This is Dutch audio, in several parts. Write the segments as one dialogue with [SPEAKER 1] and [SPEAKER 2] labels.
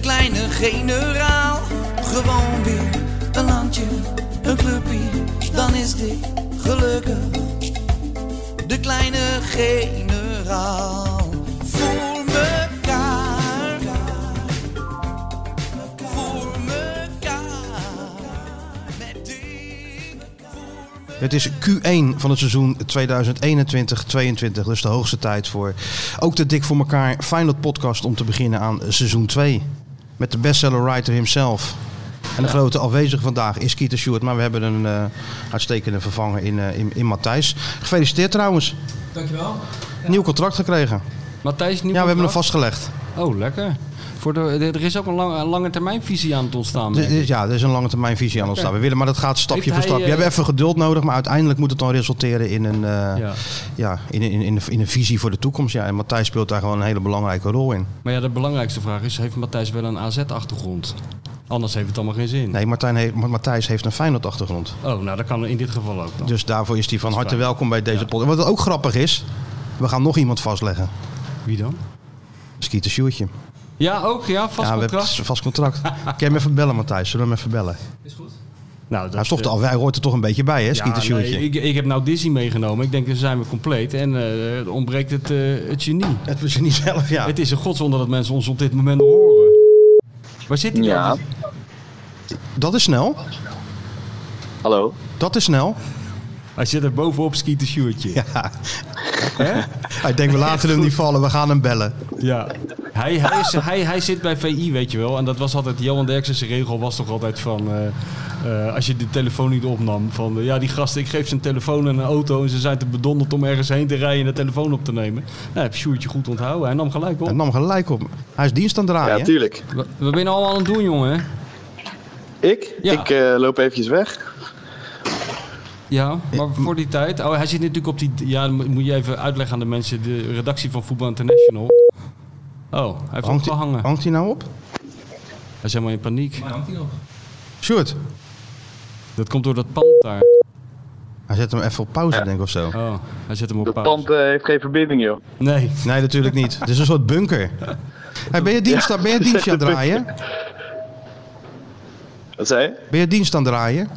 [SPEAKER 1] kleine generaal. Gewoon weer een landje, een clubje, dan is dit gelukkig de kleine generaal. Voor mekaar, voor mekaar, met dit.
[SPEAKER 2] Het is Q1 van het seizoen 2021-22. Dus de hoogste tijd voor ook de Dik voor elkaar Feyenoord podcast om te beginnen aan seizoen 2. Met de bestseller writer himself. En de grote afwezige vandaag is Kieter Stewart. Maar we hebben een eh, uitstekende vervanger in, eh, in, in Matthijs. Gefeliciteerd trouwens.
[SPEAKER 3] Dankjewel.
[SPEAKER 2] Nieuw contract gekregen.
[SPEAKER 3] Matthijs, nieuw
[SPEAKER 2] Ja, we hebben hem
[SPEAKER 3] contract?
[SPEAKER 2] vastgelegd.
[SPEAKER 3] Oh, lekker. Voor de, er er is ook een, lang, een lange termijn visie aan het ontstaan.
[SPEAKER 2] Dus,
[SPEAKER 3] merk ik.
[SPEAKER 2] dus ja, er is een lange termijn visie aan ons staan. We willen, maar dat gaat stapje
[SPEAKER 3] Heeft
[SPEAKER 2] voor
[SPEAKER 3] hij,
[SPEAKER 2] stapje. We
[SPEAKER 3] eh,
[SPEAKER 2] hebben even geduld nodig, maar uiteindelijk moet het dan resulteren in een, eh, ja.
[SPEAKER 3] Ja.
[SPEAKER 2] in, in, in, in een visie voor de toekomst. Ja. En Matthijs speelt daar gewoon een hele belangrijke rol in.
[SPEAKER 3] Maar ja, de belangrijkste vraag is, heeft Matthijs wel een AZ-achtergrond? Anders heeft het allemaal geen zin.
[SPEAKER 2] Nee, Martijn heeft, Ma- Matthijs heeft een Feyenoord-achtergrond.
[SPEAKER 3] Oh, nou dat kan in dit geval ook dan.
[SPEAKER 2] Dus daarvoor is hij van harte welkom bij deze podcast. Wat ook grappig is, we gaan nog iemand vastleggen.
[SPEAKER 3] Wie dan?
[SPEAKER 2] Skeeter Sjoertje.
[SPEAKER 3] Ja, ook. Ja, vast
[SPEAKER 2] Ja, we hebben
[SPEAKER 3] contract.
[SPEAKER 2] een vast contract. Kan je hem even bellen, Matthijs? Zullen we hem even bellen?
[SPEAKER 3] Nou, dat
[SPEAKER 2] Hij, is toch,
[SPEAKER 3] eh,
[SPEAKER 2] de- al- hij hoort er toch een beetje bij, hè, Skeeter
[SPEAKER 3] ja,
[SPEAKER 2] Sjoertje?
[SPEAKER 3] nee, ik, ik heb nou Disney meegenomen. Ik denk, dan zijn we compleet. En eh, er ontbreekt het, eh, het genie.
[SPEAKER 2] Het was je niet zelf, ja.
[SPEAKER 3] Het is een godswonder dat mensen ons op dit moment horen. Waar zit hij
[SPEAKER 4] Ja,
[SPEAKER 3] dan?
[SPEAKER 2] Dat is snel.
[SPEAKER 4] hallo.
[SPEAKER 2] Dat is snel.
[SPEAKER 3] Hij zit er bovenop, skieten sjoertje.
[SPEAKER 2] Ja.
[SPEAKER 3] Hè?
[SPEAKER 2] Ik denk, we laten hem niet vallen. We gaan hem bellen.
[SPEAKER 3] Ja. Hij, hij, is, hij, hij zit bij VI, weet je wel. En dat was altijd, Johan Derksen's regel was toch altijd van... eh, eh, als je de telefoon niet opnam, van... eh, ja, die gasten, ik geef ze een telefoon en een auto... en ze zijn te bedonderd om ergens heen te rijden en de telefoon op te nemen. Nou, heb Sjoertje goed onthouden. Hij nam gelijk
[SPEAKER 2] Hij
[SPEAKER 3] op.
[SPEAKER 2] nam gelijk op. Hij is dienst aan het draaien.
[SPEAKER 4] Ja,
[SPEAKER 2] hè?
[SPEAKER 4] tuurlijk.
[SPEAKER 3] Wat ben je nou allemaal aan het doen, jongen?
[SPEAKER 4] Ik?
[SPEAKER 3] Ja.
[SPEAKER 4] Ik eh, loop eventjes weg.
[SPEAKER 3] Ja, maar voor die tijd... Oh, hij zit natuurlijk op die... Ja, dan moet je even uitleggen aan de mensen. De redactie van Voetbal International. Oh, hij
[SPEAKER 2] hangt,
[SPEAKER 3] heeft
[SPEAKER 2] hij,
[SPEAKER 3] opgehangen. Hij
[SPEAKER 2] hangt hij nou op?
[SPEAKER 3] is helemaal in paniek.
[SPEAKER 2] Sjoerd.
[SPEAKER 3] Dat komt door dat pand daar.
[SPEAKER 2] Hij zet hem even op pauze, denk ik, of zo.
[SPEAKER 3] Oh, hij zet hem op
[SPEAKER 4] Dat
[SPEAKER 3] pauze.
[SPEAKER 4] pand eh, heeft geen verbinding, joh.
[SPEAKER 3] Nee.
[SPEAKER 2] Nee, natuurlijk niet. Het is een soort bunker. Hey, ben je dienst, ben je dienst aan het draaien?
[SPEAKER 4] Wat zei je?
[SPEAKER 2] Ben je dienst aan het draaien?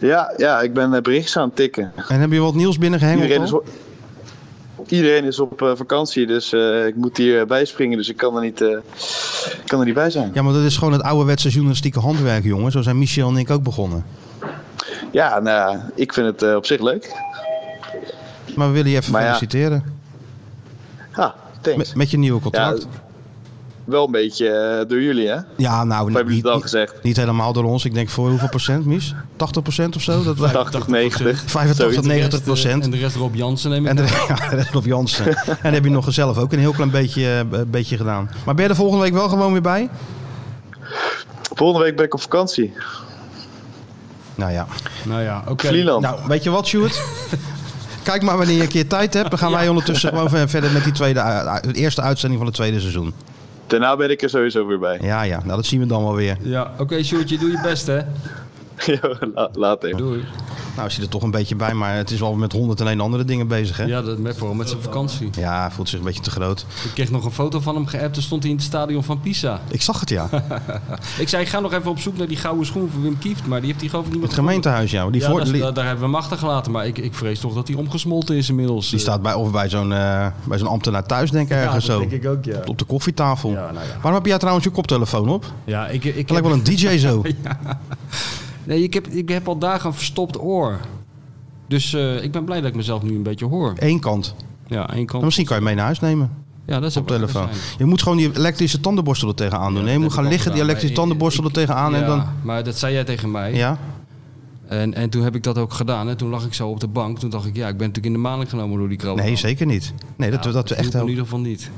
[SPEAKER 4] Ja, ja ik ben eh, berichtjes aan het tikken.
[SPEAKER 2] En heb je wat nieuws binnengehengeld?
[SPEAKER 4] Iedereen is,
[SPEAKER 2] al?
[SPEAKER 4] op, iedereen is op eh, vakantie, dus eh, ik moet hier eh, bijspringen, dus ik kan er niet, eh, ik kan er niet bij zijn. Ja,
[SPEAKER 2] Ja, maar dat is gewoon het ouderwetse journalistieke handwerk, jongen. Zo zijn Michel en ik ook begonnen.
[SPEAKER 4] nou, ja, ik vind het eh, op zich leuk.
[SPEAKER 2] Maar we willen je even
[SPEAKER 4] Maar ja,
[SPEAKER 2] feliciteren.
[SPEAKER 4] Ah, thanks.
[SPEAKER 2] Met, met je nieuwe contract.
[SPEAKER 4] Ja,
[SPEAKER 2] Ja,
[SPEAKER 4] wel een beetje eh, door jullie, hè?
[SPEAKER 2] nou,
[SPEAKER 4] hebben
[SPEAKER 2] niet,
[SPEAKER 4] jullie het al
[SPEAKER 2] niet,
[SPEAKER 4] gezegd?
[SPEAKER 2] niet helemaal door ons. Ik denk voor hoeveel procent, Mies? 80 procent of zo? Dat wij,
[SPEAKER 4] 80, 90.
[SPEAKER 2] 85,
[SPEAKER 4] Zoiets.
[SPEAKER 2] 90 procent.
[SPEAKER 3] eh, En de rest Rob Jansen neem ik.
[SPEAKER 2] En de, ja, de rest op Jansen. En dat heb je nog zelf ook een heel klein beetje, eh, een beetje gedaan. Maar ben je er volgende week wel gewoon weer bij?
[SPEAKER 4] Volgende week ben ik op vakantie.
[SPEAKER 2] Nou ja.
[SPEAKER 3] nou ja, oké.
[SPEAKER 4] Vlieland.
[SPEAKER 2] Nou, weet je wat, Sjoerd? Kijk maar wanneer je een keer tijd hebt. Dan gaan wij ondertussen gewoon ver- verder met die tweede, u- u- de eerste uitzending van het tweede seizoen.
[SPEAKER 4] Daarna ben ik er sowieso weer bij.
[SPEAKER 2] Ja, ja. Nou, dat zien we dan wel weer.
[SPEAKER 3] Ja, oké, Sjoerdje, doe je best, hè.
[SPEAKER 4] Jo, la- later.
[SPEAKER 3] Doei.
[SPEAKER 2] Nou, zit er toch een beetje bij. Maar het is wel met honderd en een andere dingen bezig, hè? Ja.
[SPEAKER 3] Ja, dat met vooral met zijn vakantie.
[SPEAKER 2] hij voelt zich een beetje te groot.
[SPEAKER 3] Ik kreeg nog een foto van hem geappt. Toen stond hij in het stadion van Pisa.
[SPEAKER 2] Ik zag het, ja.
[SPEAKER 3] Ik zei, ik ga nog even op zoek naar die gouden schoen van Wim Kieft. Maar die heeft hij geloof ik niet meer
[SPEAKER 2] Het gemeentehuis, ja. Die,
[SPEAKER 3] gevonden. Ja,
[SPEAKER 2] voor-
[SPEAKER 3] daar,
[SPEAKER 2] li-
[SPEAKER 3] daar- daar hebben we hem achtergelaten. Maar ik, ik vrees toch dat hij omgesmolten is inmiddels.
[SPEAKER 2] die staat bij, of bij zo'n eh, bij zo'n ambtenaar thuis, denk ik, ergens
[SPEAKER 3] dat
[SPEAKER 2] zo.
[SPEAKER 3] denk ik ook, ja.
[SPEAKER 2] Op de koffietafel.
[SPEAKER 3] Ja, nou ja.
[SPEAKER 2] Waarom heb jij trouwens je koptelefoon op?
[SPEAKER 3] Ja, ik, ik,
[SPEAKER 2] Het lijkt wel een DJ zo.
[SPEAKER 3] nee, ik, heb, ik heb al dagen een verstopt oor. Dus eh, ik ben blij dat ik mezelf nu een beetje hoor.
[SPEAKER 2] Eén kant.
[SPEAKER 3] Ja, één
[SPEAKER 2] Maar
[SPEAKER 3] kant.
[SPEAKER 2] misschien kan je mee naar huis nemen.
[SPEAKER 3] Ja, dat is
[SPEAKER 2] Op telefoon. Je moet gewoon die elektrische tandenborstel er tegenaan doen.
[SPEAKER 3] Ja,
[SPEAKER 2] hè? je
[SPEAKER 3] dat
[SPEAKER 2] moet
[SPEAKER 3] heb
[SPEAKER 2] gaan
[SPEAKER 3] ik
[SPEAKER 2] liggen,
[SPEAKER 3] ook
[SPEAKER 2] die
[SPEAKER 3] gedaan,
[SPEAKER 2] elektrische
[SPEAKER 3] maar
[SPEAKER 2] tandenborstel er tegenaan en
[SPEAKER 3] ja,
[SPEAKER 2] dan...
[SPEAKER 3] maar dat zei jij tegen mij.
[SPEAKER 2] Ja?
[SPEAKER 3] En, en toen heb ik dat ook gedaan. En toen lag ik zo op de bank. Toen dacht ik, ja, ik ben natuurlijk in de maling genomen door die krabben.
[SPEAKER 2] Nee, zeker niet. Nee, dat, dat we echt
[SPEAKER 3] In
[SPEAKER 2] heel...
[SPEAKER 3] ieder geval niet.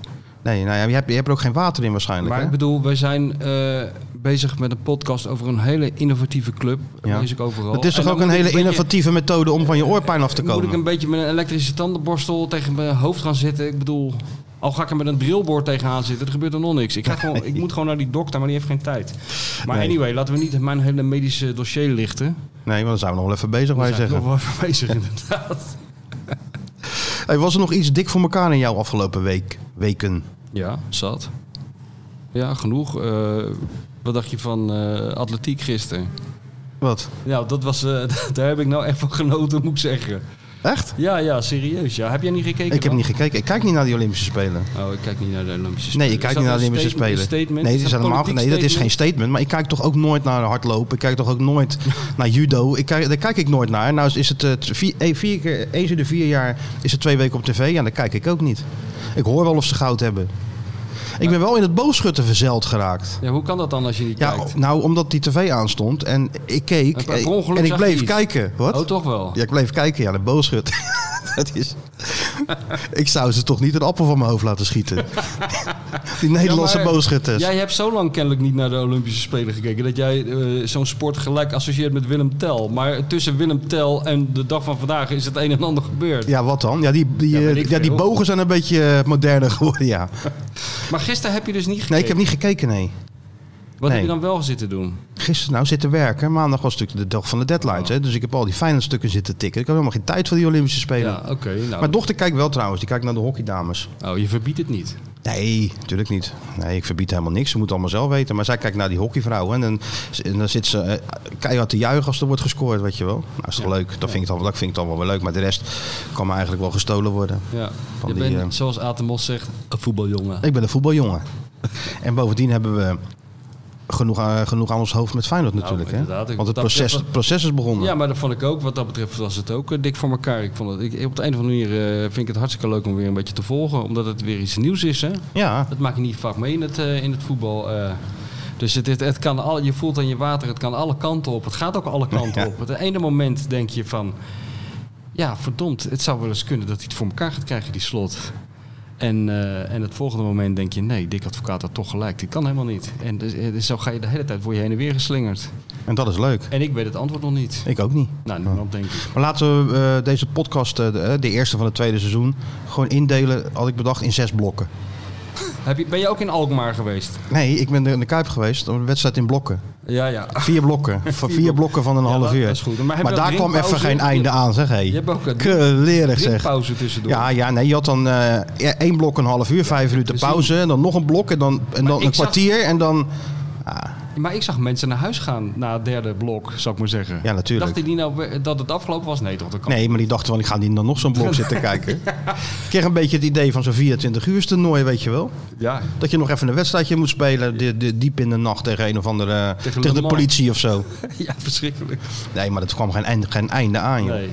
[SPEAKER 2] Nee, nou ja, je hebt, je hebt er ook geen water in waarschijnlijk.
[SPEAKER 3] Maar
[SPEAKER 2] hè?
[SPEAKER 3] ik bedoel, wij zijn eh, bezig met een podcast over een hele innovatieve club.
[SPEAKER 2] Ja.
[SPEAKER 3] Ja. ik overal.
[SPEAKER 2] Het is
[SPEAKER 3] En
[SPEAKER 2] toch
[SPEAKER 3] dan
[SPEAKER 2] ook een
[SPEAKER 3] moet ik
[SPEAKER 2] hele
[SPEAKER 3] beetje-
[SPEAKER 2] innovatieve methode om van je oorpijn af te
[SPEAKER 3] Moet ik
[SPEAKER 2] komen?
[SPEAKER 3] een beetje met een elektrische tandenborstel tegen mijn hoofd gaan zitten? Ik bedoel, al ga ik er met een drillboard tegenaan zitten, er gebeurt er nog niks. Ik, ga gewoon, ik moet gewoon naar die dokter, maar die heeft geen tijd. Maar
[SPEAKER 2] Nee.
[SPEAKER 3] anyway, laten we niet mijn hele medische dossier lichten.
[SPEAKER 2] Nee, want dan zijn we nog wel even bezig,
[SPEAKER 3] Daar
[SPEAKER 2] wou je
[SPEAKER 3] zijn we
[SPEAKER 2] zeggen.
[SPEAKER 3] nog wel even bezig, inderdaad.
[SPEAKER 2] Hey, was er nog iets dik voor elkaar in jou afgelopen week? Weken?
[SPEAKER 3] Ja, zat. Ja, genoeg. Eh, wat dacht je van eh, atletiek gisteren?
[SPEAKER 2] Wat?
[SPEAKER 3] Nou, dat was, eh, daar heb ik nou echt van genoten, moet ik zeggen.
[SPEAKER 2] Echt?
[SPEAKER 3] Ja, ja, serieus. Ja. Heb jij niet gekeken?
[SPEAKER 2] Ik heb
[SPEAKER 3] dan?
[SPEAKER 2] niet gekeken. Ik kijk niet naar die Olympische Spelen.
[SPEAKER 3] Oh, ik kijk niet naar de Olympische
[SPEAKER 2] Dus
[SPEAKER 3] Spelen.
[SPEAKER 2] Nee, ik kijk
[SPEAKER 3] Is dat
[SPEAKER 2] niet naar de
[SPEAKER 3] een
[SPEAKER 2] Olympische
[SPEAKER 3] statement-
[SPEAKER 2] Spelen.
[SPEAKER 3] statement?
[SPEAKER 2] Nee, dat is
[SPEAKER 3] een
[SPEAKER 2] helemaal,
[SPEAKER 3] politiek
[SPEAKER 2] nee, dat is geen
[SPEAKER 3] statement?
[SPEAKER 2] statement. Maar ik kijk toch ook nooit naar hardlopen. Ik kijk toch ook nooit naar judo. Ik kijk, daar kijk ik nooit naar. Nou is het eh, t- vier, eh, vier keer, eens in de vier jaar is het twee weken op tv. Ja, daar kijk ik ook niet. Ik hoor wel of ze goud hebben. Ik ben wel in het boogschutten verzeild geraakt.
[SPEAKER 3] Ja, hoe kan dat dan als je niet
[SPEAKER 2] Ja,
[SPEAKER 3] kijkt?
[SPEAKER 2] nou omdat die tv aanstond en ik keek
[SPEAKER 3] En per
[SPEAKER 2] eh,
[SPEAKER 3] ongeluk
[SPEAKER 2] en ik
[SPEAKER 3] zag je
[SPEAKER 2] bleef
[SPEAKER 3] iets.
[SPEAKER 2] kijken. Wat?
[SPEAKER 3] Oh, toch wel?
[SPEAKER 2] Ja, ik bleef kijken. Ja, de boogschutter. dat is... ik zou ze toch niet een appel van mijn hoofd laten schieten. die Nederlandse
[SPEAKER 3] Ja, maar
[SPEAKER 2] boogschutters.
[SPEAKER 3] Jij hebt zo lang kennelijk niet naar de Olympische Spelen gekeken dat jij eh, zo'n sport gelijk associeert met Willem Tel. Maar tussen Willem Tel en de dag van vandaag is het een en ander gebeurd.
[SPEAKER 2] Ja, wat dan? Ja, die, die,
[SPEAKER 3] Ja,
[SPEAKER 2] eh,
[SPEAKER 3] weet
[SPEAKER 2] ja,
[SPEAKER 3] ik
[SPEAKER 2] die
[SPEAKER 3] veel.
[SPEAKER 2] bogen zijn een beetje eh, moderner geworden, ja.
[SPEAKER 3] Maar gisteren heb je dus niet gekeken.
[SPEAKER 2] Nee, ik heb niet gekeken, nee.
[SPEAKER 3] Wat
[SPEAKER 2] nee.
[SPEAKER 3] heb je dan wel zitten doen?
[SPEAKER 2] Gisteren nou zitten werken. Maandag was natuurlijk de dag van de deadlines, hè. Dus ik heb al die fijne stukken zitten tikken. Ik heb helemaal geen tijd voor die Olympische Spelen.
[SPEAKER 3] Ja, oké. nou,
[SPEAKER 2] Mijn dochter kijkt wel trouwens. Die kijkt naar de hockeydames.
[SPEAKER 3] oh, je verbiedt het niet.
[SPEAKER 2] Nee, natuurlijk niet. Nee, ik verbied helemaal niks. Ze moet het allemaal zelf weten. Maar zij kijkt naar die hockeyvrouwen. En dan, en dan zit ze eh, keihard te juichen als er wordt gescoord, weet je wel. Nou, is toch leuk. Dat, vind ik dan, dat vind ik dan wel weer leuk. Maar de rest kan me eigenlijk wel gestolen worden.
[SPEAKER 3] Ja.
[SPEAKER 2] Van
[SPEAKER 3] je
[SPEAKER 2] die,
[SPEAKER 3] bent,
[SPEAKER 2] eh,
[SPEAKER 3] zoals Atemos zegt, een voetbaljongen.
[SPEAKER 2] Ik ben een voetbaljongen. en bovendien hebben we genoeg aan, genoeg aan ons hoofd met Feyenoord natuurlijk.
[SPEAKER 3] Nou, inderdaad.
[SPEAKER 2] hè?
[SPEAKER 3] Ik-
[SPEAKER 2] Want het
[SPEAKER 3] dat-
[SPEAKER 2] proces,
[SPEAKER 3] dat-
[SPEAKER 2] het proces is begonnen.
[SPEAKER 3] Ja, maar dat vond ik ook. Wat dat betreft was het ook eh, dik voor elkaar. Ik vond het, ik, op de een of andere manier eh, vind ik het hartstikke leuk om weer een beetje te volgen. Omdat het weer iets nieuws is. Hè?
[SPEAKER 2] Ja.
[SPEAKER 3] Dat maak je niet vaak mee in het, eh, in het voetbal. eh. dus het, het, het kan al, je voelt aan je water, het kan alle kanten op. Het gaat ook alle kanten
[SPEAKER 2] Ja.
[SPEAKER 3] op. Op het ene moment denk je van... Ja, verdomd, het zou wel eens kunnen dat hij het voor elkaar gaat krijgen, die slot. En, eh, en het volgende moment denk je... Nee, Dick Advocaat had toch gelijk. Dit kan helemaal niet. En dus, eh, dus zo ga je de hele tijd, word je heen en weer geslingerd.
[SPEAKER 2] En dat is leuk.
[SPEAKER 3] En ik weet het antwoord nog niet.
[SPEAKER 2] Ik ook niet.
[SPEAKER 3] Nou, niemand denk ik.
[SPEAKER 2] Maar laten we eh, deze podcast, eh, de, eh, de eerste van het tweede seizoen, gewoon indelen, had ik bedacht, in zes blokken.
[SPEAKER 3] Heb je, ben je ook in Alkmaar geweest?
[SPEAKER 2] Nee, ik ben in de Kuip geweest, een wedstrijd in blokken.
[SPEAKER 3] Ja, ja.
[SPEAKER 2] Vier blokken. Van vier blokken van een
[SPEAKER 3] Ja,
[SPEAKER 2] half
[SPEAKER 3] dat-
[SPEAKER 2] uur.
[SPEAKER 3] dat is goed. Maar heb je ook
[SPEAKER 2] daar kwam even
[SPEAKER 3] drinkpauze?
[SPEAKER 2] geen einde aan, zeg hé.
[SPEAKER 3] Je hebt ook een
[SPEAKER 2] Kleurig zeg.
[SPEAKER 3] pauze tussendoor.
[SPEAKER 2] Ja, ja, nee, je had dan eh, ja, één blok een half uur, vijf minuten
[SPEAKER 3] precies.
[SPEAKER 2] pauze. En dan nog een blok en dan, en dan
[SPEAKER 3] ik
[SPEAKER 2] een
[SPEAKER 3] zag-
[SPEAKER 2] kwartier. En dan,
[SPEAKER 3] Maar ik zag mensen naar huis gaan na het derde blok, zou ik maar zeggen.
[SPEAKER 2] Ja, natuurlijk.
[SPEAKER 3] Dachten die nou we- dat het afgelopen was? Nee, toch? Dat kan.
[SPEAKER 2] nee, maar die dachten wel, ik ga niet dan nog zo'n blok zitten kijken. Ik kreeg een beetje het idee van zo'n 24 uur toernooi, weet je wel.
[SPEAKER 3] Ja.
[SPEAKER 2] Dat je nog even een wedstrijdje moet spelen, di- di- diep in de nacht tegen een of andere, tegen,
[SPEAKER 3] Tegen Le
[SPEAKER 2] de
[SPEAKER 3] Mans.
[SPEAKER 2] politie of zo.
[SPEAKER 3] ja, verschrikkelijk.
[SPEAKER 2] Nee, maar dat kwam geen einde, geen einde aan, joh.
[SPEAKER 3] Nee.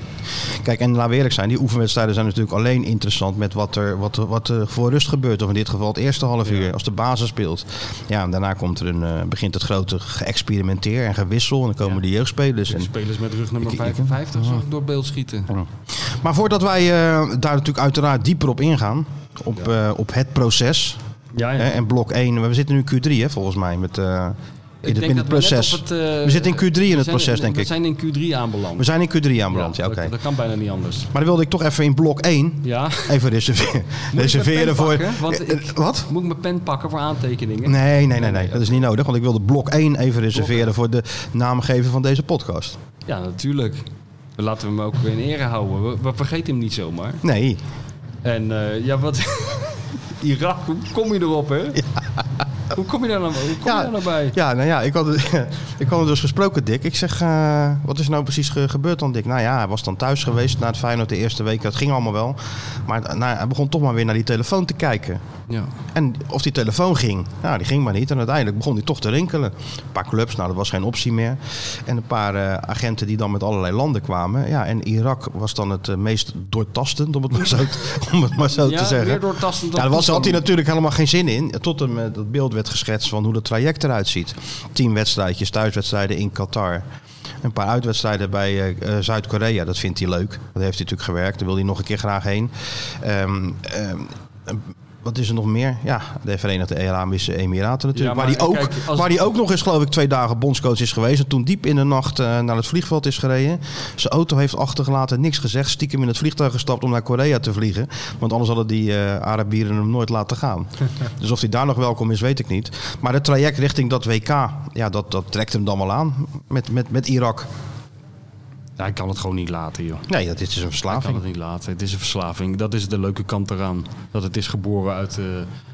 [SPEAKER 2] Kijk, en laten we eerlijk zijn, die oefenwedstrijden zijn natuurlijk alleen interessant met wat er, wat, er- wat er voor rust gebeurt. Of in dit geval het eerste half uur, als de basis speelt. Ja, en daarna komt er een, eh, begint het grote geëxperimenteer en gewissel. En dan komen de jeugdspelers. En...
[SPEAKER 3] Spelers met rug nummer
[SPEAKER 2] Ik- ik- Oh.
[SPEAKER 3] 55 zag ik door beeld schieten.
[SPEAKER 2] Maar voordat wij eh, daar natuurlijk uiteraard dieper op ingaan, op, eh, op het proces.
[SPEAKER 3] Ja,
[SPEAKER 2] Hè, en blok 1, we zitten nu in Q3 hè, volgens mij, met, eh, in, het, in het proces. We,
[SPEAKER 3] we
[SPEAKER 2] zitten in Q3 in het proces, denk
[SPEAKER 3] eh, We
[SPEAKER 2] ik.
[SPEAKER 3] zijn in Q3 aanbeland.
[SPEAKER 2] zijn in Q3 aanbeland, ja,
[SPEAKER 3] dat-
[SPEAKER 2] oké.
[SPEAKER 3] dat, kan bijna niet anders.
[SPEAKER 2] Maar dan wilde ik toch even in blok 1
[SPEAKER 3] Ja.
[SPEAKER 2] even reserveren,
[SPEAKER 3] mijn
[SPEAKER 2] reserveren
[SPEAKER 3] pen
[SPEAKER 2] voor...
[SPEAKER 3] pakken? Want
[SPEAKER 2] Eh, eh,
[SPEAKER 3] ik-
[SPEAKER 2] Wat?
[SPEAKER 3] Moet ik mijn pen pakken voor aantekeningen?
[SPEAKER 2] Nee, nee, nee, nee. Dat is niet nodig. Want ik wilde blok 1 even reserveren voor de naamgever van deze podcast.
[SPEAKER 3] Ja, natuurlijk. Laten we hem ook in ere houden. We, we vergeten hem niet zomaar.
[SPEAKER 2] Nee.
[SPEAKER 3] En eh, ja, wat... Irak, hoe kom je erop, hè? Hoe kom je daar nou, hoe kom je daar nou bij?
[SPEAKER 2] ja, nou ja, ik had, ik had hem dus gesproken, Dick. Ik zeg, eh, wat is nou precies ge- gebeurd dan, Dick? Nou ja, hij was dan thuis geweest na het Feyenoord de eerste week. Dat ging allemaal wel. Maar eh, nou, hij begon toch maar weer naar die telefoon te kijken.
[SPEAKER 3] Ja.
[SPEAKER 2] En of die telefoon ging, nou die ging maar niet. En uiteindelijk begon die toch te rinkelen. Een paar clubs, nou dat was geen optie meer. En een paar eh, agenten die dan met allerlei landen kwamen. Ja, en Irak was dan het eh, meest doortastend, om het maar zo, te- om het maar zo
[SPEAKER 3] Ja,
[SPEAKER 2] te zeggen.
[SPEAKER 3] meer doortastend dan
[SPEAKER 2] Ja, daar was, had hij
[SPEAKER 3] toestanden.
[SPEAKER 2] natuurlijk helemaal geen zin in. Tot hem eh, dat beeld werd geschetst van hoe dat traject eruit ziet. Tien wedstrijdjes, thuiswedstrijden in Qatar. Een paar uitwedstrijden bij eh, eh, Zuid-Korea, dat vindt hij leuk. Dat heeft hij natuurlijk gewerkt, daar wil hij nog een keer graag heen. Ehm, ehm, wat is er nog meer? Ja, de Verenigde Arabische Emiraten natuurlijk.
[SPEAKER 3] Ja,
[SPEAKER 2] waar hij
[SPEAKER 3] maar
[SPEAKER 2] ook,
[SPEAKER 3] kijk, als-
[SPEAKER 2] waar die ook nog eens, geloof ik, twee dagen bondscoach is geweest. En toen diep in de nacht eh, naar het vliegveld is gereden. Zijn auto heeft achtergelaten, niks gezegd. Stiekem in het vliegtuig gestapt om naar Korea te vliegen. Want anders hadden die eh, Arabieren hem nooit laten gaan. dus of hij daar nog welkom is, weet ik niet. Maar het traject richting dat WK, ja, dat, dat trekt hem dan wel aan met, met, met Irak.
[SPEAKER 3] Ja, ik kan het gewoon niet laten, joh.
[SPEAKER 2] Nee, dat dit is een
[SPEAKER 3] Ik kan het
[SPEAKER 2] verslaving.
[SPEAKER 3] niet laten. Het is een verslaving. Dat is de leuke kant eraan. Dat het is geboren uit, eh,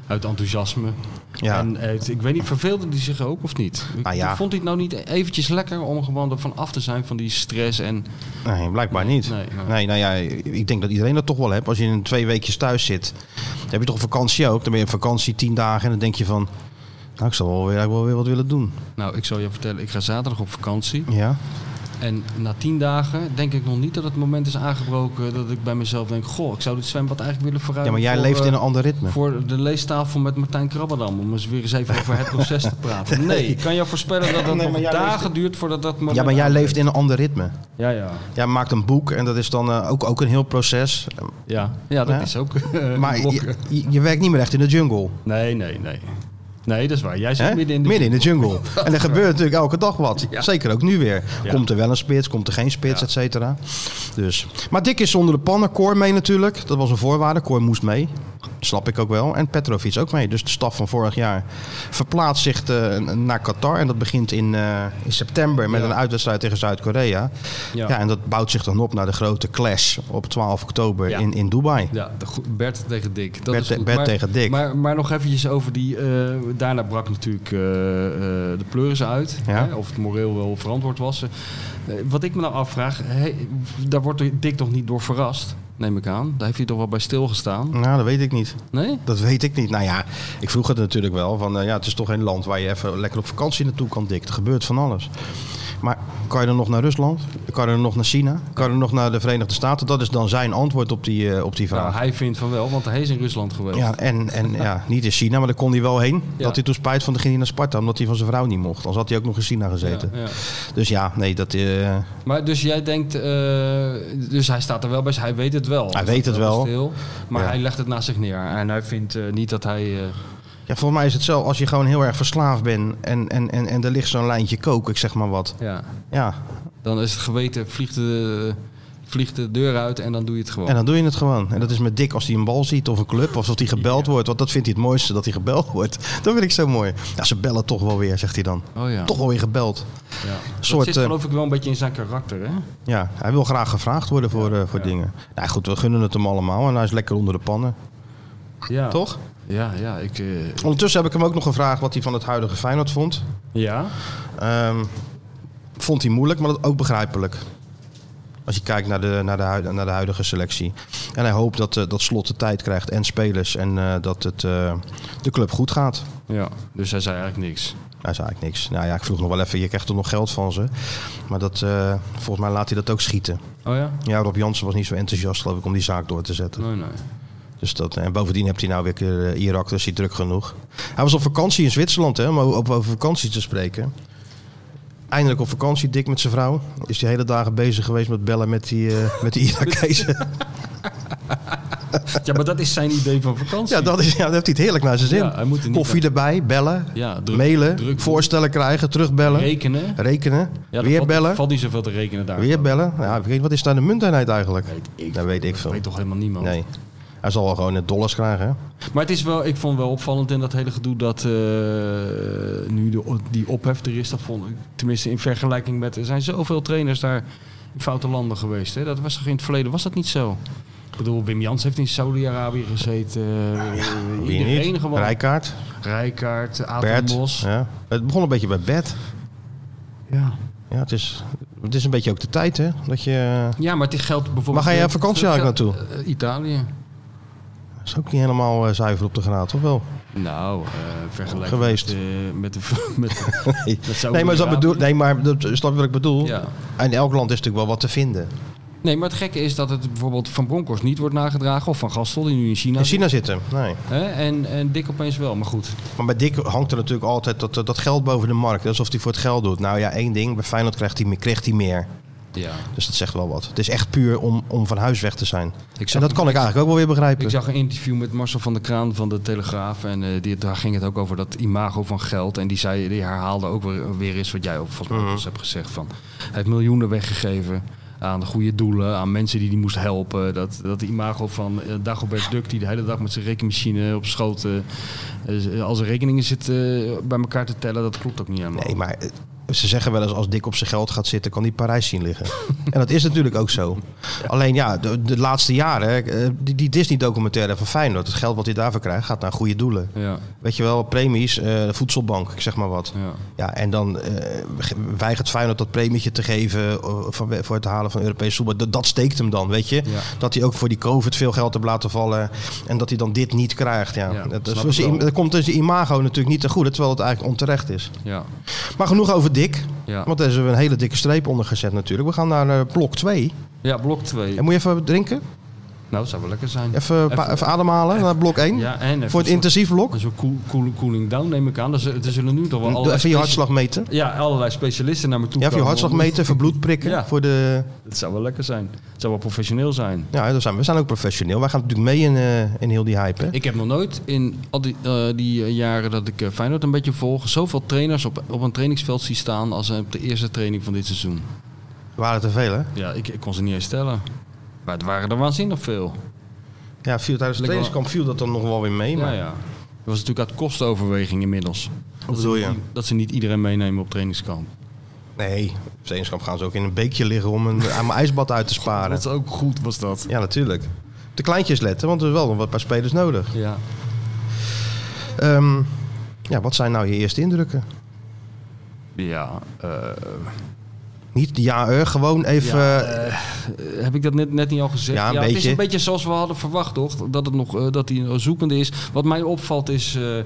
[SPEAKER 3] uit enthousiasme.
[SPEAKER 2] Ja.
[SPEAKER 3] En het- ik weet niet, verveelde die zich ook of niet? Ik
[SPEAKER 2] Nou ja.
[SPEAKER 3] Vond hij het nou niet eventjes lekker om gewoon ervan af te zijn van die stress en...
[SPEAKER 2] Nee, blijkbaar niet. Nee,
[SPEAKER 3] Nee, nee.
[SPEAKER 2] nou ja, ik denk dat iedereen dat toch wel hebt. Als je in twee weekjes thuis zit, dan heb je toch vakantie ook. Dan ben je op vakantie tien dagen en dan denk je van... Nou, ik zou wel weer, ik wil weer wat willen doen.
[SPEAKER 3] Nou, ik zal je vertellen, ik ga zaterdag op vakantie.
[SPEAKER 2] Ja,
[SPEAKER 3] En na tien dagen denk ik nog niet dat het moment is aangebroken dat ik bij mezelf denk... Goh, ik zou dit zwembad eigenlijk willen
[SPEAKER 2] ja
[SPEAKER 3] verruimen.
[SPEAKER 2] maar jij
[SPEAKER 3] voor,
[SPEAKER 2] leeft
[SPEAKER 3] eh,
[SPEAKER 2] in een ander ritme.
[SPEAKER 3] Voor de leestafel met Martijn Krabberdam. Om eens weer eens even over het proces te praten. Nee, ik kan jou voorspellen dat dat
[SPEAKER 2] Nee, maar
[SPEAKER 3] nog
[SPEAKER 2] jij
[SPEAKER 3] dagen
[SPEAKER 2] leeft-
[SPEAKER 3] duurt voordat dat moment
[SPEAKER 2] Ja, maar jij
[SPEAKER 3] aanbreekt.
[SPEAKER 2] leeft in een ander ritme.
[SPEAKER 3] Ja, ja.
[SPEAKER 2] Jij maakt een boek en dat is dan eh, ook, ook een heel proces.
[SPEAKER 3] Ja, ja dat
[SPEAKER 2] Ja.
[SPEAKER 3] is ook. eh,
[SPEAKER 2] Maar
[SPEAKER 3] blokken.
[SPEAKER 2] je, je- je werkt niet meer echt in de jungle.
[SPEAKER 3] Nee, nee, nee. Nee, dat is waar. Jij zit
[SPEAKER 2] Hè?
[SPEAKER 3] midden in de.
[SPEAKER 2] jungle. En er gebeurt natuurlijk elke dag wat.
[SPEAKER 3] Ja.
[SPEAKER 2] Zeker ook nu weer.
[SPEAKER 3] Ja.
[SPEAKER 2] Komt er wel een spits, komt er geen spits,
[SPEAKER 3] Ja.
[SPEAKER 2] et cetera. Dus. Maar Dick is onder de pannen. Cor mee natuurlijk. Dat was een voorwaarde. Cor moest mee. Snap ik ook wel. En Petrovic ook mee. Dus de staf van vorig jaar verplaatst zich eh, naar Qatar. En dat begint in, eh, in september met
[SPEAKER 3] Ja.
[SPEAKER 2] een uitwedstrijd tegen Zuid-Korea. Ja.
[SPEAKER 3] Ja.
[SPEAKER 2] en dat bouwt zich dan op naar de grote clash op 12 oktober
[SPEAKER 3] Ja.
[SPEAKER 2] in, in Dubai.
[SPEAKER 3] Ja, de go- Bert tegen Dick. Dat
[SPEAKER 2] Bert
[SPEAKER 3] is
[SPEAKER 2] te-
[SPEAKER 3] goed.
[SPEAKER 2] Bert tegen Dick.
[SPEAKER 3] Maar, maar nog eventjes over die... eh, daarna brak natuurlijk eh, eh, de pleuris uit.
[SPEAKER 2] Ja.
[SPEAKER 3] Hè, of het moreel wel verantwoord was. Eh, wat ik me nou afvraag... hè, daar wordt Dick toch niet door verrast? Neem ik aan. Daar heeft hij toch wel bij stilgestaan?
[SPEAKER 2] Nou, dat weet ik niet.
[SPEAKER 3] Nee?
[SPEAKER 2] Dat weet ik niet. Nou ja, ik vroeg het natuurlijk wel. Van, eh, ja, het is toch een land waar je even lekker op vakantie naartoe kan, Dick. Er gebeurt van alles. Maar kan je dan nog naar Rusland? Kan je dan nog naar China? Kan je dan nog naar de Verenigde Staten? Dat is dan zijn antwoord op die, eh, op die
[SPEAKER 3] Nou,
[SPEAKER 2] vraag.
[SPEAKER 3] hij vindt van wel, want hij is in Rusland geweest.
[SPEAKER 2] Ja, en, en ja, niet in China, maar daar kon hij wel heen.
[SPEAKER 3] Ja.
[SPEAKER 2] Dat hij toen spijt van, de ging hij naar Sparta, omdat hij van zijn vrouw niet mocht. Anders had hij ook nog in China gezeten.
[SPEAKER 3] Ja, ja.
[SPEAKER 2] Dus ja, nee, dat, eh,
[SPEAKER 3] Maar dus jij denkt, eh, dus hij staat er wel bij, hij weet het wel.
[SPEAKER 2] Hij weet
[SPEAKER 3] staat
[SPEAKER 2] het wel.
[SPEAKER 3] Stil, maar
[SPEAKER 2] Ja.
[SPEAKER 3] hij legt het naast zich neer. En hij vindt eh, niet dat hij. eh,
[SPEAKER 2] ja, volgens mij is het zo, als je gewoon heel erg verslaafd bent en, en, en, en er ligt zo'n lijntje kook, ik zeg maar wat.
[SPEAKER 3] ja,
[SPEAKER 2] Ja,
[SPEAKER 3] dan is het geweten, vliegt de, vliegt de deur uit en dan doe je het gewoon.
[SPEAKER 2] En dan doe je het gewoon. En dat is met Dick als hij een bal ziet of een club of als hij gebeld wordt. Want dat vindt hij het mooiste, dat hij gebeld wordt. Dat vind ik zo mooi. Ja, ze bellen toch wel weer, zegt hij dan.
[SPEAKER 3] oh ja.
[SPEAKER 2] Toch wel weer gebeld.
[SPEAKER 3] ja.
[SPEAKER 2] soort,
[SPEAKER 3] dat zit
[SPEAKER 2] eh,
[SPEAKER 3] geloof ik wel een beetje in zijn karakter, hè?
[SPEAKER 2] Ja, hij wil graag gevraagd worden voor, eh, voor
[SPEAKER 3] ja.
[SPEAKER 2] dingen. Nou goed, we gunnen het hem allemaal en hij is lekker onder de pannen.
[SPEAKER 3] Ja.
[SPEAKER 2] Toch?
[SPEAKER 3] Ja, ja, ik. eh,
[SPEAKER 2] Ondertussen heb ik hem ook nog gevraagd wat hij van het huidige Feyenoord vond.
[SPEAKER 3] ja.
[SPEAKER 2] Ehm, vond hij moeilijk, maar dat ook begrijpelijk. Als je kijkt naar de, naar de, huid- naar de huidige selectie. En hij hoopt dat, eh, dat slot de tijd krijgt en spelers. En eh, dat het, eh, de club goed gaat.
[SPEAKER 3] ja. Dus hij zei eigenlijk niks.
[SPEAKER 2] Hij zei eigenlijk niks. Nou ja, ik vroeg nog wel even, je krijgt toch nog geld van ze? Maar dat, eh, volgens mij laat hij dat ook schieten.
[SPEAKER 3] Oh ja?
[SPEAKER 2] Ja, Rob Jansen was niet zo enthousiast, geloof ik, om die zaak door te zetten.
[SPEAKER 3] Nee, nee.
[SPEAKER 2] Dus dat, en bovendien hebt hij nou weer eh, Irak, dus hij druk genoeg. Hij was op vakantie in Zwitserland, hè, om o- op- over vakantie te spreken. Eindelijk op vakantie, dik met zijn vrouw. Is die hele dagen bezig geweest met bellen met die, eh, met die Irakezen.
[SPEAKER 3] Ja, maar dat is zijn idee van vakantie.
[SPEAKER 2] ja, dat is, ja, dat heeft hij het heerlijk naar zijn zin.
[SPEAKER 3] Ja, hij moet er niet
[SPEAKER 2] Koffie erbij, bellen,
[SPEAKER 3] Ja, druk-
[SPEAKER 2] mailen,
[SPEAKER 3] druk-
[SPEAKER 2] voorstellen krijgen, terugbellen,
[SPEAKER 3] rekenen.
[SPEAKER 2] rekenen,
[SPEAKER 3] Ja, er
[SPEAKER 2] weer
[SPEAKER 3] valt,
[SPEAKER 2] bellen.
[SPEAKER 3] Valt niet zoveel te rekenen daar.
[SPEAKER 2] Weer bellen? Ja, ik weet, wat is daar de munteenheid eigenlijk?
[SPEAKER 3] Weet ik
[SPEAKER 2] dat weet ik
[SPEAKER 3] Dat
[SPEAKER 2] veel.
[SPEAKER 3] weet toch helemaal niemand.
[SPEAKER 2] Nee. Hij zal wel gewoon in dollars krijgen. hè?
[SPEAKER 3] Maar het is wel, ik vond wel opvallend in dat hele gedoe dat eh, nu de, die ophef er is. Dat vond ik, tenminste in vergelijking met, er zijn zoveel trainers daar in foute landen geweest. Hè? Dat was toch in het verleden, was dat niet zo? Ik bedoel, Wim Jans heeft in Saudi-Arabië gezeten. eh,
[SPEAKER 2] Wie
[SPEAKER 3] iedereen
[SPEAKER 2] niet?
[SPEAKER 3] gewoon.
[SPEAKER 2] Rijkaard,
[SPEAKER 3] Rijkaard, Aad
[SPEAKER 2] Bert.
[SPEAKER 3] Mos. Ja.
[SPEAKER 2] Ja. Het begon een beetje bij Bert.
[SPEAKER 3] Ja.
[SPEAKER 2] Ja, het, is, het is een beetje ook de tijd, hè? Dat je...
[SPEAKER 3] maar dit geldt bijvoorbeeld...
[SPEAKER 2] Waar ga jij op vakantie eigenlijk
[SPEAKER 3] Eh, eh, Italië.
[SPEAKER 2] Dat is ook niet helemaal eh, zuiver op de graad, of wel?
[SPEAKER 3] Nou, eh vergelijking
[SPEAKER 2] Geweest.
[SPEAKER 3] Met, eh, met de... Met,
[SPEAKER 2] Nee,
[SPEAKER 3] met Saudi-Arabië.
[SPEAKER 2] nee maar, dat bedoel, nee, maar dat, snap je wat ik bedoel?
[SPEAKER 3] Ja.
[SPEAKER 2] En elk land is natuurlijk wel wat te vinden.
[SPEAKER 3] Nee, maar het gekke is dat het bijvoorbeeld van Bronkhorst niet wordt nagedragen. Of van Gastel, die nu in China
[SPEAKER 2] In China zitten, nee.
[SPEAKER 3] zit. Hè? En, en Dick opeens wel, maar goed.
[SPEAKER 2] Maar bij Dick hangt er natuurlijk altijd dat, eh, dat geld boven de markt. Alsof hij voor het geld doet. Nou ja, één ding. Bij Feyenoord krijgt hij, meer- kreeg hij meer.
[SPEAKER 3] Ja.
[SPEAKER 2] Dus dat zegt wel wat. Het is echt puur om, om van huis weg te zijn.
[SPEAKER 3] Ik
[SPEAKER 2] en
[SPEAKER 3] zag,
[SPEAKER 2] dat kan ik eigenlijk ook wel weer begrijpen.
[SPEAKER 3] ik zag een interview met Marcel van der Kraan van de Telegraaf. En eh, die, daar ging het ook over dat imago van geld. En die, zei, die herhaalde ook weer, weer eens wat jij ook volgens mij
[SPEAKER 2] Mhm.
[SPEAKER 3] ook eens hebt gezegd. Van, hij heeft miljoenen weggegeven aan de goede doelen, aan mensen die die moest helpen. Dat, dat imago van eh, Dagobert Duck, die de hele dag met zijn rekenmachine op schoot... eh, eh, als er rekeningen zit eh, bij elkaar te tellen, dat klopt ook niet helemaal.
[SPEAKER 2] Nee, maar eh, Ze zeggen wel eens als Dick op zijn geld gaat zitten, kan hij Parijs zien liggen. en dat is natuurlijk ook zo. Alleen ja, de, de laatste jaren, eh, die, die Disney-documentaire van Feyenoord, het geld wat hij daarvoor krijgt, gaat naar goede doelen.
[SPEAKER 3] Ja,
[SPEAKER 2] Weet je wel, premies, eh, de voedselbank, ik zeg maar wat.
[SPEAKER 3] ja.
[SPEAKER 2] Ja, en dan eh, ge- weigert Feyenoord dat premietje te geven eh, van, voor het halen van Europese voetbal. Dat, dat steekt hem dan, weet je.
[SPEAKER 3] Ja.
[SPEAKER 2] Dat hij ook voor die COVID veel geld heeft laten vallen. En dat hij dan dit niet krijgt. Ja.
[SPEAKER 3] Ja,
[SPEAKER 2] dat,
[SPEAKER 3] snap
[SPEAKER 2] dat-
[SPEAKER 3] ik wel.
[SPEAKER 2] dat komt dus zijn imago natuurlijk niet te goede, terwijl het eigenlijk onterecht is.
[SPEAKER 3] ja.
[SPEAKER 2] Maar genoeg over Dick.
[SPEAKER 3] Ja.
[SPEAKER 2] Want daar is een hele dikke streep onder gezet natuurlijk. We gaan naar eh, blok 2.
[SPEAKER 3] ja blok 2.
[SPEAKER 2] En moet je even drinken?
[SPEAKER 3] Nou, dat zou wel lekker zijn.
[SPEAKER 2] Even, een paar-
[SPEAKER 3] Even-
[SPEAKER 2] even ademhalen naar blok 1.
[SPEAKER 3] Ja, en even
[SPEAKER 2] voor het
[SPEAKER 3] een soort-
[SPEAKER 2] intensief blok.
[SPEAKER 3] Een soort cool, cool- cooling down neem ik aan. Dus er er zullen nu toch wel
[SPEAKER 2] Doe
[SPEAKER 3] allerlei,
[SPEAKER 2] Even je
[SPEAKER 3] specia-
[SPEAKER 2] hartslag meten.
[SPEAKER 3] ja, allerlei specialisten naar me toe
[SPEAKER 2] Ja, even je
[SPEAKER 3] komen.
[SPEAKER 2] hartslag meten, even bloed prikken
[SPEAKER 3] Ja.
[SPEAKER 2] voor de...
[SPEAKER 3] Het zou wel lekker zijn. Het zou wel professioneel zijn.
[SPEAKER 2] Ja, dat zijn we. we zijn ook professioneel. Wij gaan natuurlijk mee in, eh, in heel die hype. Hè?
[SPEAKER 3] Ik heb nog nooit in al die, eh, die eh, jaren dat ik eh, Feyenoord een beetje volg... zoveel trainers op, op een trainingsveld zie staan als eh, op de eerste training van dit seizoen.
[SPEAKER 2] Waren te veel, hè?
[SPEAKER 3] Ja, ik, ik kon ze niet eens tellen. Maar het waren er waanzinnig veel.
[SPEAKER 2] Ja, viel, tijdens het
[SPEAKER 3] Lekker
[SPEAKER 2] trainingskamp viel dat dan nog wel weer mee.
[SPEAKER 3] Ja,
[SPEAKER 2] Maar
[SPEAKER 3] ja. Dat was natuurlijk uit kostenoverweging inmiddels.
[SPEAKER 2] wat bedoel je?
[SPEAKER 3] Dat ze niet iedereen meenemen op trainingskamp.
[SPEAKER 2] Nee, op het trainingskamp gaan ze ook in een beekje liggen om een, aan mijn ijsbad uit te sparen.
[SPEAKER 3] Dat is ook goed, was dat.
[SPEAKER 2] Ja, natuurlijk. Op De kleintjes letten, want er is wel nog wat paar spelers nodig.
[SPEAKER 3] Ja.
[SPEAKER 2] Ehm, ja, wat zijn nou je eerste indrukken?
[SPEAKER 3] Ja. eh,
[SPEAKER 2] Niet ja, eh, gewoon even...
[SPEAKER 3] ja,
[SPEAKER 2] eh,
[SPEAKER 3] eh, heb ik dat net, net niet al gezegd?
[SPEAKER 2] Ja, een
[SPEAKER 3] Het is
[SPEAKER 2] beetje.
[SPEAKER 3] een beetje zoals we hadden verwacht, toch? Dat, het nog, eh, dat hij zoekende is. Wat mij opvalt is eh,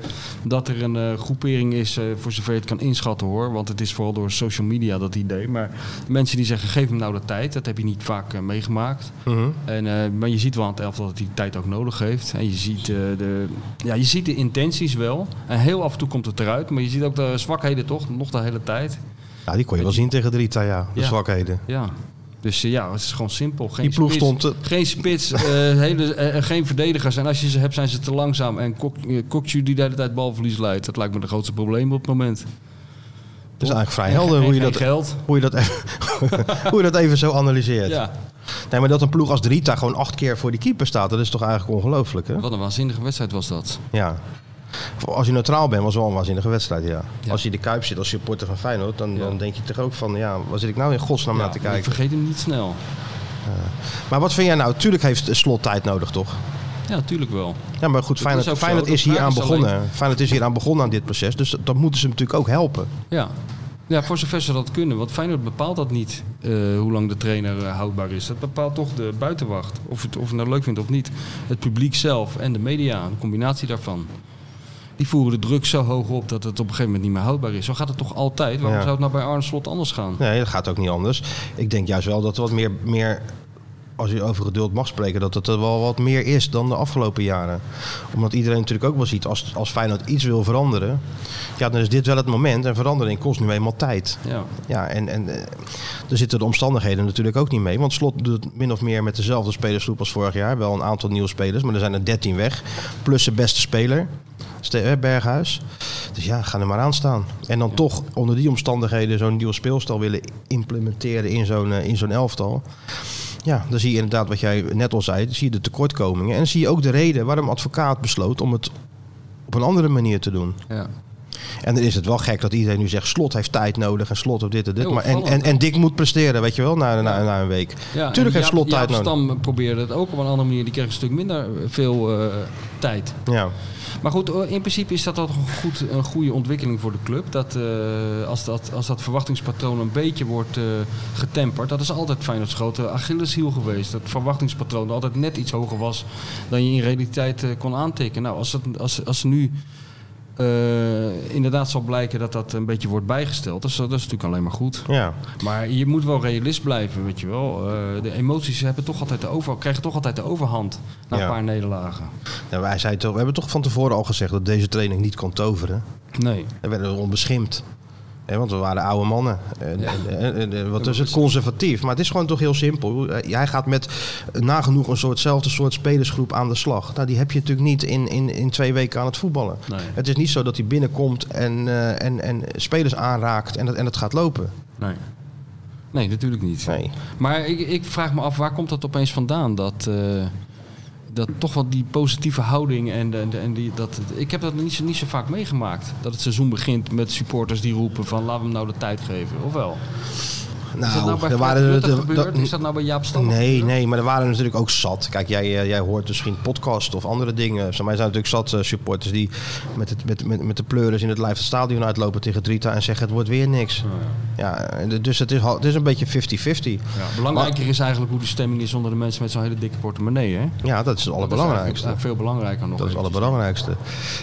[SPEAKER 3] dat er een eh, groepering is, eh, voor zover je het kan inschatten hoor. Want het is vooral door social media dat idee. Maar mensen die zeggen, geef hem nou de tijd. Dat heb je niet vaak eh, meegemaakt.
[SPEAKER 2] mhm.
[SPEAKER 3] En, eh, maar je ziet wel aan het elftal dat hij tijd ook nodig heeft. En je ziet, eh, de, ja, je ziet de intenties wel. En heel af en toe komt het eruit. Maar je ziet ook de zwakheden toch, nog de hele tijd.
[SPEAKER 2] Ja, die kon je wel zien tegen de Rita, ja. De
[SPEAKER 3] eh, Ja.
[SPEAKER 2] zwakheden.
[SPEAKER 3] Ja. Dus eh, ja, het is gewoon simpel. Geen
[SPEAKER 2] Die ploeg
[SPEAKER 3] spits,
[SPEAKER 2] stond... eh,
[SPEAKER 3] Geen spits, eh, hele, eh, geen verdedigers. En als je ze hebt, zijn ze te langzaam. En Kok- eh, Kokju die de hele tijd balverlies leidt. Dat lijkt me de grootste probleem op het moment.
[SPEAKER 2] Het is eigenlijk vrij
[SPEAKER 3] En ge-
[SPEAKER 2] helder
[SPEAKER 3] en
[SPEAKER 2] hoe je
[SPEAKER 3] geen
[SPEAKER 2] dat...
[SPEAKER 3] geld.
[SPEAKER 2] Hoe je, dat even, hoe je dat even zo analyseert.
[SPEAKER 3] Ja,
[SPEAKER 2] Nee, maar dat een ploeg als de Rita gewoon acht keer voor die keeper staat, dat is toch eigenlijk ongelooflijk, hè?
[SPEAKER 3] wat een waanzinnige wedstrijd was dat.
[SPEAKER 2] Ja. Als je neutraal bent, was het wel een waanzinnige wedstrijd, ja.
[SPEAKER 3] Ja.
[SPEAKER 2] Als je in de Kuip zit als supporter van Feyenoord, dan,
[SPEAKER 3] Ja.
[SPEAKER 2] dan denk je toch ook van... Ja, waar zit ik nou in godsnaam
[SPEAKER 3] Ja,
[SPEAKER 2] naar te
[SPEAKER 3] ik
[SPEAKER 2] kijken?
[SPEAKER 3] vergeet hem niet snel.
[SPEAKER 2] Maar wat vind jij nou? Tuurlijk heeft Slot tijd nodig, toch?
[SPEAKER 3] Ja, natuurlijk wel.
[SPEAKER 2] Ja, maar goed, Feyenoord,
[SPEAKER 3] is ook zo.
[SPEAKER 2] Feyenoord
[SPEAKER 3] De
[SPEAKER 2] is hier
[SPEAKER 3] vraag
[SPEAKER 2] aan
[SPEAKER 3] is alleen-
[SPEAKER 2] begonnen. Feyenoord is hier aan begonnen aan dit proces. Dus dat moeten ze hem natuurlijk ook helpen.
[SPEAKER 3] Ja. ja, voor zover ze dat kunnen. Want Feyenoord bepaalt dat niet, eh, hoe lang de trainer eh, houdbaar is. Dat bepaalt toch de buitenwacht. Of het, of het nou leuk vindt of niet. Het publiek zelf en de media, een combinatie daarvan. Die voeren de druk zo hoog op dat het op een gegeven moment niet meer houdbaar is. Zo gaat het toch altijd? Waarom
[SPEAKER 2] Ja.
[SPEAKER 3] zou het nou bij Arne Slot anders gaan?
[SPEAKER 2] Nee, dat gaat ook niet anders. Ik denk juist wel dat er wat meer... meer als je over geduld mag spreken, dat het er wel wat meer is dan de afgelopen jaren. Omdat iedereen natuurlijk ook wel ziet, als, als Feyenoord iets wil veranderen... ja, dan is dit wel het moment. En verandering kost nu eenmaal tijd.
[SPEAKER 3] Ja,
[SPEAKER 2] Ja, en, en eh, er zitten de omstandigheden natuurlijk ook niet mee. Want Slot doet min of meer met dezelfde spelersgroep als vorig jaar. Wel een aantal nieuwe spelers, maar er zijn er 13 weg. Plus zijn beste speler, Ste- eh, Berghuis. Dus ja, ga er maar aan staan. En dan toch onder die omstandigheden zo'n nieuwe speelstijl willen implementeren in zo'n, eh, in zo'n elftal. Ja, dan zie je inderdaad wat jij net al zei, zie je de tekortkomingen. En dan zie je ook de reden waarom advocaat besloot om het op een andere manier te doen.
[SPEAKER 3] ja.
[SPEAKER 2] En dan is het wel gek dat iedereen nu zegt: slot heeft tijd nodig en slot op dit en dit.
[SPEAKER 3] Heel
[SPEAKER 2] Maar en, en,
[SPEAKER 3] opvallend,
[SPEAKER 2] en Dick moet presteren, weet je wel, na, na, na een week.
[SPEAKER 3] ja
[SPEAKER 2] Tuurlijk
[SPEAKER 3] en
[SPEAKER 2] heeft Slot
[SPEAKER 3] Jaap-
[SPEAKER 2] tijd
[SPEAKER 3] Jaap
[SPEAKER 2] nodig.
[SPEAKER 3] Stam probeerde het ook op een andere manier. Die kreeg een stuk minder eh, veel eh, tijd.
[SPEAKER 2] Ja.
[SPEAKER 3] Maar goed, eh, in principe is dat toch een, goed, een goede ontwikkeling voor de club. Dat, eh, als, dat, als dat verwachtingspatroon een beetje wordt eh, getemperd. Dat is altijd Feyenoord's grote Achilleshiel geweest. Dat verwachtingspatroon altijd net iets hoger was dan je in realiteit eh, kon aantikken. Nou, als, het, als, als nu eh, inderdaad zal blijken dat dat een beetje wordt bijgesteld. Dus, dat is natuurlijk alleen maar goed.
[SPEAKER 2] ja.
[SPEAKER 3] Maar je moet wel realist blijven, weet je wel. Eh, de emoties hebben toch altijd de over, krijgen toch altijd de overhand na
[SPEAKER 2] Ja.
[SPEAKER 3] een paar nederlagen.
[SPEAKER 2] Nou, wij zei toch, we hebben toch van tevoren al gezegd dat deze training niet kan toveren.
[SPEAKER 3] Nee.
[SPEAKER 2] Daar werden we onbeschimpt. Hè, want we waren oude mannen. En,
[SPEAKER 3] Ja.
[SPEAKER 2] en- en- en- en wat is het conservatief? Maar het is gewoon toch heel simpel. Eh, Jij gaat met nagenoeg een soortzelfde soort spelersgroep aan de slag. Nou, die heb je natuurlijk niet in, in, in twee weken aan het voetballen.
[SPEAKER 3] Nee.
[SPEAKER 2] Het is niet zo dat hij binnenkomt en, eh, en, en spelers aanraakt en het, en het gaat lopen.
[SPEAKER 3] Nee. Nee, natuurlijk niet.
[SPEAKER 2] Nee.
[SPEAKER 3] Maar ik, ik vraag me af, waar komt dat opeens vandaan? Dat, eh, dat toch wel die positieve houding en, en, en die, dat, ik heb dat niet zo, niet zo vaak meegemaakt. Dat het seizoen begint met supporters die roepen van laten we hem nou de tijd geven, of wel? is dat nou bij
[SPEAKER 2] er
[SPEAKER 3] Frank Rutte
[SPEAKER 2] er-
[SPEAKER 3] gebeurd?
[SPEAKER 2] dat-
[SPEAKER 3] is dat nou bij Jaap Stam?
[SPEAKER 2] Nee, nee, maar er waren natuurlijk ook zat. Kijk, jij, eh, jij hoort misschien podcast of andere dingen. Zo, Maar er zijn natuurlijk zat eh, supporters die met, het, met, met, met de pleuris in het live stadion uitlopen tegen Drita en zeggen het wordt weer niks.
[SPEAKER 3] Oh,
[SPEAKER 2] Ja, en dus het is, al- het is een beetje 50-50.
[SPEAKER 3] Ja, belangrijker is eigenlijk hoe de stemming is onder de mensen met zo'n hele dikke portemonnee, hè?
[SPEAKER 2] Ja, dat is het
[SPEAKER 3] Dat is eigenlijk
[SPEAKER 2] allerbelangrijkste.
[SPEAKER 3] Veel belangrijker nog.
[SPEAKER 2] Dat is het
[SPEAKER 3] eventjes.
[SPEAKER 2] allerbelangrijkste.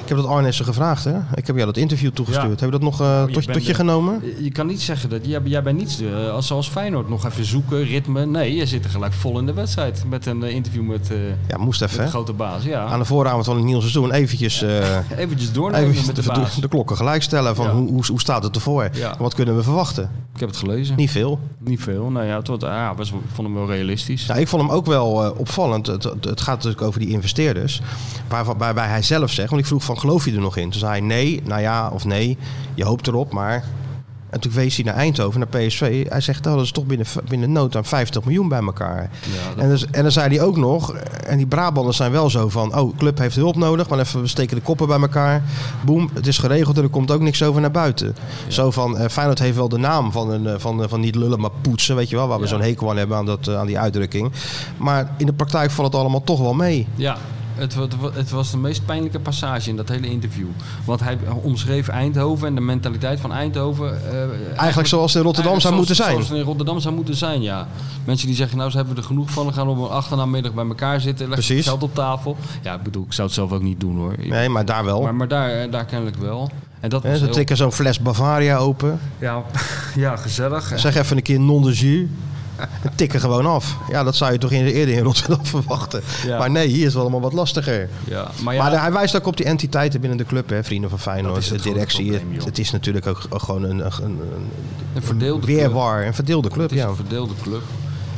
[SPEAKER 2] Ik heb dat Arnissen gevraagd, hè? Ik heb jou dat interview toegestuurd.
[SPEAKER 3] Ja. Oh,
[SPEAKER 2] Heb je dat nog eh, tot,
[SPEAKER 3] bent
[SPEAKER 2] tot je
[SPEAKER 3] er.
[SPEAKER 2] genomen?
[SPEAKER 3] Eh, Je kan niet zeggen dat jij, jij bent niet eh, als zoals Feyenoord nog even zoeken, ritme. Nee, je zit er gelijk vol in de wedstrijd met een eh, interview met, eh, met
[SPEAKER 2] Ja, moest even,
[SPEAKER 3] de
[SPEAKER 2] hè?
[SPEAKER 3] grote baas. Ja.
[SPEAKER 2] Aan de vooravond van het nieuwe seizoen eventjes... eh,
[SPEAKER 3] Eventjes doornemen
[SPEAKER 2] Even
[SPEAKER 3] met de
[SPEAKER 2] de,
[SPEAKER 3] baas.
[SPEAKER 2] de klokken gelijkstellen van
[SPEAKER 3] Ja.
[SPEAKER 2] hoe, hoe, hoe staat het ervoor?
[SPEAKER 3] Ja.
[SPEAKER 2] Wat kunnen we verwachten?
[SPEAKER 3] Ik heb het gelezen. Niet,
[SPEAKER 2] Niet veel.
[SPEAKER 3] veel. Nou ja, het wordt, ah, was, ik vond hem wel realistisch.
[SPEAKER 2] Ja, Nou, ik vond hem ook wel eh, opvallend. Het, het, het gaat natuurlijk over die investeerders. Waar, waarbij hij zelf zegt, want ik vroeg van geloof je er nog in? Toen zei hij nee, nou ja of nee. Je hoopt erop, maar... En toen wees hij naar Eindhoven, naar PSV. Hij zegt, oh, dat is toch binnen, binnen nood aan 50 miljoen bij elkaar.
[SPEAKER 3] Ja, dat-
[SPEAKER 2] en, dus, en dan zei hij ook nog, en die Brabanders zijn wel zo van... oh, club heeft hulp nodig, maar even we steken de koppen bij elkaar. Boem, het is geregeld en er komt ook niks over naar buiten. Zo van, eh, Feyenoord heeft wel de naam van, een, eh, van, eh, van niet lullen, maar poetsen, weet je wel. Waar we
[SPEAKER 3] Ja.
[SPEAKER 2] zo'n hekel aan hebben aan, dat, eh, aan die uitdrukking. Maar in de praktijk valt het allemaal toch wel mee.
[SPEAKER 3] Ja, het, wa- het wa- het was de meest pijnlijke passage in dat hele interview. Want hij omschreef Eindhoven en de mentaliteit van Eindhoven. eh,
[SPEAKER 2] Eigenlijk zoals het in Rotterdam
[SPEAKER 3] eigenlijk
[SPEAKER 2] zou
[SPEAKER 3] zoals-
[SPEAKER 2] moeten zijn.
[SPEAKER 3] Zoals het in Rotterdam zou moeten zijn, ja. Mensen die zeggen, nou, ze hebben er genoeg van. Dan gaan we op een achternamiddag bij elkaar zitten. Leggen
[SPEAKER 2] Precies.
[SPEAKER 3] geld op tafel. Ja, ik bedoel, ik zou het zelf ook niet doen, hoor.
[SPEAKER 2] Nee, maar daar wel.
[SPEAKER 3] Maar, maar daar, daar kennelijk wel. En dat
[SPEAKER 2] Hè,
[SPEAKER 3] was
[SPEAKER 2] Ze
[SPEAKER 3] heel-
[SPEAKER 2] tikken zo'n fles Bavaria open.
[SPEAKER 3] ja, ja, gezellig.
[SPEAKER 2] Zeg even een keer non de jus. En tikken gewoon af. Ja, dat zou je toch in- eerder in Rotterdam verwachten.
[SPEAKER 3] Ja.
[SPEAKER 2] Maar nee, hier is het allemaal wat lastiger.
[SPEAKER 3] Ja, maar ja,
[SPEAKER 2] Maar hij wijst ook op die entiteiten binnen de club, hè, vrienden van
[SPEAKER 3] Dat
[SPEAKER 2] Feyenoord,
[SPEAKER 3] is
[SPEAKER 2] de
[SPEAKER 3] het grote
[SPEAKER 2] directie.
[SPEAKER 3] probleem,
[SPEAKER 2] het,
[SPEAKER 3] joh.
[SPEAKER 2] het is natuurlijk ook gewoon een, een, een
[SPEAKER 3] een verdeelde club.
[SPEAKER 2] weerwar, een verdeelde club.
[SPEAKER 3] Het is
[SPEAKER 2] Ja.
[SPEAKER 3] een verdeelde club.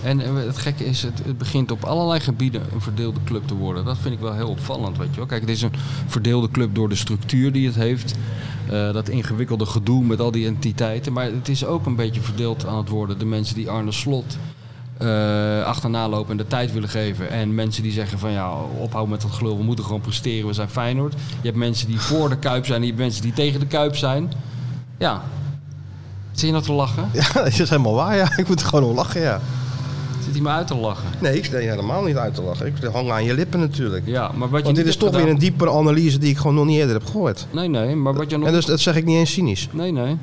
[SPEAKER 3] En eh, het gekke is, het, het begint op allerlei gebieden een verdeelde club te worden. Dat vind ik wel heel opvallend, weet je wel. Kijk, het is een verdeelde club door de structuur die het heeft. eh, dat ingewikkelde gedoe met al die entiteiten. Maar het is ook een beetje verdeeld aan het worden. De mensen die Arne Slot eh, achterna lopen en de tijd willen geven. En mensen die zeggen van ja, ophoud met dat gelul. We moeten gewoon presteren, we zijn Feyenoord. Je hebt mensen die voor de Kuip zijn en je hebt mensen die tegen de Kuip zijn. Ja. Zie je nou te lachen?
[SPEAKER 2] ja, dat is helemaal waar. Ja. Ik moet er gewoon om lachen, ja.
[SPEAKER 3] Zit hij me uit te lachen?
[SPEAKER 2] Nee, ik sta je helemaal niet uit te lachen. Ik hang aan je lippen natuurlijk.
[SPEAKER 3] Ja, maar wat je
[SPEAKER 2] Want dit
[SPEAKER 3] niet
[SPEAKER 2] is
[SPEAKER 3] hebt
[SPEAKER 2] toch weer
[SPEAKER 3] gedaan-
[SPEAKER 2] een diepere analyse die ik gewoon nog niet eerder heb gehoord.
[SPEAKER 3] Nee, nee, maar wat je nog...
[SPEAKER 2] En dus, dat zeg ik niet eens cynisch.
[SPEAKER 3] Nee, nee.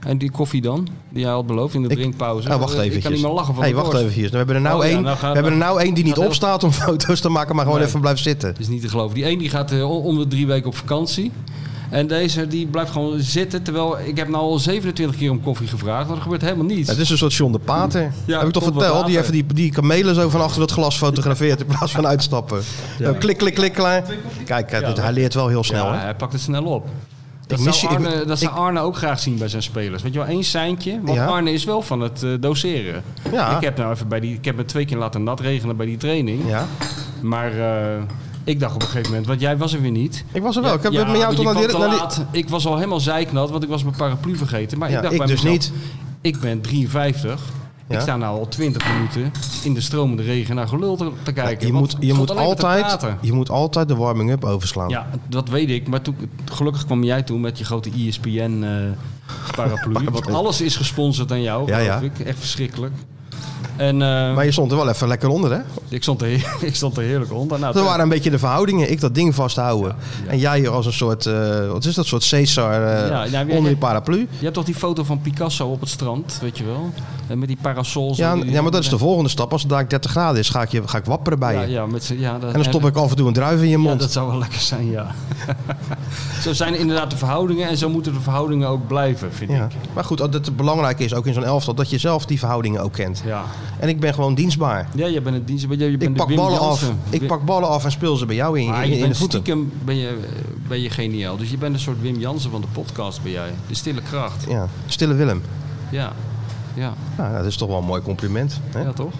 [SPEAKER 3] En die koffie dan? Die jij had beloofd in de
[SPEAKER 2] Ik-
[SPEAKER 3] drinkpauze.
[SPEAKER 2] Ah, wacht
[SPEAKER 3] Eh,
[SPEAKER 2] even.
[SPEAKER 3] Ik kan niet meer lachen van
[SPEAKER 2] hey,
[SPEAKER 3] de
[SPEAKER 2] wacht
[SPEAKER 3] dorst.
[SPEAKER 2] even. We hebben er nou
[SPEAKER 3] Oh, ja,
[SPEAKER 2] één
[SPEAKER 3] nou gaat-
[SPEAKER 2] we hebben er nou één die niet
[SPEAKER 3] gaat heel-
[SPEAKER 2] opstaat om foto's te maken, maar gewoon
[SPEAKER 3] Nee.
[SPEAKER 2] even blijft zitten.
[SPEAKER 3] Dat is niet te geloven. Die één die gaat eh, o- om de drie weken op vakantie. En deze die blijft gewoon zitten. Terwijl ik heb nou al 27 keer om koffie gevraagd. Maar er gebeurt helemaal niets.
[SPEAKER 2] Het is een soort John de Pater.
[SPEAKER 3] Ja,
[SPEAKER 2] heb ik toch
[SPEAKER 3] John de
[SPEAKER 2] verteld? Die even
[SPEAKER 3] Pater.
[SPEAKER 2] die, die kamelen zo van achter het glas fotografeert in plaats van uitstappen. Zo, klik, klik, klik, klaar. Kijk, eh, dit- hij leert wel heel snel.
[SPEAKER 3] ja,
[SPEAKER 2] hè?
[SPEAKER 3] hij pakt het snel op. Dat,
[SPEAKER 2] mis je-
[SPEAKER 3] zou, Arne,
[SPEAKER 2] ik-
[SPEAKER 3] dat zou Arne ook graag zien bij zijn spelers. Weet je wel, één seintje. Want
[SPEAKER 2] Ja.
[SPEAKER 3] Arne is wel van het eh, doseren.
[SPEAKER 2] Ja.
[SPEAKER 3] Ik heb nou even bij die, ik heb het twee keer laten nat regenen bij die training.
[SPEAKER 2] Ja.
[SPEAKER 3] Maar eh, ik dacht op een gegeven moment, want jij was er weer niet.
[SPEAKER 2] Ik was er wel. Oh, Ik heb
[SPEAKER 3] Ja,
[SPEAKER 2] met jou
[SPEAKER 3] want
[SPEAKER 2] toch
[SPEAKER 3] je
[SPEAKER 2] naar die...
[SPEAKER 3] kwam te
[SPEAKER 2] naar die-
[SPEAKER 3] laat. Ik was al helemaal zeiknat, want ik was mijn paraplu vergeten. Maar
[SPEAKER 2] Ja,
[SPEAKER 3] ik dacht
[SPEAKER 2] ik
[SPEAKER 3] bij
[SPEAKER 2] dus
[SPEAKER 3] mezelf,
[SPEAKER 2] niet.
[SPEAKER 3] ik ben 53.
[SPEAKER 2] Ja.
[SPEAKER 3] Ik sta nou al 20 minuten in de stromende regen naar gelul te, te kijken.
[SPEAKER 2] je,
[SPEAKER 3] want
[SPEAKER 2] moet, je,
[SPEAKER 3] ik
[SPEAKER 2] moet
[SPEAKER 3] stond alleen maar te
[SPEAKER 2] altijd,
[SPEAKER 3] praten.
[SPEAKER 2] je moet altijd de warming-up overslaan.
[SPEAKER 3] Ja, dat weet ik. Maar toen, gelukkig kwam jij toen met je grote E ESPN-paraplu. want eh, alles is gesponsord aan jou,
[SPEAKER 2] Ja,
[SPEAKER 3] geloof
[SPEAKER 2] ja.
[SPEAKER 3] ik. Echt verschrikkelijk. En eh,
[SPEAKER 2] Maar je stond er wel even lekker onder, hè?
[SPEAKER 3] ik, stond er, heer- ik stond er heerlijk onder. Nou,
[SPEAKER 2] Dat
[SPEAKER 3] toen-
[SPEAKER 2] waren een beetje de verhoudingen. Ik dat ding vasthouden. En jij als een soort, eh, wat is dat, soort Caesar eh,
[SPEAKER 3] Ja, nou,
[SPEAKER 2] onder die
[SPEAKER 3] jij-
[SPEAKER 2] paraplu.
[SPEAKER 3] Je hebt toch die foto van Picasso op het strand, weet je wel? En met die parasols.
[SPEAKER 2] Ja,
[SPEAKER 3] en
[SPEAKER 2] en-
[SPEAKER 3] die-
[SPEAKER 2] ja, maar dat is de volgende stap. Als het daar 30 graden is, ga ik, je, ga ik wapperen bij
[SPEAKER 3] Ja,
[SPEAKER 2] je.
[SPEAKER 3] ja, met z'n- ja, dat,
[SPEAKER 2] En dan stop ik af en toe een druif in je
[SPEAKER 3] Ja,
[SPEAKER 2] mond.
[SPEAKER 3] dat zou wel lekker zijn, ja. zo zijn inderdaad de verhoudingen en zo moeten de verhoudingen ook blijven, vind
[SPEAKER 2] Ja.
[SPEAKER 3] ik.
[SPEAKER 2] Maar goed, dat het belangrijk is, ook in zo'n elftal, dat je zelf die verhoudingen ook kent.
[SPEAKER 3] Ja.
[SPEAKER 2] En ik ben gewoon dienstbaar.
[SPEAKER 3] ja, je bent het dienst. Je, je bent
[SPEAKER 2] Ik
[SPEAKER 3] de
[SPEAKER 2] pak
[SPEAKER 3] Wim
[SPEAKER 2] ballen af.
[SPEAKER 3] Jansen.
[SPEAKER 2] Ik
[SPEAKER 3] Wim-
[SPEAKER 2] pak ballen af en speel ze bij jou in,
[SPEAKER 3] Maar
[SPEAKER 2] in,
[SPEAKER 3] je
[SPEAKER 2] in de
[SPEAKER 3] bent
[SPEAKER 2] voeten.
[SPEAKER 3] stiekem ben je, eh, ben je geniaal. Dus je bent een soort Wim Jansen van de podcast, ben jij. De stille kracht.
[SPEAKER 2] Ja. Stille Willem.
[SPEAKER 3] Ja. Ja,
[SPEAKER 2] Nou, dat is toch wel een mooi compliment. Hè?
[SPEAKER 3] ja toch?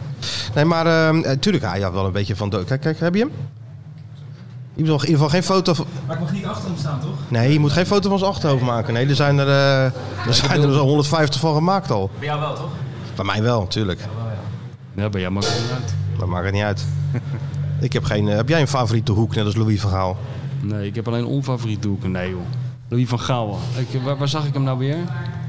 [SPEAKER 2] Nee, maar ehm, eh, tuurlijk, hij had wel een beetje van... do- Kijk, kijk, heb je hem? In ieder geval- in ieder geval geen foto van...
[SPEAKER 5] Maar ik mag niet achter hem staan, toch?
[SPEAKER 2] Nee, je moet geen foto van zijn achterhoofd maken. Nee, er zijn er, eh, er, zijn er
[SPEAKER 3] bedoel-
[SPEAKER 2] zo 150 van gemaakt al.
[SPEAKER 5] Bij jou wel, toch?
[SPEAKER 2] Bij mij wel, tuurlijk.
[SPEAKER 3] Ja, ben jij maar niet uit.
[SPEAKER 2] Dat maakt het niet uit. Ik heb geen. eh, heb jij een favoriete hoek, net als Louis van Gaal?
[SPEAKER 3] Nee, ik heb alleen onfavoriet doeken. Nee, joh. Louis van Gaal. Ik, waar, waar zag ik hem nou weer?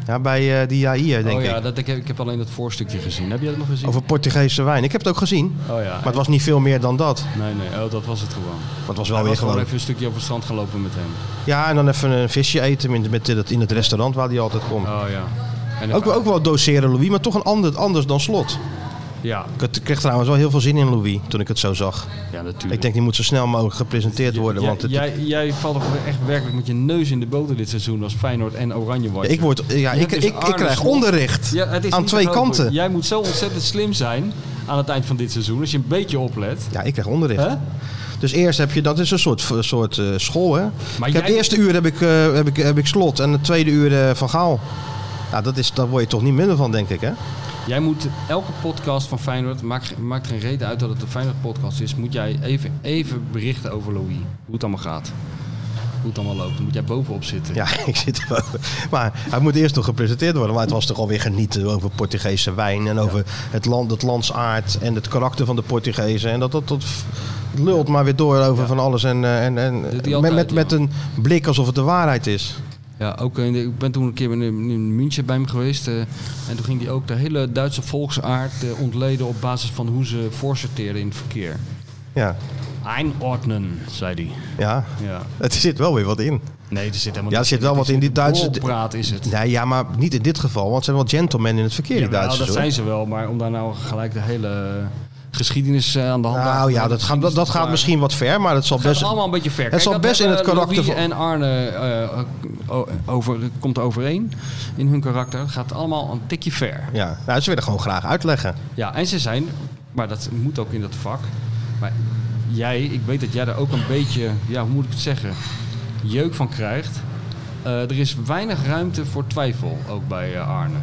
[SPEAKER 2] Ja, bij eh, die Jair, denk
[SPEAKER 3] oh ja,
[SPEAKER 2] ik.
[SPEAKER 3] dat, ik, heb, ik heb alleen dat voorstukje gezien. Heb jij dat nog gezien?
[SPEAKER 2] Over Portugese wijn. Ik heb het ook gezien.
[SPEAKER 3] Oh ja.
[SPEAKER 2] Maar het was niet veel meer dan dat.
[SPEAKER 3] Nee, nee, oh, dat was het gewoon.
[SPEAKER 2] Maar het was wel
[SPEAKER 3] Hij
[SPEAKER 2] weer
[SPEAKER 3] was gewoon
[SPEAKER 2] gewoon.
[SPEAKER 3] even een stukje over het strand gelopen met hem.
[SPEAKER 2] Ja, en dan even een visje eten in, met, dat- in het restaurant waar hij altijd komt.
[SPEAKER 3] Oh ja. En
[SPEAKER 2] Ook, ook wel doseren Louis, maar toch een ander, anders dan slot.
[SPEAKER 3] Ja,
[SPEAKER 2] Ik had- ik kreeg trouwens wel heel veel zin in Louis toen ik het zo zag.
[SPEAKER 3] ja natuurlijk.
[SPEAKER 2] Ik denk die moet zo snel mogelijk gepresenteerd worden.
[SPEAKER 3] Jij-
[SPEAKER 2] Want het,
[SPEAKER 3] jij, jij valt toch echt werkelijk met je neus in de boter dit seizoen als Feyenoord en Oranje wordt.
[SPEAKER 2] ik, word, ja, ik,
[SPEAKER 3] hebt
[SPEAKER 2] ik,
[SPEAKER 3] dus
[SPEAKER 2] ik
[SPEAKER 3] Arne
[SPEAKER 2] krijg
[SPEAKER 3] Slot.
[SPEAKER 2] onderricht
[SPEAKER 3] Ja, het is
[SPEAKER 2] aan
[SPEAKER 3] niet
[SPEAKER 2] twee
[SPEAKER 3] te geloven.
[SPEAKER 2] kanten.
[SPEAKER 3] Jij moet zo ontzettend slim zijn aan het eind van dit seizoen, als je een beetje oplet.
[SPEAKER 2] Ja, ik krijg onderricht.
[SPEAKER 3] Hè?
[SPEAKER 2] Dus eerst heb je, dat is een soort, soort eh, school hè.
[SPEAKER 3] Maar
[SPEAKER 2] ik heb,
[SPEAKER 3] jij-
[SPEAKER 2] de eerste uur heb ik, eh, heb, ik, heb ik slot en de tweede uur eh, van Gaal. Nou, dat is, daar word je toch niet minder van, denk ik hè.
[SPEAKER 3] Jij moet elke podcast van Feyenoord, maakt, maakt geen reden uit dat het een Feyenoord-podcast is, moet jij even, even berichten over Louis. Hoe het allemaal gaat. Hoe het allemaal loopt. Dan moet jij bovenop zitten.
[SPEAKER 2] Ja, ik zit er wel- Maar hij moet eerst nog gepresenteerd worden. Maar het was toch alweer genieten over Portugese wijn. En over het land, het landsaard. En het karakter van de Portugezen. En dat, dat, dat lult maar weer door over van alles. En, eh, en, en
[SPEAKER 3] hij
[SPEAKER 2] met,
[SPEAKER 3] altijd,
[SPEAKER 2] met,
[SPEAKER 3] ja.
[SPEAKER 2] met een blik alsof het de waarheid is.
[SPEAKER 3] Ja, ook in de- ik ben toen een keer in, in München bij hem geweest. eh, en toen ging hij ook de hele Duitse volksaard eh, ontleden op basis van hoe ze voorsorteerden in het verkeer.
[SPEAKER 2] Ja,
[SPEAKER 3] Einordnen, zei hij.
[SPEAKER 2] ja.
[SPEAKER 3] Ja.
[SPEAKER 2] Het zit wel weer wat in.
[SPEAKER 3] Nee, er zit helemaal
[SPEAKER 2] Ja, er zit wel wat in die Duitse...
[SPEAKER 3] praat is het.
[SPEAKER 2] Nee, ja, maar niet in dit geval. Want het zijn wel gentlemen in het verkeer, die
[SPEAKER 3] Jawel,
[SPEAKER 2] Duitsers.
[SPEAKER 3] nou, dat
[SPEAKER 2] hoor.
[SPEAKER 3] zijn ze wel, maar om daar nou gelijk de hele geschiedenis eh, aan de hand te
[SPEAKER 2] Nou ja,
[SPEAKER 3] houden,
[SPEAKER 2] dat gaat, dat, dat gaat
[SPEAKER 3] maar-
[SPEAKER 2] misschien wat ver. Maar het zal
[SPEAKER 3] Het
[SPEAKER 2] best...
[SPEAKER 3] gaat allemaal een beetje ver. Kijk,
[SPEAKER 2] zal
[SPEAKER 3] dat
[SPEAKER 2] best in het
[SPEAKER 3] hebben
[SPEAKER 2] karakter
[SPEAKER 3] Louis
[SPEAKER 2] van-
[SPEAKER 3] en Arne eh, o- over, komt overeen in hun karakter. Het gaat allemaal een tikje ver.
[SPEAKER 2] Ja, nou, ze willen gewoon graag uitleggen.
[SPEAKER 3] Ja, en ze zijn, maar dat moet ook in dat vak. Maar jij, ik weet dat jij daar ook een beetje, ja, hoe moet ik het zeggen, jeuk van krijgt. Eh, er is weinig ruimte voor twijfel, ook bij eh, Arne.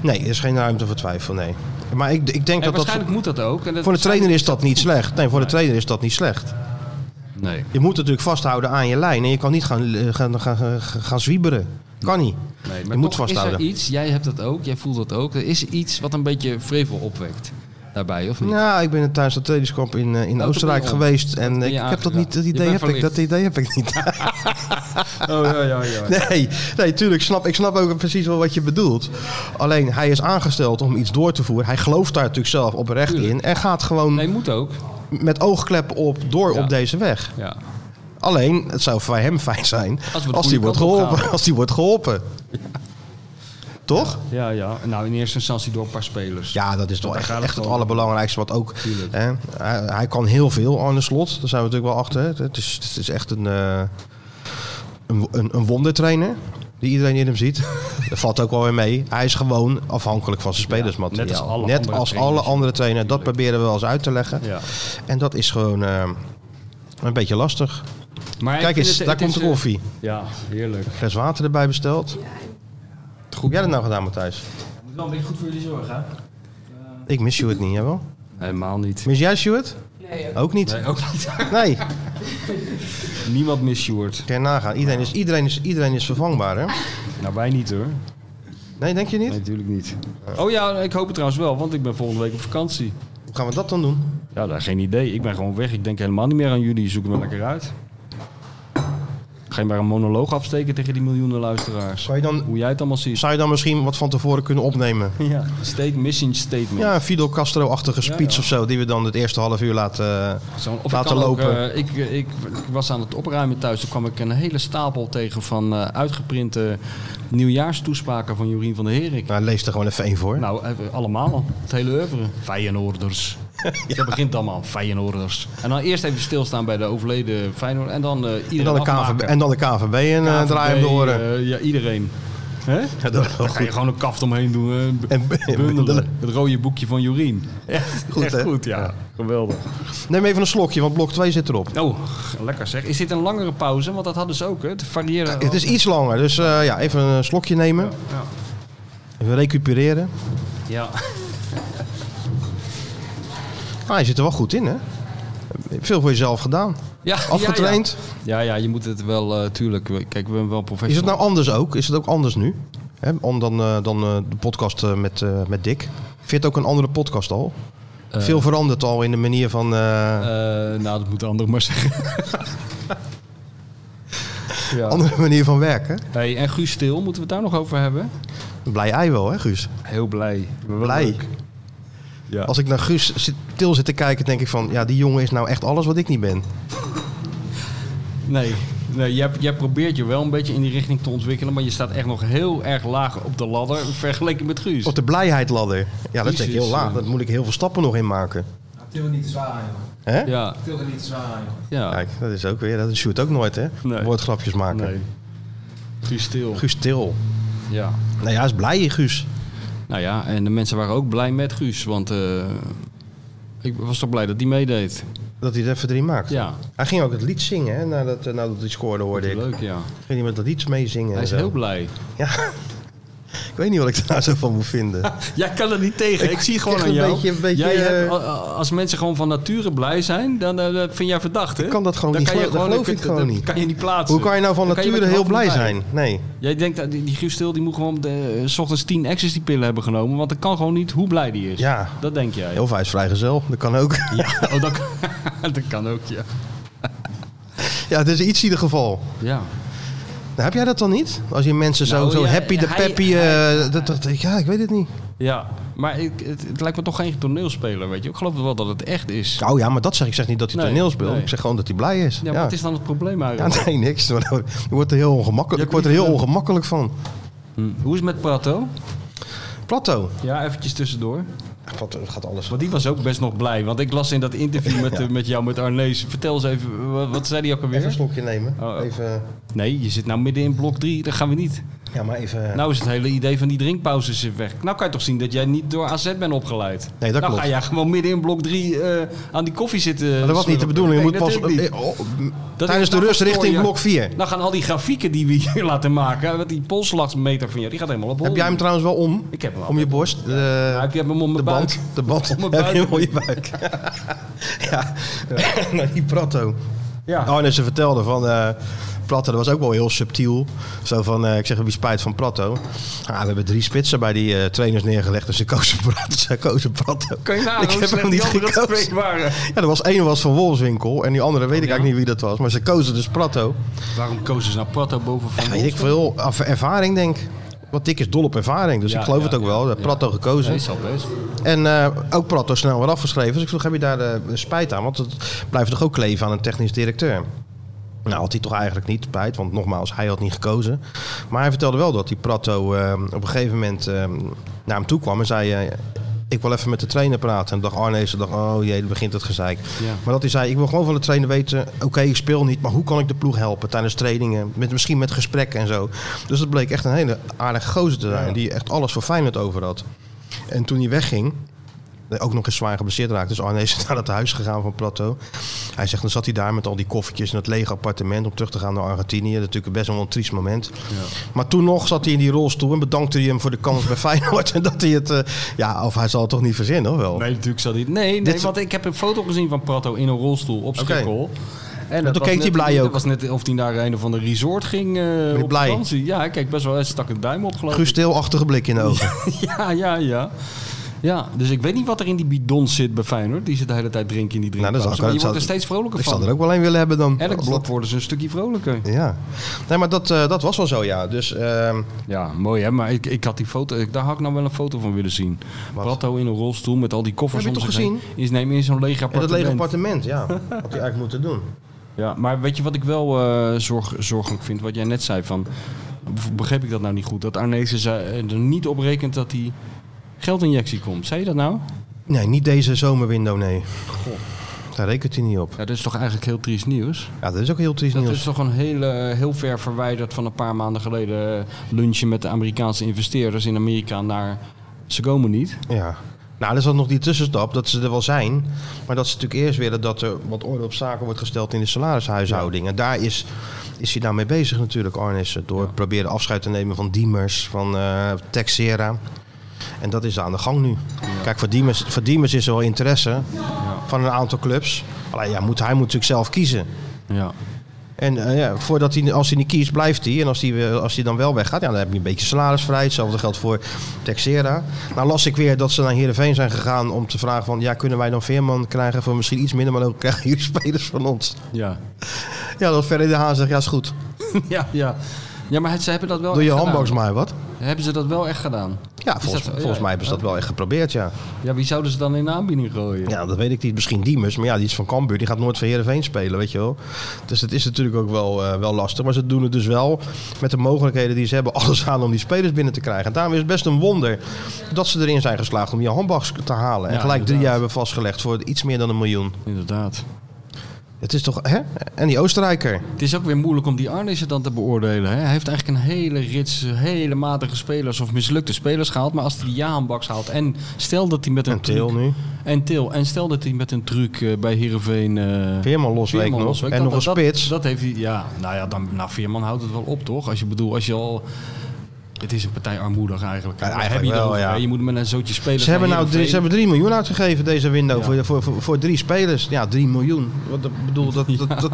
[SPEAKER 2] Nee, er is geen ruimte voor twijfel, nee. Maar ik, ik denk
[SPEAKER 3] en
[SPEAKER 2] dat dat...
[SPEAKER 3] waarschijnlijk moet dat ook. En dat
[SPEAKER 2] Voor de trainer is dat niet
[SPEAKER 3] goed.
[SPEAKER 2] slecht. Nee, voor de trainer is dat niet slecht.
[SPEAKER 3] Nee.
[SPEAKER 2] Je moet natuurlijk vasthouden aan je lijn. En je kan niet gaan, eh, gaan, gaan, gaan, gaan zwieberen. Kan niet.
[SPEAKER 3] nee
[SPEAKER 2] je moet
[SPEAKER 3] toch Is er
[SPEAKER 2] vasthouden.
[SPEAKER 3] iets, jij hebt dat ook, jij voelt dat ook. Er is iets wat een beetje vrevel opwekt daarbij, of niet?
[SPEAKER 2] Nou, ik ben tijdens het trainingskamp in, eh, in
[SPEAKER 3] ben
[SPEAKER 2] Oostenrijk
[SPEAKER 3] Nou, je om.
[SPEAKER 2] geweest. En
[SPEAKER 3] ben
[SPEAKER 2] ik
[SPEAKER 3] je
[SPEAKER 2] heb dat
[SPEAKER 3] aangeraakt.
[SPEAKER 2] niet. Dat
[SPEAKER 3] Je
[SPEAKER 2] idee
[SPEAKER 3] bent
[SPEAKER 2] heb ik, dat idee heb ik niet.
[SPEAKER 3] Oh, ja, ja, ja.
[SPEAKER 2] Nee, nee tuurlijk. Snap, ik snap ook precies wel wat je bedoelt. Alleen, hij is aangesteld om iets door te voeren. Hij gelooft daar natuurlijk zelf oprecht in. En gaat gewoon
[SPEAKER 3] Nee, moet ook.
[SPEAKER 2] met oogkleppen op door
[SPEAKER 3] Ja.
[SPEAKER 2] op deze weg.
[SPEAKER 3] Ja.
[SPEAKER 2] Alleen, het zou voor hem fijn zijn
[SPEAKER 3] we
[SPEAKER 2] als,
[SPEAKER 3] de
[SPEAKER 2] die
[SPEAKER 3] goede
[SPEAKER 2] wordt
[SPEAKER 3] kant op
[SPEAKER 2] geholpen.
[SPEAKER 3] gaan.
[SPEAKER 2] Als die wordt geholpen. Toch?
[SPEAKER 3] ja, ja. Nou, in eerste instantie door een paar spelers.
[SPEAKER 2] Ja, dat is toch
[SPEAKER 3] daar
[SPEAKER 2] echt,
[SPEAKER 3] gaat het
[SPEAKER 2] echt het
[SPEAKER 3] gewoon om.
[SPEAKER 2] allerbelangrijkste. Wat ook,
[SPEAKER 3] Tuurlijk.
[SPEAKER 2] hè, hij, hij kan heel veel aan de slot. Daar zijn we natuurlijk wel achter. hè. Het is, het is echt een, eh, een, een, een wondertrainer. Die iedereen in hem ziet. Dat valt ook wel weer mee. Hij is gewoon afhankelijk van zijn spelersmateriaal.
[SPEAKER 3] net als alle
[SPEAKER 2] Net
[SPEAKER 3] andere
[SPEAKER 2] als alle
[SPEAKER 3] trainers.
[SPEAKER 2] andere trainers. Dat proberen we wel eens uit te leggen.
[SPEAKER 3] Ja.
[SPEAKER 2] En dat is gewoon eh, een beetje lastig.
[SPEAKER 3] Maar ik
[SPEAKER 2] Kijk
[SPEAKER 3] vind
[SPEAKER 2] eens,
[SPEAKER 3] het-
[SPEAKER 2] daar
[SPEAKER 3] het
[SPEAKER 2] komt
[SPEAKER 3] is,
[SPEAKER 2] de
[SPEAKER 3] eh,
[SPEAKER 2] koffie.
[SPEAKER 3] Ja, heerlijk.
[SPEAKER 2] fles water erbij besteld. Goed. Hoe heb jij dat nou gedaan, Matthijs?
[SPEAKER 5] Moet wel een beetje goed voor jullie zorgen, hè?
[SPEAKER 2] Ik mis Stuart niet, jawel.
[SPEAKER 3] Helemaal niet.
[SPEAKER 2] Mis jij Stuart?
[SPEAKER 5] Nee,
[SPEAKER 2] Ook niet.
[SPEAKER 3] Nee, ook niet.
[SPEAKER 2] Nee,
[SPEAKER 3] Niemand mist Sjoerd.
[SPEAKER 2] kan je nagaan. Iedereen is, iedereen is, iedereen is vervangbaar, hè?
[SPEAKER 3] Nou, wij niet hoor.
[SPEAKER 2] Nee, denk je niet?
[SPEAKER 3] natuurlijk niet. Oh ja, ik hoop het trouwens wel, want ik ben volgende week op vakantie.
[SPEAKER 2] Hoe gaan we dat dan doen?
[SPEAKER 3] Ja, daar geen idee. Ik ben gewoon weg. Ik denk helemaal niet meer aan jullie. Zoek me lekker uit. Ga je maar een monoloog afsteken tegen die miljoenen luisteraars.
[SPEAKER 2] Zou je dan,
[SPEAKER 3] Hoe jij het allemaal ziet.
[SPEAKER 2] zou je dan misschien wat van tevoren kunnen opnemen?
[SPEAKER 3] Ja, state, mission statement.
[SPEAKER 2] Ja, een Fidel Castro-achtige
[SPEAKER 3] Ja,
[SPEAKER 2] speech
[SPEAKER 3] ja.
[SPEAKER 2] of zo, die we dan het eerste half uur laten...
[SPEAKER 3] Zo'n- of
[SPEAKER 2] Laten
[SPEAKER 3] ik kan
[SPEAKER 2] lopen.
[SPEAKER 3] Ook, eh, ik, ik, ik was aan het opruimen thuis. Toen kwam ik een hele stapel tegen van eh, uitgeprinte nieuwjaarstoespraken van Jorien van der Herik.
[SPEAKER 2] nou, lees er gewoon even één voor.
[SPEAKER 3] Nou, even allemaal. Het hele oeuvre. Feyenoorders. Dat begint allemaal. Feyenoorders. En dan eerst even stilstaan bij de overleden Feyenoord. En dan eh iedereen
[SPEAKER 2] en, dan de KVB,
[SPEAKER 3] afmaken.
[SPEAKER 2] en dan de KVB en eh
[SPEAKER 3] KVB,
[SPEAKER 2] draai hem door. horen.
[SPEAKER 3] eh, ja, iedereen. Hè?
[SPEAKER 2] ja, dat is wel
[SPEAKER 3] Dan ga je
[SPEAKER 2] goed.
[SPEAKER 3] gewoon een kaft omheen doen. eh, b-
[SPEAKER 2] En b- bundelen.
[SPEAKER 3] bundelen. Het rode boekje van Jorien. Echt
[SPEAKER 2] Goed,
[SPEAKER 3] goed, echt
[SPEAKER 2] hè?
[SPEAKER 3] goed ja. Geweldig.
[SPEAKER 2] Neem even een slokje, want blok 2 zit erop.
[SPEAKER 3] Oh, lekker zeg. Is dit een langere pauze? Want dat hadden ze ook, hè? Het variëren.
[SPEAKER 2] Het is iets langer, dus eh, ja, even een slokje nemen.
[SPEAKER 3] Ja.
[SPEAKER 2] Even recupereren.
[SPEAKER 3] Ja.
[SPEAKER 2] Ah, je zit er wel goed in, hè? Veel voor jezelf gedaan.
[SPEAKER 3] ja.
[SPEAKER 2] Afgetraind.
[SPEAKER 3] Ja, ja, ja je moet het wel, eh, tuurlijk. we- Kijk, we zijn wel professional.
[SPEAKER 2] Is het nou anders ook? Is het ook anders nu? Hè, om dan, eh, dan eh, de podcast eh, met, eh, met Dick. Vind je het ook een andere podcast al?
[SPEAKER 3] Eh,
[SPEAKER 2] Veel veranderd al in de manier van... eh,
[SPEAKER 3] eh, nou, dat moet de ander maar zeggen. ja.
[SPEAKER 2] andere manier van werken.
[SPEAKER 3] Hey, en Guus Stil, moeten we het daar nog over hebben?
[SPEAKER 2] Blij ei wel, hè Guus?
[SPEAKER 3] Heel blij. Wel
[SPEAKER 2] Blij.
[SPEAKER 3] leuk. Ja.
[SPEAKER 2] Als ik naar Guus zit, til zit te kijken, denk ik van... Ja, die jongen is nou echt alles wat ik niet ben.
[SPEAKER 3] Nee, nee jij, jij probeert je wel een beetje in die richting te ontwikkelen, maar je staat echt nog heel erg laag op de ladder vergeleken met Guus.
[SPEAKER 2] Op de blijheidladder. Ja, dat is denk ik heel
[SPEAKER 3] Jezus,
[SPEAKER 2] laag.
[SPEAKER 3] ja.
[SPEAKER 2] Daar moet ik heel veel stappen nog in maken.
[SPEAKER 5] Nou, til er niet te zwaar aan, joh.
[SPEAKER 2] Hè?
[SPEAKER 3] Ja,
[SPEAKER 5] Til er niet te zwaar aan, joh.
[SPEAKER 3] ja.
[SPEAKER 2] Kijk, dat is ook weer... Dat shoot ook nooit, hè?
[SPEAKER 3] Nee.
[SPEAKER 2] Woordgrapjes maken.
[SPEAKER 3] Nee. Guus stil.
[SPEAKER 2] Guus Til.
[SPEAKER 3] Ja.
[SPEAKER 2] Nou ja, hij is blij, Guus.
[SPEAKER 3] Nou ja, en de mensen waren ook blij met Guus, want eh, ik was toch blij dat hij meedeed.
[SPEAKER 2] Dat hij het even erin maakt.
[SPEAKER 3] Ja,
[SPEAKER 2] Hij ging ook het lied zingen, hè? Nadat, eh, nadat hij scoorde, hoorde ik.
[SPEAKER 3] leuk ja.
[SPEAKER 2] Ging hij met dat lied meezingen.
[SPEAKER 3] Hij
[SPEAKER 2] en
[SPEAKER 3] is
[SPEAKER 2] zo.
[SPEAKER 3] heel blij.
[SPEAKER 2] Ja. Ik weet niet wat ik daar zo van moet vinden.
[SPEAKER 3] Jij kan er niet tegen. Ik, zie gewoon
[SPEAKER 2] krijg
[SPEAKER 3] aan
[SPEAKER 2] een
[SPEAKER 3] jou.
[SPEAKER 2] beetje- een beetje,
[SPEAKER 3] jij
[SPEAKER 2] eh,
[SPEAKER 3] hebt, a- a- als mensen gewoon van nature blij zijn, dan eh, dat vind jij verdacht, hè?
[SPEAKER 2] kan dat gewoon niet
[SPEAKER 3] je
[SPEAKER 2] geloven. Dat geloof
[SPEAKER 3] dan
[SPEAKER 2] ik
[SPEAKER 3] kun-
[SPEAKER 2] gewoon
[SPEAKER 3] dat
[SPEAKER 2] niet.
[SPEAKER 3] kan je niet plaatsen.
[SPEAKER 2] Hoe kan je nou van
[SPEAKER 3] Dan kan je met
[SPEAKER 2] nature
[SPEAKER 3] je
[SPEAKER 2] heel
[SPEAKER 3] hoofd
[SPEAKER 2] blij
[SPEAKER 3] erbij.
[SPEAKER 2] zijn? Nee.
[SPEAKER 3] Jij denkt dat die, die Guus Stil die moet gewoon de, eh, s ochtends 10 exes die pillen hebben genomen, want dat kan gewoon niet hoe blij die is.
[SPEAKER 2] Ja.
[SPEAKER 3] Dat denk jij.
[SPEAKER 2] Of hij is vrijgezel. Dat kan ook.
[SPEAKER 3] Ja, oh, dat, kan- dat kan ook, ja.
[SPEAKER 2] Ja, het is iets in ieder geval.
[SPEAKER 3] Ja,
[SPEAKER 2] Nou, heb jij dat dan niet? Als je mensen zo,
[SPEAKER 3] Nou,
[SPEAKER 2] zo
[SPEAKER 3] ja,
[SPEAKER 2] happy, de
[SPEAKER 3] hij-
[SPEAKER 2] peppy... eh, dat, dat- ja, ik weet het niet.
[SPEAKER 3] ja. maar ik, het, het lijkt me toch geen toneelspeler, weet je. Ik geloof wel dat het echt is.
[SPEAKER 2] Oh ja, maar dat zeg ik. Ik zeg niet dat hij
[SPEAKER 3] Nee,
[SPEAKER 2] toneel speelt.
[SPEAKER 3] nee.
[SPEAKER 2] Ik zeg gewoon dat hij blij is.
[SPEAKER 3] Ja,
[SPEAKER 2] Ja,
[SPEAKER 3] maar wat is dan het probleem
[SPEAKER 2] Ja,
[SPEAKER 3] eigenlijk?
[SPEAKER 2] nee, niks. Maar dan- Je wordt er heel
[SPEAKER 3] Je
[SPEAKER 2] ongemakkelijk, ik
[SPEAKER 3] hebt
[SPEAKER 2] word er heel
[SPEAKER 3] liever-
[SPEAKER 2] ongemakkelijk van.
[SPEAKER 3] Hm. Hoe is het met Prato?
[SPEAKER 2] Plato.
[SPEAKER 3] Ja, eventjes tussendoor.
[SPEAKER 2] Plato gaat alles
[SPEAKER 3] Want die was ook best nog blij. Want ik las in dat interview met, eh, met jou, met Arnees. Vertel eens even, wat, wat zei die ook
[SPEAKER 2] Even een
[SPEAKER 3] alweer?
[SPEAKER 2] slokje nemen.
[SPEAKER 3] Oh, oh.
[SPEAKER 2] Even,
[SPEAKER 3] Nee, je zit nou midden in blok 3. Dat gaan we niet.
[SPEAKER 2] ja, maar even...
[SPEAKER 3] Nou is het hele idee van die drinkpauzes weer weg. Nou kan je toch zien dat jij niet door AZ bent opgeleid.
[SPEAKER 2] Nee, dat
[SPEAKER 3] nou
[SPEAKER 2] klopt.
[SPEAKER 3] ga jij gewoon midden in blok 3 aan die koffie zitten. eh,
[SPEAKER 2] Maar dat was niet de
[SPEAKER 3] slurpen.
[SPEAKER 2] bedoeling. Je moet
[SPEAKER 3] Nee,
[SPEAKER 2] pas
[SPEAKER 3] natuurlijk niet.
[SPEAKER 2] eh, oh, m,
[SPEAKER 3] Dat
[SPEAKER 2] tijdens
[SPEAKER 3] is-
[SPEAKER 2] de
[SPEAKER 3] nou
[SPEAKER 2] rust
[SPEAKER 3] verstoor
[SPEAKER 2] richting
[SPEAKER 3] je-
[SPEAKER 2] blok 4.
[SPEAKER 3] Nou gaan al die grafieken die we hier laten maken, want die polsslagmeter van jou, die gaat helemaal op hol.
[SPEAKER 2] Heb jij hem trouwens wel om?
[SPEAKER 3] Ik heb hem wel.
[SPEAKER 2] Om je borst? De,
[SPEAKER 3] Nou, ik heb hem om
[SPEAKER 2] de
[SPEAKER 3] mijn
[SPEAKER 2] band?
[SPEAKER 3] buik.
[SPEAKER 2] De band.
[SPEAKER 3] Om mijn
[SPEAKER 2] Heb je
[SPEAKER 3] buik.
[SPEAKER 2] hem om je buik? ja. Nou, die Pratto.
[SPEAKER 3] Ja.
[SPEAKER 2] Oh, en ze vertelde van... eh Pratto, dat was ook wel heel subtiel. Zo van, eh, ik zeg, wie spijt van Pratto? Ah, we hebben drie spitsen bij die eh, trainers neergelegd. Dus ze kozen Pratto. Ze kozen Pratto.
[SPEAKER 3] Kan je nagaan
[SPEAKER 2] Ik
[SPEAKER 3] hoe
[SPEAKER 2] heb
[SPEAKER 3] slecht
[SPEAKER 2] hem
[SPEAKER 3] die
[SPEAKER 2] niet
[SPEAKER 3] andere
[SPEAKER 2] gekozen.
[SPEAKER 3] twee waren.
[SPEAKER 2] Ja, er was één was van Wolfswinkel. En die andere weet ik
[SPEAKER 3] Oh, ja?
[SPEAKER 2] eigenlijk niet wie dat was. Maar ze kozen dus Pratto.
[SPEAKER 3] Waarom kozen ze nou Prato boven Van
[SPEAKER 2] Weet ik
[SPEAKER 3] Wolfswinkel?
[SPEAKER 2] veel. af- Ervaring, denk ik. Want Dick is dol op ervaring, dus
[SPEAKER 3] Ja,
[SPEAKER 2] ik geloof
[SPEAKER 3] ja,
[SPEAKER 2] het ook
[SPEAKER 3] ja,
[SPEAKER 2] wel.
[SPEAKER 3] ja.
[SPEAKER 2] Dat Pratto gekozen.
[SPEAKER 3] Nee, zal best.
[SPEAKER 2] En eh, ook Pratto snel weer afgeschreven. Dus ik vroeg, heb je daar eh, spijt aan? Want het blijft toch ook kleven aan een technisch directeur? Nou, had hij toch eigenlijk niet spijt. Want nogmaals, hij had niet gekozen. Maar hij vertelde wel dat die Pratto eh, op een gegeven moment eh, naar hem toe kwam en zei... eh, ik wil even met de trainer praten. En dacht Arnees, dacht, oh jee, dan begint het gezeik.
[SPEAKER 3] Ja.
[SPEAKER 2] Maar dat hij zei, ik wil gewoon van de trainer weten... oké, ik speel niet, maar hoe kan ik de ploeg helpen tijdens trainingen? Met, misschien met gesprekken en zo. Dus dat bleek echt een hele aardige gozer te zijn... die echt alles voor Feyenoord over had. En toen hij wegging, ook nog eens zwaar geblesseerd raakte. Dus Arne is naar het huis gegaan van Plato. Hij zegt, dan zat hij daar met al die koffertjes in het lege appartement... om terug te gaan naar Argentinië. Dat is natuurlijk best wel een triest moment. Maar toen nog zat hij in die rolstoel en bedankte hij hem voor de kans bij Feyenoord. En dat hij het... eh, ja, of hij zal het toch niet verzinnen, of wel?
[SPEAKER 3] Nee, natuurlijk zal dit. Nee, nee
[SPEAKER 2] Dit-
[SPEAKER 3] want ik heb een foto gezien van Prato in een rolstoel op Schiphol. En
[SPEAKER 2] toen
[SPEAKER 3] was
[SPEAKER 2] keek hij
[SPEAKER 3] net-
[SPEAKER 2] blij ook.
[SPEAKER 3] Het was net of hij naar een of ander resort ging eh op
[SPEAKER 2] blij.
[SPEAKER 3] vakantie. Ja, hij keek best wel, hij stak een duim op geloof ik.
[SPEAKER 2] Guus Teelachtige blik in de ogen.
[SPEAKER 3] Ja, ja, ja. Ja, dus ik weet niet wat er in die bidon zit bij Feyenoord. Die zit de hele tijd drinken in die
[SPEAKER 2] Nou, dat zou
[SPEAKER 3] drinkpauze.
[SPEAKER 2] ik-
[SPEAKER 3] maar je
[SPEAKER 2] dat zou-
[SPEAKER 3] wordt er steeds vrolijker
[SPEAKER 2] Ik zou
[SPEAKER 3] van.
[SPEAKER 2] er ook wel een willen hebben dan.
[SPEAKER 3] Elk blok worden ze een stukje vrolijker.
[SPEAKER 2] Ja. Nee, maar dat, eh, dat was wel zo, ja. Dus ehm,
[SPEAKER 3] Ja, mooi hè. Maar ik, ik had die foto, ik, daar had ik nou wel een foto van willen zien.
[SPEAKER 2] Wat?
[SPEAKER 3] Prato in een rolstoel met al die koffers
[SPEAKER 2] Heb je
[SPEAKER 3] om
[SPEAKER 2] toch
[SPEAKER 3] zich heen. Is neem in zo'n
[SPEAKER 2] in
[SPEAKER 3] leeg
[SPEAKER 2] dat
[SPEAKER 3] appartement.
[SPEAKER 2] lege appartement, ja. Had hij eigenlijk moeten doen.
[SPEAKER 3] Ja, maar weet je wat ik wel eh, zorg, zorgelijk vind? Wat jij net zei van... of Begreep ik dat nou niet goed? Dat Arnezen zei- eh, er niet op rekent dat die geldinjectie komt. Zei je dat nou?
[SPEAKER 2] Nee, niet deze zomerwindow, nee. Daar rekent hij niet op.
[SPEAKER 3] Ja, dat is toch eigenlijk heel triest nieuws?
[SPEAKER 2] Ja, dat is ook heel triest
[SPEAKER 3] Dat
[SPEAKER 2] nieuws.
[SPEAKER 3] is toch een hele, eh, heel ver verwijderd van een paar maanden geleden eh, lunchen met de Amerikaanse investeerders in Amerika naar ze komen niet.
[SPEAKER 2] Ja. Nou, er is dan nog die tussenstap dat ze er wel zijn. Maar dat ze natuurlijk eerst willen dat er wat orde op zaken wordt gesteld in de salarishuishouding. En daar is, is hij nou mee bezig natuurlijk, Arnissen. Door het proberen afscheid te nemen van Diemers, van eh, Texera. En dat is aan de gang nu. Kijk, voor Diemers, voor Diemers is er wel interesse van een aantal clubs. Alleen ja, moet, hij moet natuurlijk zelf kiezen.
[SPEAKER 3] Ja.
[SPEAKER 2] En eh, ja, voordat hij, als hij niet kiest, blijft hij. En als hij, weer- als hij dan wel weggaat, ja, dan heb je een beetje salarisvrij. Hetzelfde geldt voor Texera. Nou las ik weer dat ze naar Heerenveen zijn gegaan om te vragen van... ja, kunnen wij dan Veerman krijgen voor misschien iets minder... maar dan krijgen jullie spelers van ons.
[SPEAKER 3] Ja.
[SPEAKER 2] Ja, dat Ferry de Haan zegt, ja, is goed.
[SPEAKER 3] ja, ja. Ja, maar het, ze hebben dat wel
[SPEAKER 2] Doe je
[SPEAKER 3] echt
[SPEAKER 2] handbox
[SPEAKER 3] gedaan.
[SPEAKER 2] maar wat.
[SPEAKER 3] Hebben ze dat wel echt gedaan?
[SPEAKER 2] Ja, volgens,
[SPEAKER 3] dat-
[SPEAKER 2] volgens
[SPEAKER 3] ja,
[SPEAKER 2] mij hebben ze dat wel echt geprobeerd, ja.
[SPEAKER 3] Ja, wie zouden ze dan in de aanbieding gooien?
[SPEAKER 2] Ja, dat weet ik niet. Misschien Diemers. Maar ja, die is van Cambuur. Die gaat nooit van Heerenveen spelen, weet je wel. Dus dat is natuurlijk ook wel, eh, wel lastig. Maar ze doen het dus wel met de mogelijkheden die ze hebben. Alles aan om die spelers binnen te krijgen. En daarom is het best een wonder dat ze erin zijn geslaagd om Johan Baks te halen. En
[SPEAKER 3] Ja,
[SPEAKER 2] gelijk drie
[SPEAKER 3] inderdaad.
[SPEAKER 2] jaar hebben vastgelegd voor iets meer dan een miljoen.
[SPEAKER 3] Inderdaad.
[SPEAKER 2] Het is toch... Hè? En die Oostenrijker.
[SPEAKER 3] Het is ook weer moeilijk om die Arnissen dan te beoordelen. Hè? Hij heeft eigenlijk een hele rits, hele matige spelers of mislukte spelers gehaald. Maar als hij die Jaanbaks haalt en stel dat hij met een
[SPEAKER 2] En Til
[SPEAKER 3] truc-
[SPEAKER 2] nu.
[SPEAKER 3] En Til. En stel dat hij met een truc eh, bij Heerenveen... eh,
[SPEAKER 2] Veerman losweek
[SPEAKER 3] Veerman
[SPEAKER 2] nog.
[SPEAKER 3] losweek.
[SPEAKER 2] En
[SPEAKER 3] Dat-
[SPEAKER 2] nog een
[SPEAKER 3] dat-
[SPEAKER 2] spits.
[SPEAKER 3] Dat, heeft hij... Ja, nou ja, dan, nou, Veerman houdt het wel op, toch? Als je bedoelt, als je al... Het is een partij armoedig eigenlijk.
[SPEAKER 2] Ja,
[SPEAKER 3] Daar
[SPEAKER 2] eigenlijk
[SPEAKER 3] heb je, het
[SPEAKER 2] wel,
[SPEAKER 3] over,
[SPEAKER 2] ja.
[SPEAKER 3] hè? je moet met een zootje spelers
[SPEAKER 2] Ze hebben,
[SPEAKER 3] naar
[SPEAKER 2] nou drie, ze
[SPEAKER 3] Heerenveen.
[SPEAKER 2] hebben 3 miljoen uitgegeven deze window
[SPEAKER 3] Ja.
[SPEAKER 2] voor, voor, voor, voor drie spelers. Ja, 3 miljoen. Wat ik bedoel, dat, dat, dat,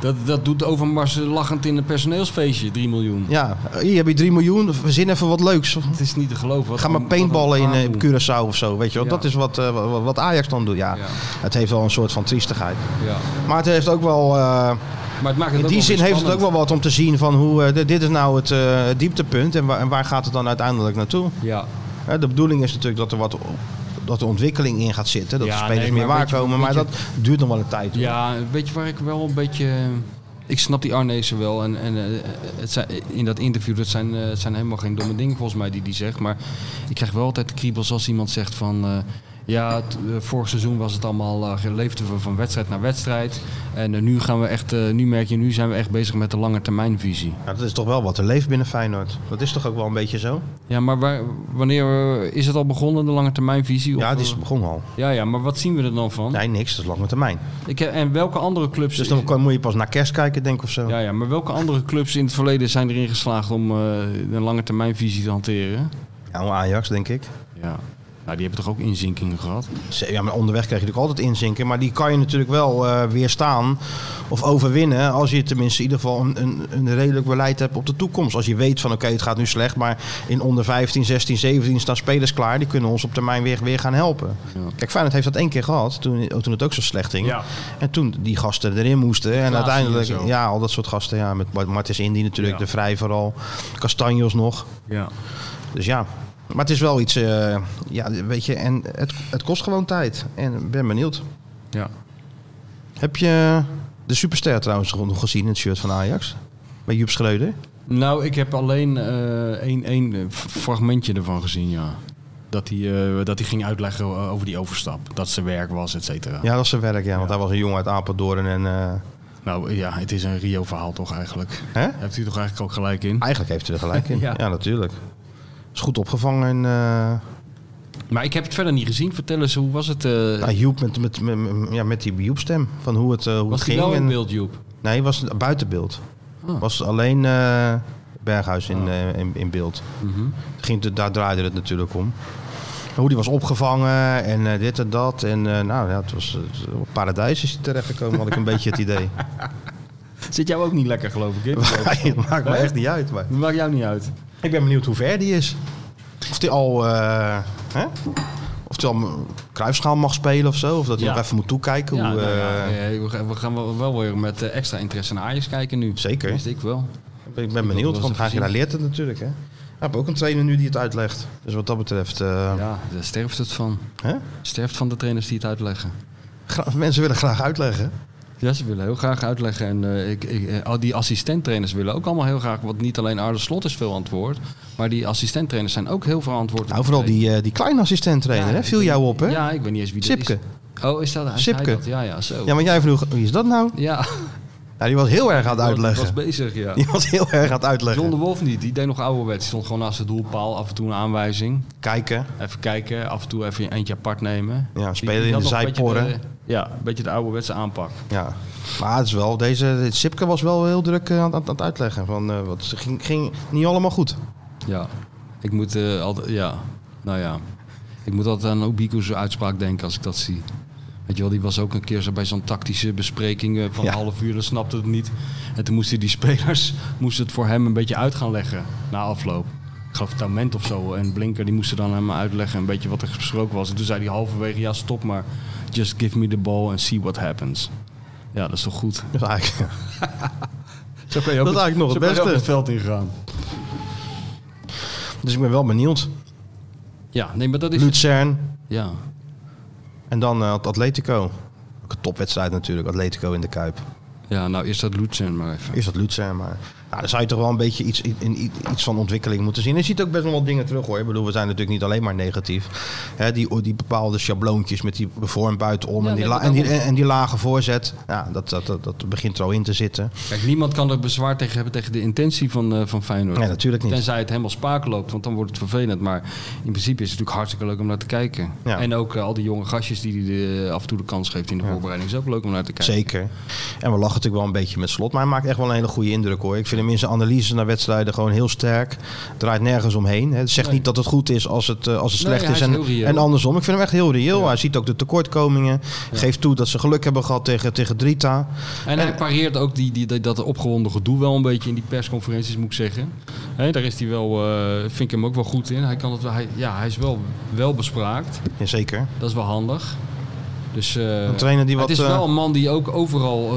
[SPEAKER 3] dat, dat doet Overmars lachend in een personeelsfeestje, 3 miljoen.
[SPEAKER 2] ja, hier heb je 3 miljoen. Verzin even wat leuks.
[SPEAKER 3] Het is niet te geloven. Wat
[SPEAKER 2] Ga maar
[SPEAKER 3] wat een
[SPEAKER 2] paintballen in
[SPEAKER 3] paar
[SPEAKER 2] eh,
[SPEAKER 3] doen.
[SPEAKER 2] Curaçao of zo, weet je wel.
[SPEAKER 3] Ja.
[SPEAKER 2] Dat is wat, eh, wa- wat Ajax dan doet, ja.
[SPEAKER 3] Ja.
[SPEAKER 2] Het heeft wel een soort van triestigheid.
[SPEAKER 3] Ja.
[SPEAKER 2] Maar het heeft ook wel... eh,
[SPEAKER 3] Maar het maakt het
[SPEAKER 2] in
[SPEAKER 3] ook
[SPEAKER 2] die
[SPEAKER 3] wel
[SPEAKER 2] zin heeft
[SPEAKER 3] weer
[SPEAKER 2] het ook
[SPEAKER 3] spannend.
[SPEAKER 2] wel wat om te zien van hoe... eh, dit- dit is nou het eh, dieptepunt en waar, en waar gaat het dan uiteindelijk naartoe?
[SPEAKER 3] Ja,
[SPEAKER 2] Hè, de bedoeling is natuurlijk dat er wat... Dat de ontwikkeling in gaat zitten. Dat
[SPEAKER 3] Ja,
[SPEAKER 2] de spelers
[SPEAKER 3] nee,
[SPEAKER 2] meer
[SPEAKER 3] maar
[SPEAKER 2] waar
[SPEAKER 3] weet je-
[SPEAKER 2] komen. Maar
[SPEAKER 3] weet je-
[SPEAKER 2] dat duurt nog wel een tijd. hoor.
[SPEAKER 3] ja, weet je waar ik wel een beetje... Ik snap die Arnezen wel. En, en eh, het zijn, in dat interview, dat zijn, eh, het zijn helemaal geen domme dingen volgens mij die die zegt. Maar ik krijg wel altijd de kriebels als iemand zegt van... eh, ja, het, eh, vorig seizoen was het allemaal, eh, leefden we van wedstrijd naar wedstrijd. En eh, nu gaan we echt, eh, nu merk je, nu zijn we echt bezig met de lange termijnvisie.
[SPEAKER 2] Ja, dat is toch wel wat er leeft binnen Feyenoord. Dat is toch ook wel een beetje zo?
[SPEAKER 3] Ja, maar waar, wanneer eh, is het al begonnen, de lange termijnvisie? Of,
[SPEAKER 2] Ja, het
[SPEAKER 3] eh,
[SPEAKER 2] is begonnen al.
[SPEAKER 3] ja, ja, maar wat zien we er dan van?
[SPEAKER 2] Nee, niks. Dat is lange termijn.
[SPEAKER 3] Ik heb, en welke andere clubs...
[SPEAKER 2] Dus dan kan- moet je pas naar kerst kijken, denk ik, of zo.
[SPEAKER 3] Ja, ja, maar welke andere clubs in het verleden zijn erin geslaagd om eh, een lange termijnvisie te hanteren?
[SPEAKER 2] Ja, Ajax, denk ik.
[SPEAKER 3] Ja. Nou, die hebben toch ook inzinkingen gehad?
[SPEAKER 2] Ja, maar onderweg krijg je natuurlijk altijd inzinken. Maar die kan je natuurlijk wel eh, weerstaan of overwinnen. Als je tenminste in ieder geval een, een, een redelijk beleid hebt op de toekomst. Als je weet van oké, het gaat nu slecht. Maar in onder 15, 16, 17 staan spelers klaar. Die kunnen ons op termijn weer, weer gaan helpen. Kijk, Feyenoord heeft dat één keer gehad. Toen, oh, toen het ook zo slecht ging.
[SPEAKER 3] Ja.
[SPEAKER 2] En toen die gasten erin moesten. En
[SPEAKER 3] Klaasie
[SPEAKER 2] uiteindelijk,
[SPEAKER 3] en zo.
[SPEAKER 2] ja, al dat soort gasten. Ja, met Bart- Martens Indy natuurlijk.
[SPEAKER 3] Ja.
[SPEAKER 2] De Vrij vooral. Castanjos nog.
[SPEAKER 3] Ja.
[SPEAKER 2] Dus ja. Maar het is wel iets, eh, ja, weet je, en het, het kost gewoon tijd. En ik ben benieuwd.
[SPEAKER 3] ja.
[SPEAKER 2] Heb je de superster trouwens nog gezien in het shirt van Ajax? Bij Joep Schreuder?
[SPEAKER 3] Nou, ik heb alleen eh, één, één f- fragmentje ervan gezien, ja. Dat hij, eh, dat hij ging uitleggen eh, over die overstap. Dat zijn werk was, et cetera.
[SPEAKER 2] Ja, dat is zijn werk, ja. Want hij was een jongen uit Apeldoorn en... eh,
[SPEAKER 3] Nou ja, het is een Rio-verhaal toch eigenlijk.
[SPEAKER 2] hè?
[SPEAKER 3] Heeft u toch eigenlijk ook gelijk in?
[SPEAKER 2] Eigenlijk heeft hij er gelijk in. ja.
[SPEAKER 3] Ja.
[SPEAKER 2] natuurlijk. Is goed opgevangen. En, eh,
[SPEAKER 3] Maar ik heb het verder niet gezien. Vertel eens, hoe was het? eh,
[SPEAKER 2] nou, Joep met, met, met, met- ja, met die Joep-stem. Van hoe het, eh, hoe
[SPEAKER 3] was
[SPEAKER 2] het
[SPEAKER 3] hij
[SPEAKER 2] ging.
[SPEAKER 3] wel in
[SPEAKER 2] en-
[SPEAKER 3] beeld, Joep?
[SPEAKER 2] Nee, was buiten beeld.
[SPEAKER 3] Ah.
[SPEAKER 2] Was alleen eh, Berghuis in, eh, in, in beeld.
[SPEAKER 3] Oh. Mhm.
[SPEAKER 2] ging het, daar draaide het natuurlijk om. Hoe die was opgevangen en eh, dit en dat. En eh, nou ja, het was eh, op paradijs is hij terechtgekomen, had ik een beetje het idee.
[SPEAKER 3] Zit jou ook niet lekker, geloof ik. hè?
[SPEAKER 2] het maakt me echt niet uit. Maar.
[SPEAKER 3] Dat maakt jou niet uit.
[SPEAKER 2] Ik ben benieuwd hoe ver die is. Of die al, eh, hè? Of die al m- kruisschaal mag spelen of zo. Of dat hij
[SPEAKER 3] Ja.
[SPEAKER 2] nog even moet toekijken.
[SPEAKER 3] Ja,
[SPEAKER 2] hoe,
[SPEAKER 3] nou ja,
[SPEAKER 2] eh,
[SPEAKER 3] eh, we gaan- we gaan wel wel weer met eh, extra interesse naar Ajax kijken nu.
[SPEAKER 2] Zeker.
[SPEAKER 3] Wist ik wel.
[SPEAKER 2] Ik ben
[SPEAKER 3] wel
[SPEAKER 2] benieuwd,
[SPEAKER 3] eens
[SPEAKER 2] want
[SPEAKER 3] even
[SPEAKER 2] Hagela
[SPEAKER 3] zien.
[SPEAKER 2] leert het natuurlijk. Hè? Ik heb ook een trainer nu die het uitlegt. Dus wat dat betreft... eh,
[SPEAKER 3] Ja, daar sterft het van.
[SPEAKER 2] hè?
[SPEAKER 3] Sterft van de trainers die het uitleggen.
[SPEAKER 2] Gra- Mensen willen graag uitleggen.
[SPEAKER 3] Ja, ze willen heel graag uitleggen. En eh, ik, ik, eh, al die assistenttrainers willen ook allemaal heel graag. Want niet alleen Arne Slot is veel antwoord. Maar die assistenttrainers zijn ook heel verantwoord.
[SPEAKER 2] Nou, vooral die, eh, die kleine assistent trainer, hè? viel jou op, hè?
[SPEAKER 3] Ja, ik weet niet eens wie dat
[SPEAKER 2] Sipke.
[SPEAKER 3] is. Oh, is dat hij?
[SPEAKER 2] Sipke.
[SPEAKER 3] Hij dat? Ja, ja, zo.
[SPEAKER 2] Ja, want jij vroeg, wie is dat nou?
[SPEAKER 3] Ja,
[SPEAKER 2] Ja, die was heel erg aan het
[SPEAKER 3] was
[SPEAKER 2] uitleggen.
[SPEAKER 3] bezig, ja.
[SPEAKER 2] Die was heel erg aan het
[SPEAKER 3] John de
[SPEAKER 2] uitleggen.
[SPEAKER 3] Wolf niet. Die deed nog ouderwets. Die stond gewoon naast de doelpaal. Af en toe een aanwijzing.
[SPEAKER 2] Kijken.
[SPEAKER 3] Even kijken, af en toe even eentje apart nemen.
[SPEAKER 2] Ja,
[SPEAKER 3] Die-
[SPEAKER 2] spelen
[SPEAKER 3] die
[SPEAKER 2] in
[SPEAKER 3] had
[SPEAKER 2] de
[SPEAKER 3] nog een beetje
[SPEAKER 2] zijporen.
[SPEAKER 3] de- Ja, een beetje de ouderwetse aanpak.
[SPEAKER 2] Ja. Maar het is wel, deze dit Sipke was wel heel druk eh, aan, aan het uitleggen. Van, eh, wat, het ging, ging niet allemaal goed.
[SPEAKER 3] Ja, ik moet eh, altijd, ja, nou ja. Ik moet altijd aan Obiko's uitspraak denken als ik dat zie. Weet je wel, die was ook een keer zo bij zo'n tactische bespreking eh, van
[SPEAKER 2] Ja.
[SPEAKER 3] een half uur, dat snapte het niet. En toen moesten die spelers moesten het voor hem een beetje uit gaan leggen na afloop. Ik geloof Tament of zo. En Blinker, die moesten dan hem uitleggen een beetje wat er gesproken was. En toen zei hij halverwege, ja stop maar, just give me the ball and see what happens. Ja, dat is toch goed.
[SPEAKER 2] Dat is Dus eigenlijk,
[SPEAKER 3] Zo kan je ook,
[SPEAKER 2] Dat is eigenlijk nog
[SPEAKER 3] zo
[SPEAKER 2] het
[SPEAKER 3] kan je ook
[SPEAKER 2] beste.
[SPEAKER 3] het veld ingaan.
[SPEAKER 2] dus ik ben wel benieuwd.
[SPEAKER 3] Ja, nee, maar dat
[SPEAKER 2] Dus-
[SPEAKER 3] is...
[SPEAKER 2] Luzern
[SPEAKER 3] Ja,
[SPEAKER 2] en dan eh, Atletico. Ook een topwedstrijd natuurlijk, Atletico in de Kuip.
[SPEAKER 3] ja nou eerst dat Lutsen maar even.
[SPEAKER 2] Is dat Luzern, maar ja, daar zou je toch wel een beetje iets, i- in, i- iets van ontwikkeling moeten zien. En je ziet ook best wel wat dingen terug hoor. Ik bedoel, we zijn natuurlijk niet alleen maar negatief. Hè, die, die bepaalde schabloontjes met die voor- en buitenom
[SPEAKER 3] Ja,
[SPEAKER 2] en, die
[SPEAKER 3] nee,
[SPEAKER 2] la-
[SPEAKER 3] dat
[SPEAKER 2] en, die,
[SPEAKER 3] ook.
[SPEAKER 2] en, die lage voorzet. Ja, dat, dat, dat, dat begint er al in te zitten.
[SPEAKER 3] Kijk, niemand kan er bezwaar tegen hebben tegen de intentie van, eh, van Feyenoord.
[SPEAKER 2] Nee, natuurlijk niet.
[SPEAKER 3] Tenzij het helemaal spaak loopt, want dan wordt het vervelend. Maar in principe is het natuurlijk hartstikke leuk om naar te kijken.
[SPEAKER 2] Ja.
[SPEAKER 3] En ook eh, al die jonge gastjes die hij af en toe de kans geeft in de voorbereiding. Is ook leuk om naar te kijken.
[SPEAKER 2] Zeker. En we lachen natuurlijk wel een beetje met slot. Maar hij maakt echt wel een hele goede indruk hoor. Ik vind hem in zijn analyse naar wedstrijden gewoon heel sterk. Draait nergens omheen. hè. Het zegt
[SPEAKER 3] Nee.
[SPEAKER 2] niet dat het goed is als het, eh, als het
[SPEAKER 3] Nee,
[SPEAKER 2] slecht
[SPEAKER 3] hij
[SPEAKER 2] is.
[SPEAKER 3] is
[SPEAKER 2] En,
[SPEAKER 3] heel reëel.
[SPEAKER 2] en andersom. Ik vind hem echt heel reëel. Hij ziet ook de tekortkomingen. Geeft toe dat ze geluk hebben gehad tegen, tegen Drita.
[SPEAKER 3] En, hij pareert ook die, die, die- dat opgewonden gedoe wel een beetje in die persconferenties, moet ik zeggen. Hè, daar is hij wel, eh, vind ik hem ook wel goed in. Hij, kan het, wel- hij, ja, hij is wel, wel bespraakt.
[SPEAKER 2] Ja, zeker.
[SPEAKER 3] Dat is wel handig. Dus, eh,
[SPEAKER 2] Een trainer die
[SPEAKER 3] maar
[SPEAKER 2] wat,
[SPEAKER 3] het is wel
[SPEAKER 2] eh,
[SPEAKER 3] een man die ook overal eh,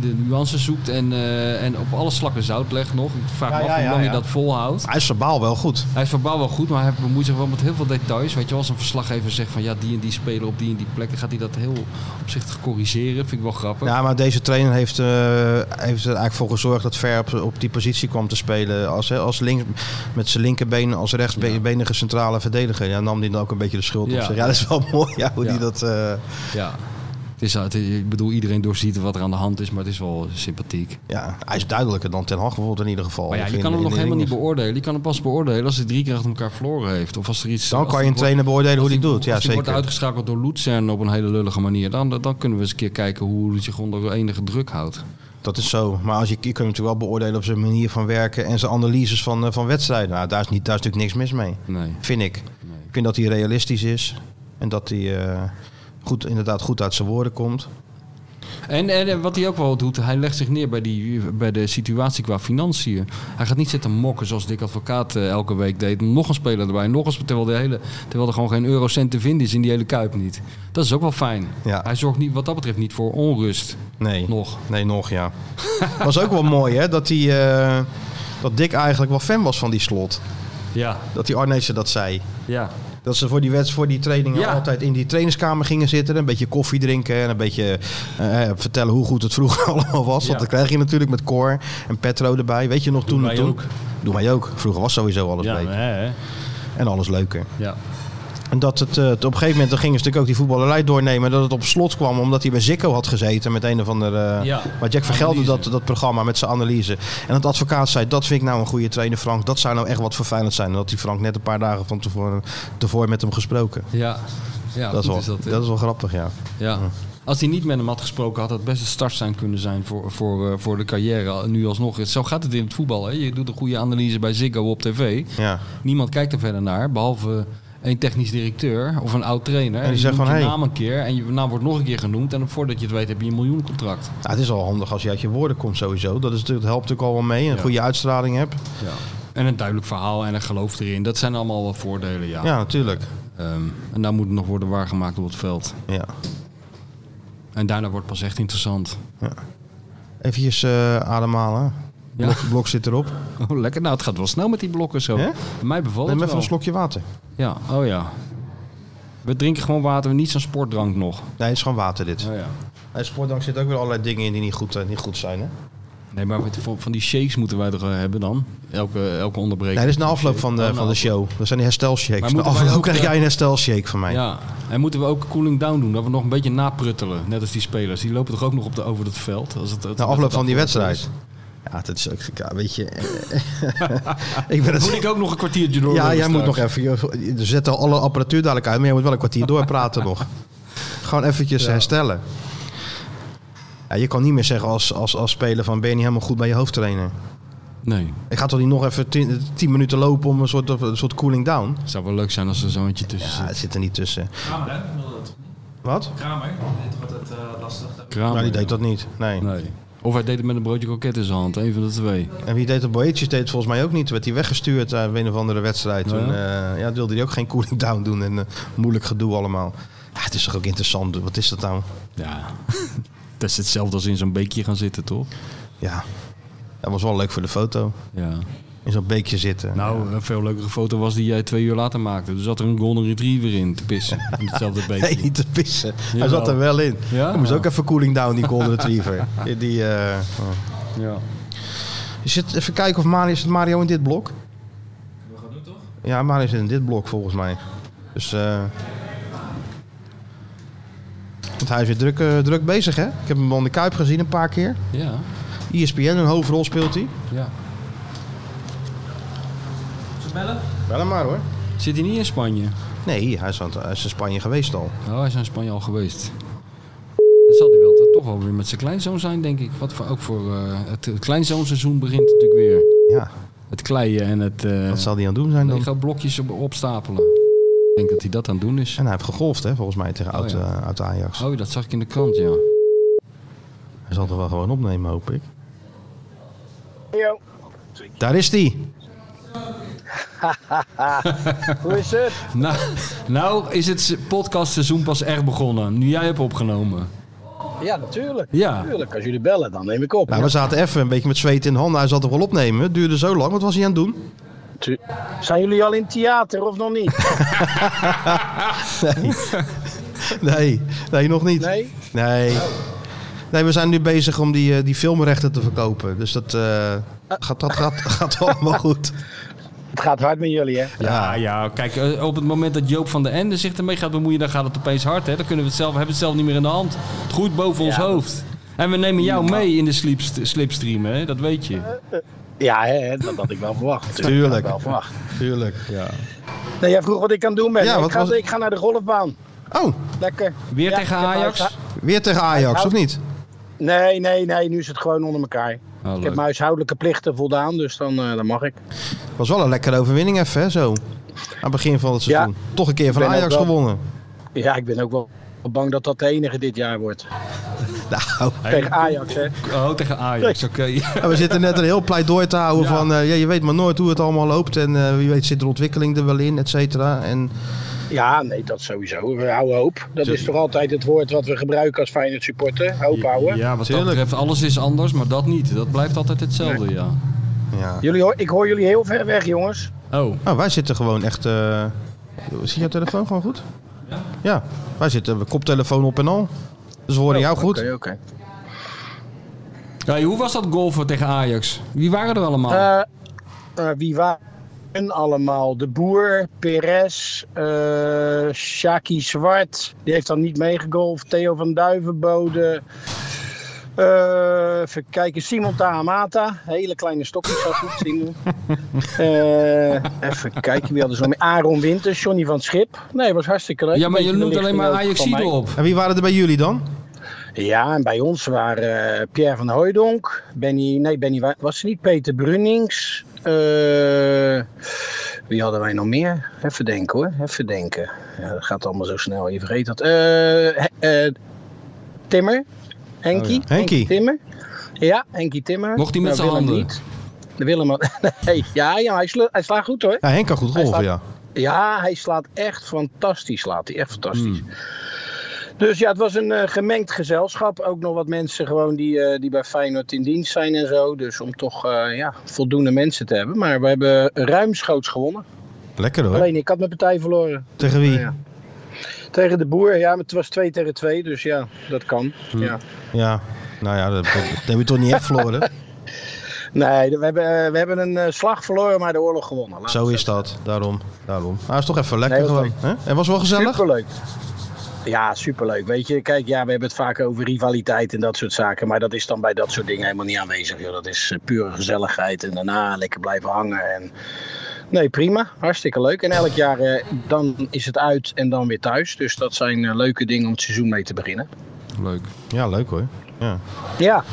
[SPEAKER 3] de nuances zoekt en, eh, en op alle slakken zout legt nog. Ik vraag
[SPEAKER 2] Ja,
[SPEAKER 3] me af
[SPEAKER 2] ja,
[SPEAKER 3] hoe
[SPEAKER 2] ja,
[SPEAKER 3] lang
[SPEAKER 2] ja.
[SPEAKER 3] hij dat volhoudt.
[SPEAKER 2] Hij is verbaal wel goed.
[SPEAKER 3] Hij is verbaal wel goed, maar hij bemoeit zich wel met heel veel details. Weet je, wel, als een verslaggever zegt van ja, die en die spelen op die en die plekken, gaat hij dat heel opzichtig corrigeren. Vind ik wel grappig.
[SPEAKER 2] Ja, maar deze trainer heeft, eh, heeft er eigenlijk voor gezorgd dat Ver op, op die positie kwam te spelen. Als, hè, als links, met zijn linkerbeen als rechtsbenige centrale verdediger. Ja, nam die dan ook een beetje de schuld op
[SPEAKER 3] Ja.
[SPEAKER 2] zich. Ja, dat is wel mooi ja, hoe
[SPEAKER 3] Ja.
[SPEAKER 2] die dat... eh,
[SPEAKER 3] Ja. Het is, het is- ik bedoel, iedereen doorziet wat er aan de hand is, maar het is wel sympathiek.
[SPEAKER 2] ja, hij is duidelijker dan Ten Hag bijvoorbeeld in ieder geval.
[SPEAKER 3] Maar ja,
[SPEAKER 2] Of
[SPEAKER 3] je
[SPEAKER 2] in-
[SPEAKER 3] kan hem
[SPEAKER 2] Oh, in
[SPEAKER 3] nog
[SPEAKER 2] de
[SPEAKER 3] helemaal niet
[SPEAKER 2] dingen.
[SPEAKER 3] beoordelen. Je kan hem pas beoordelen als hij drie keer achter elkaar verloren heeft. Of als er iets...
[SPEAKER 2] Dan
[SPEAKER 3] als
[SPEAKER 2] kan je
[SPEAKER 3] die
[SPEAKER 2] een trainer beoordelen hoe
[SPEAKER 3] Als
[SPEAKER 2] die
[SPEAKER 3] die-
[SPEAKER 2] doet. Ja,
[SPEAKER 3] als die wordt
[SPEAKER 2] zeker.
[SPEAKER 3] uitgeschakeld door Luzern op een hele lullige manier. Dan, dan kunnen we eens een keer kijken hoe hij zich onder enige druk houdt.
[SPEAKER 2] Dat is zo. Maar als je, je kunt hem natuurlijk wel beoordelen op zijn manier van werken en zijn analyses van, eh, van wedstrijden. Nou, daar is, niet, daar is natuurlijk niks mis mee.
[SPEAKER 3] Nee.
[SPEAKER 2] Vind ik. Ik vind dat hij realistisch is. En dat hij eh, goed, inderdaad goed uit zijn woorden komt.
[SPEAKER 3] En, en, en wat hij ook wel doet, hij legt zich neer bij, die, bij de situatie qua financiën. Hij gaat niet zitten mokken zoals Dick Advocaat eh, elke week deed. Nog een speler erbij, nog eens, terwijl, de hele, terwijl er gewoon geen eurocent te vinden is in die hele Kuip niet. Dat is ook wel fijn.
[SPEAKER 2] Ja.
[SPEAKER 3] Hij zorgt niet, wat dat betreft niet voor onrust.
[SPEAKER 2] Nee.
[SPEAKER 3] Nog.
[SPEAKER 2] Nee, nog ja. was ook wel mooi hè, dat hij... eh, dat Dick eigenlijk wel fan was van die slot.
[SPEAKER 3] Ja,
[SPEAKER 2] Dat die Arnezen dat zei.
[SPEAKER 3] ja.
[SPEAKER 2] Dat ze voor die, wedst, voor die trainingen
[SPEAKER 3] Ja.
[SPEAKER 2] altijd in die trainingskamer gingen zitten. Een beetje koffie drinken en een beetje eh, vertellen hoe goed het vroeger allemaal was.
[SPEAKER 3] Ja.
[SPEAKER 2] Want dat krijg je natuurlijk met Cor en Petro erbij. Weet je nog toen?
[SPEAKER 3] mij
[SPEAKER 2] toen?
[SPEAKER 3] ook.
[SPEAKER 2] Doe mij ook. Vroeger was sowieso alles
[SPEAKER 3] Ja,
[SPEAKER 2] beter.
[SPEAKER 3] hè, hè.
[SPEAKER 2] En alles leuker.
[SPEAKER 3] ja.
[SPEAKER 2] En dat het eh, op een gegeven moment, dan gingen ze natuurlijk ook die voetballerij doornemen. Dat het op slot kwam omdat hij bij Zikko had gezeten met een of ander. eh,
[SPEAKER 3] Ja,
[SPEAKER 2] maar Jack vergelde dat,
[SPEAKER 3] analyse.
[SPEAKER 2] dat programma met zijn analyse. En dat advocaat zei: Dat vind ik nou een goede trainer, Frank. Dat zou nou echt wat vervelend zijn. En dat die Frank net een paar dagen van tevoren, tevoren met hem gesproken.
[SPEAKER 3] ja. ja
[SPEAKER 2] Dat is,
[SPEAKER 3] goed
[SPEAKER 2] wel,
[SPEAKER 3] is
[SPEAKER 2] dat,
[SPEAKER 3] hè.
[SPEAKER 2] is wel grappig, ja.
[SPEAKER 3] Ja. Als hij niet met hem had gesproken, had dat best een start zijn kunnen zijn voor, voor, eh, voor de carrière. Nu alsnog. Zo gaat het in het voetbal. Hè? Je doet een goede analyse bij Ziggo op tv.
[SPEAKER 2] ja.
[SPEAKER 3] Niemand kijkt er verder naar, behalve één technisch directeur of een oud trainer. En
[SPEAKER 2] die
[SPEAKER 3] je
[SPEAKER 2] zegt
[SPEAKER 3] noemt
[SPEAKER 2] van,
[SPEAKER 3] je
[SPEAKER 2] hey.
[SPEAKER 3] naam een keer en je naam wordt nog een keer genoemd. En voordat je het weet heb je een miljoencontract.
[SPEAKER 2] Nou, het is al handig als je uit je woorden komt, sowieso. Dat, is, natuurlijk- dat helpt natuurlijk al wel mee. Een
[SPEAKER 3] Ja.
[SPEAKER 2] goede uitstraling hebt.
[SPEAKER 3] Ja. En een duidelijk verhaal en een geloof erin. Dat zijn allemaal wel voordelen, ja.
[SPEAKER 2] Ja, natuurlijk.
[SPEAKER 3] Ehm, en daar moet het nog worden waargemaakt op het veld.
[SPEAKER 2] Ja.
[SPEAKER 3] En daarna wordt het pas echt interessant.
[SPEAKER 2] Even eh, ademhalen.
[SPEAKER 3] Ja.
[SPEAKER 2] Blok, blok zit erop.
[SPEAKER 3] Oh, lekker. Nou, het gaat wel snel met die blokken zo.
[SPEAKER 2] Ja?
[SPEAKER 3] Mij bevalt
[SPEAKER 2] Neem
[SPEAKER 3] het
[SPEAKER 2] even
[SPEAKER 3] wel.
[SPEAKER 2] een slokje water.
[SPEAKER 3] Ja, oh ja. We drinken gewoon water, niet zo'n sportdrank nog.
[SPEAKER 2] Nee, het is gewoon water dit.
[SPEAKER 3] Oh ja.
[SPEAKER 2] Bij sportdank zitten ook weer allerlei dingen in die niet goed, eh, niet goed zijn. Hè?
[SPEAKER 3] Nee, maar met- van van die shakes moeten wij toch eh, hebben dan? Elke, eh, elke onderbreking.
[SPEAKER 2] Nee, dat is na afloop van de,
[SPEAKER 3] Oh, na
[SPEAKER 2] van de show. Dat zijn die
[SPEAKER 3] Maar
[SPEAKER 2] herstelshakes. Na
[SPEAKER 3] moeten wij
[SPEAKER 2] afloop
[SPEAKER 3] ook,
[SPEAKER 2] krijg
[SPEAKER 3] eh,
[SPEAKER 2] jij een herstelshake van mij.
[SPEAKER 3] Ja, en moeten we ook cooling down doen? Dat we nog een beetje napruttelen, net als die spelers. Die lopen toch ook nog op de, over het veld? Als het, het-
[SPEAKER 2] Na
[SPEAKER 3] het
[SPEAKER 2] afloop van die
[SPEAKER 3] afgelopen
[SPEAKER 2] wedstrijd. Ja, dat is ook... Ja, weet je... ik ben het...
[SPEAKER 3] is. Moet ik ook nog een kwartiertje door?
[SPEAKER 2] Ja, jij moet nog
[SPEAKER 3] straks?
[SPEAKER 2] even... Je je zet al alle apparatuur dadelijk uit, maar je moet wel een kwartier doorpraten nog. Gewoon eventjes herstellen. Ja, je kan niet meer zeggen als, als, als speler van ben je niet helemaal goed bij je hoofdtrainer.
[SPEAKER 3] Nee,
[SPEAKER 2] Ik ga toch niet nog even tien, tien minuten lopen om een soort, een soort cooling down?
[SPEAKER 3] het zou wel leuk zijn als er zo'n eentje tussen
[SPEAKER 2] Ja,
[SPEAKER 3] zit.
[SPEAKER 2] het zit er niet tussen.
[SPEAKER 5] Camera, hè? Wil dat toch niet?
[SPEAKER 2] Wat?
[SPEAKER 5] Kramer, dit wordt het eh, lastig.
[SPEAKER 3] Kramer.
[SPEAKER 2] Nou, die deed dat niet. Nee.
[SPEAKER 3] Nee. Of hij deed het met een broodje kroket in zijn hand. Een van de twee.
[SPEAKER 2] En wie deed dat? Boetjes deed het volgens mij ook niet. Werd hij weggestuurd uit een of andere wedstrijd.
[SPEAKER 3] Oh, Ja.
[SPEAKER 2] Toen eh, ja, wilde hij ook geen cooling down doen. En eh, moeilijk gedoe allemaal. Ja, het is toch ook interessant. Wat is dat nou?
[SPEAKER 3] Ja. dat is hetzelfde als in zo'n beekje gaan zitten, toch?
[SPEAKER 2] Ja, dat was wel leuk voor de foto.
[SPEAKER 3] Ja.
[SPEAKER 2] In zo'n beekje zitten.
[SPEAKER 3] Nou, een veel leukere foto was die jij twee uur later maakte. Er zat er een golden retriever in te pissen. In hetzelfde beekje.
[SPEAKER 2] Nee, niet te pissen. Hij
[SPEAKER 3] Jawel.
[SPEAKER 2] zat er wel in.
[SPEAKER 3] Ja?
[SPEAKER 2] Hij moest ook even cooling down, die golden retriever. die, eh, oh.
[SPEAKER 3] Ja.
[SPEAKER 2] Is het, even kijken of Mario, is het Mario in dit blok?
[SPEAKER 5] We gaan nu toch?
[SPEAKER 2] Ja, Mario zit in dit blok volgens mij. Dus, eh, want hij is weer druk, eh, druk bezig, hè? Ik heb hem al in de Kuip gezien een paar keer. E
[SPEAKER 3] Ja.
[SPEAKER 2] ESPN, een hoofdrol speelt hij.
[SPEAKER 3] ja.
[SPEAKER 5] Ze bellen?
[SPEAKER 2] Wel hem maar hoor.
[SPEAKER 3] Zit hij niet in Spanje?
[SPEAKER 2] Nee, hij is, aan het- hij is in Spanje geweest al.
[SPEAKER 3] Oh, hij is in Spanje al geweest. Dat zal hij wel toch- toch wel weer met zijn kleinzoon zijn, denk ik. Wat voor, ook voor eh, het, het kleinzoonseizoen begint natuurlijk weer.
[SPEAKER 2] Ja,
[SPEAKER 3] Het kleien en het eh
[SPEAKER 2] wat zal hij aan het doen zijn dan?
[SPEAKER 3] lego blokjes op, opstapelen. Ik denk dat hij dat aan het doen is.
[SPEAKER 2] En hij heeft gegolfd, hè, volgens mij, tegen
[SPEAKER 3] Oh,
[SPEAKER 2] oud,
[SPEAKER 3] ja.
[SPEAKER 2] eh, oud Ajax.
[SPEAKER 3] Oh, dat zag ik in de krant, ja.
[SPEAKER 2] Hij zal het wel gewoon opnemen, hoop ik. Daar is die.
[SPEAKER 6] Hoe is het?
[SPEAKER 3] Nou, nou is het se- podcastseizoen pas echt begonnen. Nu jij hebt opgenomen.
[SPEAKER 6] Ja, natuurlijk.
[SPEAKER 3] Ja.
[SPEAKER 6] Natuurlijk, als jullie bellen, dan neem ik op.
[SPEAKER 2] Nou, we zaten even een beetje met zweet in de handen. Hij zal het wel opnemen. Het duurde zo lang. Wat was hij aan het doen?
[SPEAKER 6] Tu- Zijn jullie al in theater of nog niet?
[SPEAKER 2] Nee, nee nog niet.
[SPEAKER 6] Nee? Oh.
[SPEAKER 2] Nee. Nee, we zijn nu bezig om die, eh, die filmrechten te verkopen. Dus dat, eh,
[SPEAKER 6] Ah.
[SPEAKER 2] gaat, dat gaat, gaat allemaal goed.
[SPEAKER 6] Het gaat hard met jullie, hè?
[SPEAKER 3] Ja, ja. Kijk, eh, op het moment dat Joop van der Ende zich ermee gaat bemoeien, dan gaat het opeens hard. Hè? Dan kunnen we het zelf, hebben we het zelf niet meer in de hand. Het groeit boven ons hoofd. En we nemen jou mee in de sleeps- slipstream, hè? dat weet je.
[SPEAKER 6] Ja, hè, hè, dat had ik wel verwacht. natuurlijk.
[SPEAKER 2] Tuurlijk.
[SPEAKER 6] Dat had ik wel verwacht.
[SPEAKER 2] Tuurlijk.
[SPEAKER 6] Nee, jij vroeg wat ik aan doen ben.
[SPEAKER 2] Ja,
[SPEAKER 6] Nee,
[SPEAKER 2] wat
[SPEAKER 6] ik, ga,
[SPEAKER 2] was-
[SPEAKER 6] ik ga naar de golfbaan.
[SPEAKER 2] Oh,
[SPEAKER 6] Lekker.
[SPEAKER 3] Weer
[SPEAKER 6] Ja,
[SPEAKER 3] tegen
[SPEAKER 6] ik heb
[SPEAKER 3] Ajax?
[SPEAKER 6] huisha-
[SPEAKER 2] weer tegen
[SPEAKER 6] Nou.
[SPEAKER 2] Ajax, of niet?
[SPEAKER 6] Nee, nee, nee. Nu is het gewoon onder elkaar.
[SPEAKER 3] Oh, leuk.
[SPEAKER 6] Ik heb mijn huishoudelijke plichten voldaan, dus dan, eh, dan mag ik.
[SPEAKER 2] Was wel een lekkere overwinning even, hè, zo. Aan het begin van het seizoen. Toch een keer van
[SPEAKER 6] ben ook
[SPEAKER 2] Ajax
[SPEAKER 6] wel-
[SPEAKER 2] gewonnen.
[SPEAKER 6] Ja, ik ben ook wel bang dat dat de enige dit jaar wordt.
[SPEAKER 2] Nou,
[SPEAKER 6] Tegen Ajax, hè?
[SPEAKER 3] Oh, tegen Ajax, oké.
[SPEAKER 2] Ja, Nou, we zitten net een heel pleidooi te houden van... eh, ja, je weet maar nooit hoe het allemaal loopt. En eh, wie weet zit er ontwikkeling er wel in, et cetera. En
[SPEAKER 6] Ja, nee, dat sowieso. We houden hoop. Dat is toch altijd het woord wat we gebruiken als Feyenoord supporter. Hoop houden.
[SPEAKER 3] Ja, wat dat
[SPEAKER 2] Tuurlijk.
[SPEAKER 3] betreft, alles is anders, maar dat niet. Dat blijft altijd hetzelfde, ja.
[SPEAKER 2] ja.
[SPEAKER 6] Jullie, hoor- ik hoor jullie heel ver weg, jongens.
[SPEAKER 3] Oh,
[SPEAKER 2] Nou, wij zitten gewoon echt... eh, Zie je telefoon gewoon goed? Ja. wij zitten we koptelefoon op en al. Dus we horen jou goed.
[SPEAKER 6] Oké, oké.
[SPEAKER 3] hey, hoe was dat golfen tegen Ajax? Wie waren er allemaal?
[SPEAKER 6] Eh, eh, wie waren allemaal? De Boer, Perez, eh Shaki Zwart. Die heeft dan niet meegegolfd. Theo van Duivenbode. Eh even kijken, Simon Tahamata. Hele kleine stokjes, dat goed, Simon. Eh, even kijken, wie hadden ze nog meer? Aaron Winters, Johnny van Schip. Nee, was hartstikke leuk.
[SPEAKER 3] ja, maar
[SPEAKER 6] Beetje
[SPEAKER 3] je noemt alleen
[SPEAKER 6] lichting
[SPEAKER 3] maar
[SPEAKER 6] ook van
[SPEAKER 3] ajax
[SPEAKER 6] mij.
[SPEAKER 3] op.
[SPEAKER 2] En wie waren er bij jullie dan?
[SPEAKER 6] Ja, en bij ons waren eh, Pierre van Hooijdonk, Benny, nee, Benny wa- was er niet, Peter Brunnings. eh, wie hadden wij nog meer? Even denken hoor, even denken. Ja, dat gaat allemaal zo snel, je vergeet dat. Eh, he- eh, Timmer, Henkie.
[SPEAKER 2] ja. Henkie.
[SPEAKER 6] Timmer. Ja, Henkie Timmer.
[SPEAKER 3] Oh Mocht hij met
[SPEAKER 6] Nou,
[SPEAKER 3] zijn
[SPEAKER 6] Willem
[SPEAKER 3] handen?
[SPEAKER 6] Niet. De Willem, had- nee, ja, ja hij, sla- hij slaat goed hoor.
[SPEAKER 2] Ja, Henk kan goed golven,
[SPEAKER 6] staat-
[SPEAKER 2] ja.
[SPEAKER 6] Ja, hij slaat echt fantastisch. Slaat hij echt fantastisch.
[SPEAKER 2] Hmm.
[SPEAKER 6] Dus ja, het was een eh, gemengd gezelschap. Ook nog wat mensen gewoon die, eh, die bij Feyenoord in dienst zijn en zo. Dus om toch eh, ja, voldoende mensen te hebben. Maar we hebben ruimschoots gewonnen.
[SPEAKER 2] Lekker hoor.
[SPEAKER 6] Alleen ik had mijn partij verloren.
[SPEAKER 2] Tegen wie?
[SPEAKER 6] Ja. Tegen de boer, ja, maar het was 2 tegen 2. Dus ja, dat kan.
[SPEAKER 2] Hmm.
[SPEAKER 6] Ja.
[SPEAKER 2] Ja. Nou ja, dat, dat heb je toch niet echt verloren.
[SPEAKER 6] Nee, we hebben, eh, we hebben een eh, slag verloren, maar de oorlog gewonnen. Laat
[SPEAKER 2] Zo
[SPEAKER 6] het
[SPEAKER 2] is dat. Daarom. Daarom. Maar is toch even lekker
[SPEAKER 6] Nee, dat
[SPEAKER 2] gewoon.
[SPEAKER 6] is
[SPEAKER 2] Hè? En was wel gezellig?
[SPEAKER 6] Superleuk. Ja, superleuk. Weet je, kijk, ja, we hebben het vaak over rivaliteit en dat soort zaken. Maar dat is dan bij dat soort dingen helemaal niet aanwezig. Joh. Dat is eh, pure gezelligheid en daarna lekker blijven hangen. En... Nee, prima. Hartstikke leuk. En elk jaar eh, dan is het uit en dan weer thuis. Dus dat zijn eh, leuke dingen om het seizoen mee te beginnen.
[SPEAKER 3] Leuk.
[SPEAKER 2] Ja, leuk hoor. Ja.
[SPEAKER 6] Ja,